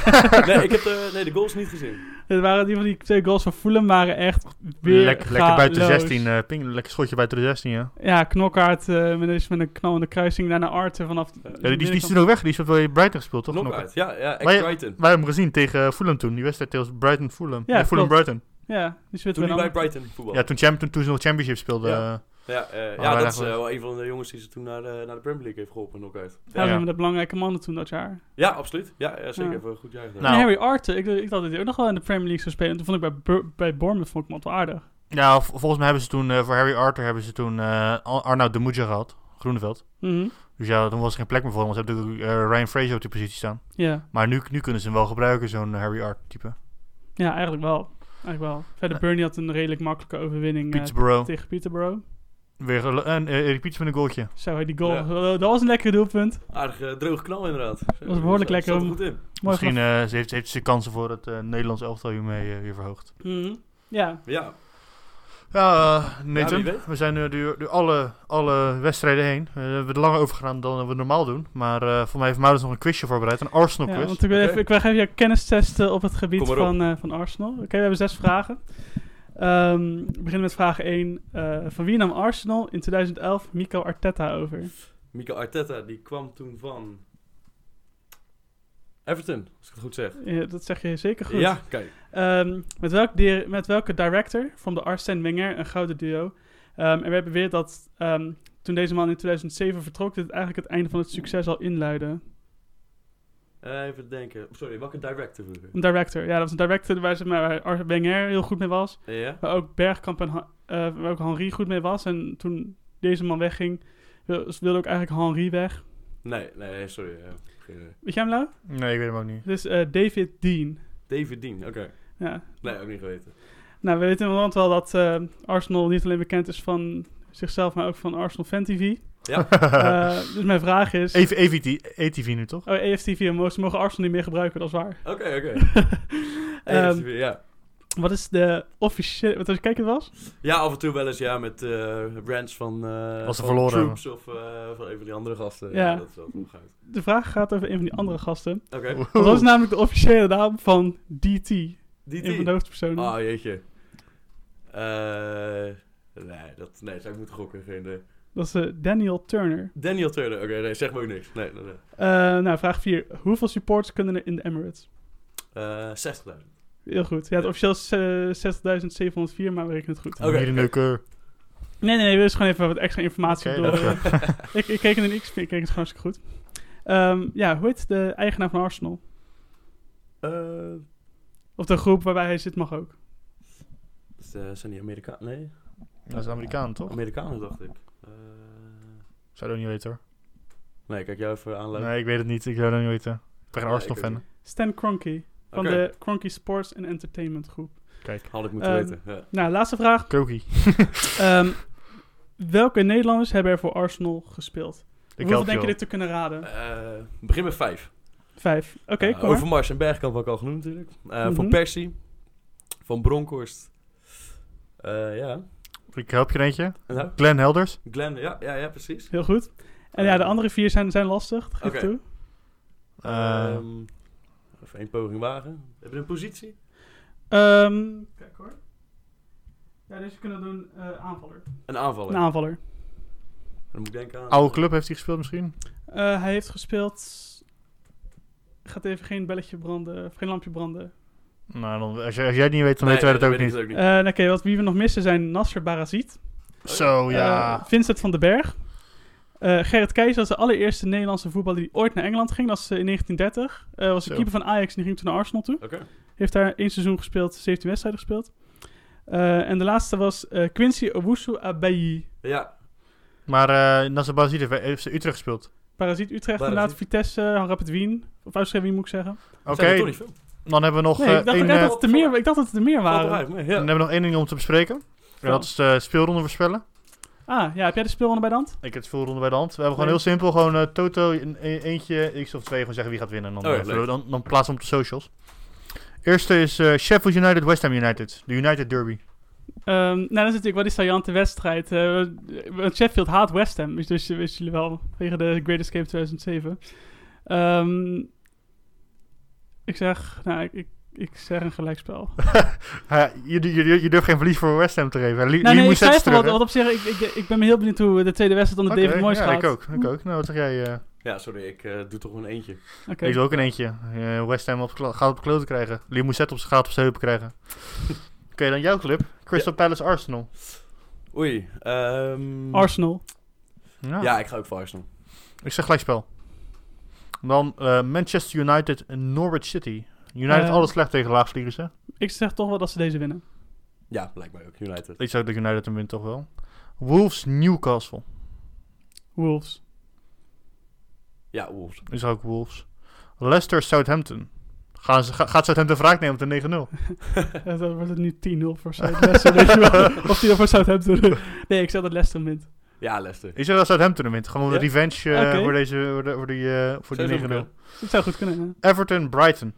Speaker 2: nee, ik heb de, nee, de goals niet gezien.
Speaker 1: Het waren in ieder geval die twee goals van Fulham waren echt weer
Speaker 3: Lek- lekker buiten de
Speaker 1: gaatloos.
Speaker 3: 16. eh, ping, lekker schotje buiten de 16, ja.
Speaker 1: Ja, knokkaart eh met, deze- met een knal in de kruising. Daarna Arthur vanaf... de
Speaker 3: ja die, die is
Speaker 1: binnenkant.
Speaker 3: toen ook weg. Die is bij Brighton gespeeld, toch? Knock-out.
Speaker 2: Knockout. Ja, ja,
Speaker 3: Maar
Speaker 2: ex
Speaker 3: je-
Speaker 2: Brighton.
Speaker 3: Wij hebben hem gezien tegen Fulham toen. Die wedstrijd tegen Brighton-Fulham.
Speaker 1: Ja,
Speaker 3: Ja, Fulham-Brighton.
Speaker 1: Ja, die zit
Speaker 2: Toen
Speaker 1: weer
Speaker 2: hij bij
Speaker 1: aan.
Speaker 2: Brighton voetbal.
Speaker 3: Ja, toen, champ, toen, toen ze nog Championship speelden.
Speaker 2: Ja.
Speaker 3: eh,
Speaker 2: Ja, eh,
Speaker 3: Maar
Speaker 2: ja
Speaker 3: wij
Speaker 2: dat is
Speaker 3: dachten-
Speaker 2: eh, wel een van de jongens die ze toen naar de, naar de Premier League heeft geholpen, knock-out.
Speaker 1: Ja,
Speaker 2: Ja,
Speaker 1: we
Speaker 3: Ja.
Speaker 1: hebben de belangrijke mannen toen dat jaar.
Speaker 2: ja, absoluut. Ja, ja, zeker.
Speaker 1: Ja.
Speaker 2: Even een goed jaar gedaan.
Speaker 3: Nou.
Speaker 1: En Harry Arthur, ik, ik dacht dat hij ook nog wel in de Premier League zou spelen. En toen vond ik bij, Bur- bij Bournemouth vond ik hem wel aardig.
Speaker 3: ja, vol- volgens mij hebben ze toen eh, voor Harry Arthur hebben ze toen eh, Ar- Arnoud de Moedja gehad. Groeneveld.
Speaker 1: Mhm.
Speaker 3: Dus ja, toen was er geen plek meer voor hem. Want ze hebben natuurlijk eh, Ryan Fraser op die positie staan.
Speaker 1: Ja.
Speaker 3: Maar nu, nu kunnen ze hem wel gebruiken, zo'n Harry Arthur type.
Speaker 1: ja, eigenlijk wel. Eigenlijk wel. Verder,
Speaker 3: Ja.
Speaker 1: Burnley had een redelijk makkelijke overwinning eh,
Speaker 3: Peterborough.
Speaker 1: tegen Peterborough.
Speaker 3: Weer gelo- en eh, Erik Pieters met een goaltje.
Speaker 1: Zo, hij die goal.
Speaker 2: Ja.
Speaker 1: eh, dat was een lekker doelpunt.
Speaker 2: Aardig eh, droog knal inderdaad. Dat
Speaker 1: was behoorlijk lekker
Speaker 2: Zat er
Speaker 1: om-
Speaker 2: goed in.
Speaker 1: Mooi
Speaker 3: Misschien eh, ze heeft, heeft ze kansen voor het eh, Nederlands elftal hiermee eh, weer verhoogd.
Speaker 1: gedaan. Mhm. Ja,
Speaker 2: Ja,
Speaker 3: Ja, eh Nathan,
Speaker 2: Ja, wie weet.
Speaker 3: we zijn nu door, door alle, alle wedstrijden heen. Eh, we hebben er langer over gedaan dan we normaal doen. Maar eh, voor mij heeft Maurits nog een quizje voorbereid, een Arsenal
Speaker 1: Ja,
Speaker 3: quiz.
Speaker 1: want ik, wil
Speaker 2: Oké.
Speaker 1: even, ik wil even jouw kennis testen op het gebied
Speaker 2: Kom maar op.
Speaker 1: van, eh, van Arsenal. Oké, we hebben zes vragen. Ehm, we beginnen met vraag 1. van wie nam Arsenal in 2011 Mikel Arteta over?
Speaker 2: Mikel Arteta die kwam toen van Everton, als ik het goed zeg.
Speaker 1: Ja, dat zeg je zeker goed.
Speaker 2: Ja, kijk.
Speaker 1: Ehm, met, welk di- met welke director van de Arsène Wenger een gouden duo? Ehm, en we hebben weer dat ehm, toen deze man in 2007 vertrok, dit eigenlijk het einde van het succes al inluidde.
Speaker 2: Eh, even denken. Sorry, welke director vroeger?
Speaker 1: Een director, ja, dat was een director waar, zeg maar, waar Ar- Wenger heel goed mee was.
Speaker 2: Ja?
Speaker 1: Waar ook Bergkamp en Ha- eh, waar ook Henri goed mee was. En toen deze man wegging, wil- ze wilde ook eigenlijk Henri weg.
Speaker 2: Nee, nee, sorry. eh, geen, eh,
Speaker 1: Weet jij hem nou?
Speaker 3: Nee, ik weet hem ook niet.
Speaker 1: Dus eh, David Dean.
Speaker 2: David Dean, oké.
Speaker 1: Ja.
Speaker 2: Nee, ook niet geweten.
Speaker 1: Nou, we weten inderdaad wel dat eh, Arsenal niet alleen bekend is van zichzelf, maar ook van Arsenal Fan TV.
Speaker 2: Ja.
Speaker 1: Eh, dus mijn vraag is...
Speaker 3: Even EVT, ETV nu toch?
Speaker 1: Oh, EFTV en Mo- ze mogen Arsenal niet meer gebruiken, dat is waar.
Speaker 2: Oké, oké.
Speaker 1: Ehm,
Speaker 2: AFTV, Ja.
Speaker 1: wat is de officiële... Wat als je kijken was?
Speaker 2: ja, af en toe wel eens ja, met eh brands van, eh
Speaker 3: Als ze
Speaker 2: van
Speaker 3: verloren
Speaker 2: Troops of eh, van een van die andere gasten. Ja.
Speaker 1: Ja.
Speaker 2: dat is wel goed. Oké.
Speaker 1: De vraag gaat over een van die andere gasten. Want dat is namelijk de officiële naam van DT.
Speaker 2: Die
Speaker 1: Een van de
Speaker 2: die.
Speaker 1: hoofdpersonen.
Speaker 2: Ah, jeetje. Eh nee, dat, nee, zou ik moeten gokken. Geen idee.
Speaker 1: Dat is eh, Daniel Turner.
Speaker 2: Daniel Turner. Oké, nee, zeg maar ook niks. Nee, nee, nee.
Speaker 1: Eh, nou, vraag 4. Hoeveel supporters kunnen er in de Emirates?
Speaker 2: Eh 60.000.
Speaker 1: Heel goed. Ja, het officieel is eh, 60.704, maar we rekenen het goed.
Speaker 2: Oké.
Speaker 3: Hier in de keur.
Speaker 1: Nee, nee, nee. We is gewoon even wat extra informatie
Speaker 3: Oké,
Speaker 1: door.
Speaker 3: dat is
Speaker 1: eh, ik, ik keek in een x ik keek het gewoon hartstikke goed. Ehm, ja, hoe heet de eigenaar van Arsenal?
Speaker 2: Eh,
Speaker 1: Of de groep waarbij hij zit mag ook.
Speaker 2: is- eh, zijn die Amerikanen? Nee,
Speaker 3: Dat is Amerikaan, toch?
Speaker 2: Amerikanen dacht ik. Eh,
Speaker 3: Zou dat niet weten hoor.
Speaker 2: nee, kijk jou even aanleiden.
Speaker 3: Nee, ik weet het niet. Ik zou dat niet weten. Ik ben geen
Speaker 2: Nee,
Speaker 3: Arsenal fan.
Speaker 2: ik
Speaker 1: Stan Kroenke van
Speaker 2: Oké.
Speaker 1: de Kroenke Sports and Entertainment Groep.
Speaker 3: Kijk.
Speaker 2: Had ik moeten
Speaker 1: Ehm,
Speaker 2: weten. Ja.
Speaker 1: Nou, laatste vraag.
Speaker 3: Kroki.
Speaker 1: Ehm, welke Nederlanders hebben er voor Arsenal gespeeld?
Speaker 3: Ik
Speaker 1: Hoeveel
Speaker 3: help
Speaker 1: denk je
Speaker 3: je
Speaker 1: dit te kunnen raden?
Speaker 2: Eh, begin met vijf.
Speaker 1: Vijf. Oké,
Speaker 2: Eh,
Speaker 1: kom maar.
Speaker 2: Overmars en Bergkamp had ik al genoemd natuurlijk. Eh, Van
Speaker 1: Mhm.
Speaker 2: Persie. Van Bronkhorst. Eh, ja.
Speaker 3: wel. Ik help je er eentje.
Speaker 2: En nou,
Speaker 3: Glenn Helders.
Speaker 2: Glenn, ja, ja, ja precies.
Speaker 1: Heel goed. En ja, de andere vier zijn, zijn lastig, dat geef ik
Speaker 2: Oké.
Speaker 1: toe.
Speaker 3: Eh,
Speaker 2: Ehm, even één poging wagen. Hebben we een positie?
Speaker 1: Ehm, Kijk hoor. Ja, deze kunnen we doen eh, aanvaller.
Speaker 2: Een aanvaller.
Speaker 1: Een aanvaller.
Speaker 2: Dan moet ik denken aan...
Speaker 3: Nou, oude club heeft hij gespeeld misschien?
Speaker 1: Eh, hij heeft gespeeld... Gaat even geen belletje branden, of geen lampje branden.
Speaker 3: Nou, dan, als, jij- als jij het niet weet, dan
Speaker 2: Nee,
Speaker 3: weten wij dat
Speaker 2: dan
Speaker 3: ook
Speaker 2: weet
Speaker 3: niet.
Speaker 2: ik dus
Speaker 1: Eh, nou, Oké, wat wie we nog missen zijn Nasser Barazit.
Speaker 3: Zo, ja.
Speaker 1: eh, Vincent van den Berg. eh, Gerrit Keijs was de allereerste Nederlandse voetballer die ooit naar Engeland ging. Dat is eh, in 1930. Eh, was de
Speaker 3: Zo.
Speaker 1: keeper van Ajax en die ging toen naar Arsenal toe.
Speaker 3: Eh.
Speaker 2: Oké.
Speaker 1: Heeft daar één seizoen gespeeld, 17 wedstrijden gespeeld. Eh, en de laatste was eh, Quincy Owusu Abayi.
Speaker 2: Ja.
Speaker 3: maar eh Nasser Bazir heeft- heeft ze Utrecht gespeeld.
Speaker 1: Parasiet Utrecht,
Speaker 2: Parasiet.
Speaker 1: inderdaad. Vitesse, eh, Rapid Wien. Of Uitschrijven Wien moet ik zeggen.
Speaker 3: Oké,
Speaker 2: Zijn er toch niet veel?
Speaker 3: dan hebben we nog
Speaker 1: Nee,
Speaker 3: eh,
Speaker 1: ik dacht,
Speaker 3: één,
Speaker 1: inderdaad
Speaker 3: eh,
Speaker 1: dat het er meer, ik dacht dat het er meer
Speaker 2: Valt
Speaker 1: waren.
Speaker 2: eruit, maar
Speaker 3: dan
Speaker 2: ja.
Speaker 3: hebben we nog één ding om te bespreken. En dat is de speelronde voorspellen.
Speaker 1: Ah, ja, heb jij de speelronde bij de hand?
Speaker 3: Ik heb het speelronde bij de hand. We hebben gewoon
Speaker 1: Nee.
Speaker 3: heel simpel gewoon eh, Toto, een- e- eentje, x of twee, gewoon zeggen wie gaat winnen. En dan,
Speaker 2: Oh ja,
Speaker 3: eh,
Speaker 2: leuk.
Speaker 3: zullen we dan, dan plaatsen we hem op de socials. Eerste is eh, Sheffield United, West Ham United. De United Derby.
Speaker 1: Ehm, nou, dat is natuurlijk wel die saillante wedstrijd. Eh, want Sheffield haat West Ham. Dus, dus wisten jullie wel, tegen de Great Escape 2007. Ehm, ik zeg, nou, ik, ik, ik zeg een gelijkspel.
Speaker 3: Ha, je, du- je, du- je durft geen verlies voor West Ham te geven. Li-
Speaker 1: nou,
Speaker 3: Lee
Speaker 1: nee, ik
Speaker 3: moest
Speaker 1: zei
Speaker 3: zetten
Speaker 1: het
Speaker 3: terug,
Speaker 1: wel, want
Speaker 3: hè?
Speaker 1: op zich, ik, ik, ik ben heel benieuwd hoe de tweede wedstrijd onder David
Speaker 3: Oké,
Speaker 1: Moyes
Speaker 3: ja,
Speaker 1: gaat.
Speaker 3: ik ook, ik ook. Nou, wat zeg jij? eh?
Speaker 2: Ja, sorry, ik eh, doe toch gewoon eentje.
Speaker 1: Oké.
Speaker 3: Ik doe ook een eentje. Eh, West Ham op, kla- gaat op kloten krijgen. Lee moest zetten op zijn gaat op zijn heupen krijgen. Oké, dan jouw club. Crystal Palace Arsenal.
Speaker 2: Oei. ehm,
Speaker 1: Arsenal.
Speaker 3: Ja.
Speaker 2: Ja, ik ga ook voor Arsenal.
Speaker 3: Ik zeg gelijkspel. Dan eh, Manchester United en Norwich City. United
Speaker 1: Eh.
Speaker 3: alles slecht tegen laagvliegers, hè?
Speaker 1: Ik zeg toch wel dat ze deze winnen.
Speaker 2: Ja, blijkbaar ook. United.
Speaker 3: Ik zou dat United hem wint toch wel. Wolves Newcastle.
Speaker 1: Wolves.
Speaker 2: Ja, Wolves.
Speaker 3: Ik zou ook Wolves. Leicester Southampton. Gaan ze, ga- gaat Southampton wraak nemen op de 9-0?
Speaker 1: Ja, Eh, dan wordt het nu 10-0 voor Southampton. weet je wel. of 10 voor Southampton. nee, ik zeg dat Leicester wint.
Speaker 2: Ja, Leicester.
Speaker 3: Ik zou dat Southampton hem wint. Gewoon
Speaker 2: Ja?
Speaker 3: revenge eh,
Speaker 1: Oké.
Speaker 3: voor, deze, voor, de- voor die, eh, voor
Speaker 2: Zou
Speaker 3: die
Speaker 2: zo
Speaker 3: 9-0.
Speaker 2: kunnen.
Speaker 1: Dat zou goed kunnen. hè.
Speaker 3: Everton Brighton.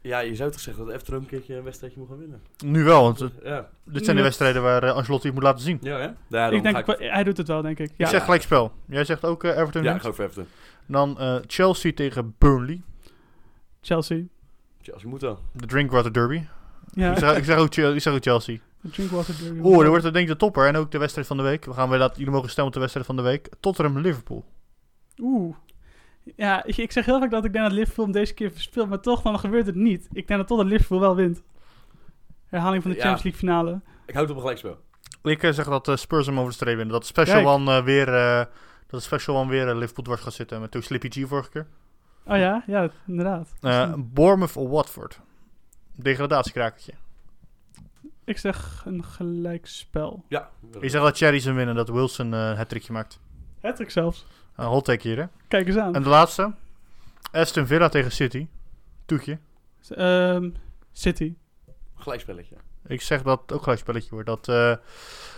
Speaker 2: Ja, je zou toch zeggen dat Everton ook een keertje een wedstrijdje moet gaan winnen.
Speaker 3: Nu wel, want het-
Speaker 2: Ja,
Speaker 3: dit zijn de
Speaker 1: Ja.
Speaker 3: wedstrijden waar eh, Ancelotti het moet laten zien.
Speaker 2: ja hè? Ja, daarom
Speaker 1: Ik denk,
Speaker 2: ga ik...
Speaker 1: wel- hij doet het wel, denk ik. Ja.
Speaker 3: Ik zeg gelijkspel. Jij zegt ook eh, Everton
Speaker 2: Ja,
Speaker 3: wint.
Speaker 2: ik ga ook voor Everton.
Speaker 3: Dan eh, Chelsea tegen Burnley.
Speaker 1: Chelsea.
Speaker 2: Ja, als je moet dan.
Speaker 3: De Drinkwater Derby.
Speaker 1: Ja.
Speaker 3: Ik, zeg, ik, zeg ook, Chel- ik zeg ook Chelsea.
Speaker 1: Drinkwater Derby.
Speaker 3: Oeh, dan wordt het denk ik de topper. En ook de wedstrijd van de week. We gaan weer laten, jullie mogen stemmen op de wedstrijd van de week. Tottenham Liverpool.
Speaker 1: Oeh. Ja, ik, ik zeg heel vaak dat ik denk dat Liverpool hem deze keer verspeelt, maar toch, dan gebeurt het niet. Ik denk dat toch dat Liverpool wel wint. Herhaling van de
Speaker 2: Ja.
Speaker 1: Champions League finale.
Speaker 2: Ik houd op een gelijkspel.
Speaker 3: Ik eh, zeg dat eh, Spurs hem over de streep winnen. Dat Special
Speaker 1: Kijk.
Speaker 3: One eh, weer, eh, dat de Special One weer eh, Liverpool dwars gaat zitten. Met ook Slippy G vorige keer.
Speaker 1: Oh ja, ja, dat- inderdaad.
Speaker 3: Eh Bournemouth of Watford. Degradatiekrakertje.
Speaker 1: Ik zeg een gelijkspel.
Speaker 2: Ja.
Speaker 3: Ik zeg dat Cherries hem winnen. Dat Wilson eh het trickje maakt.
Speaker 1: Hattrick zelfs.
Speaker 3: Een hot take hier hè.
Speaker 1: Kijk eens aan.
Speaker 3: En de laatste. Aston Villa tegen City. Toetje.
Speaker 1: Ehm, City.
Speaker 5: Gelijkspelletje.
Speaker 3: Ik zeg dat het ook gelijk spelletje wordt. Dat, eh,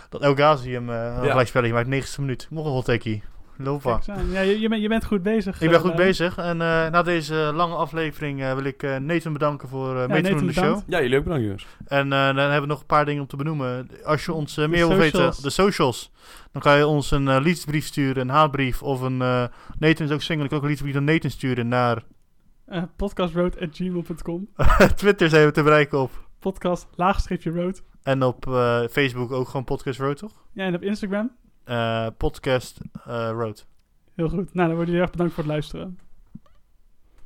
Speaker 3: dat El Ghazi hem eh, een
Speaker 5: Ja.
Speaker 3: gelijk spelletje maakt. 90 minuut. Nog een voltekkie. Lopa.
Speaker 1: Kijk eens aan. Ja, je, je, bent, je bent goed bezig.
Speaker 3: Ik ben
Speaker 1: eh,
Speaker 3: goed
Speaker 1: eh,
Speaker 3: bezig. En eh, na deze lange aflevering eh, wil ik eh Nathan bedanken voor eh mee te
Speaker 1: Nathan,
Speaker 3: doen in de show.
Speaker 1: bedankt.
Speaker 2: Ja, jullie ook bedankt, jongens.
Speaker 3: En eh, dan hebben we nog een paar dingen om te benoemen. Als je ons eh,
Speaker 1: De
Speaker 3: meer wil weten,
Speaker 1: socials.
Speaker 3: de socials, dan kan je ons een eh, liefdesbrief sturen, een haatbrief of een... eh Nathan is ook single, ik kan ook een liefdesbrief aan Nathan sturen naar
Speaker 1: eh, podcastroad.gmail.com.
Speaker 3: Twitter zijn we te bereiken op.
Speaker 1: Podcast, laagstreepje road.
Speaker 3: En op eh, Facebook ook gewoon Podcast Road, toch?
Speaker 1: Ja, en op Instagram.
Speaker 3: Eh, podcast eh, Road.
Speaker 1: Heel goed. Nou, dan worden jullie erg bedankt voor het luisteren.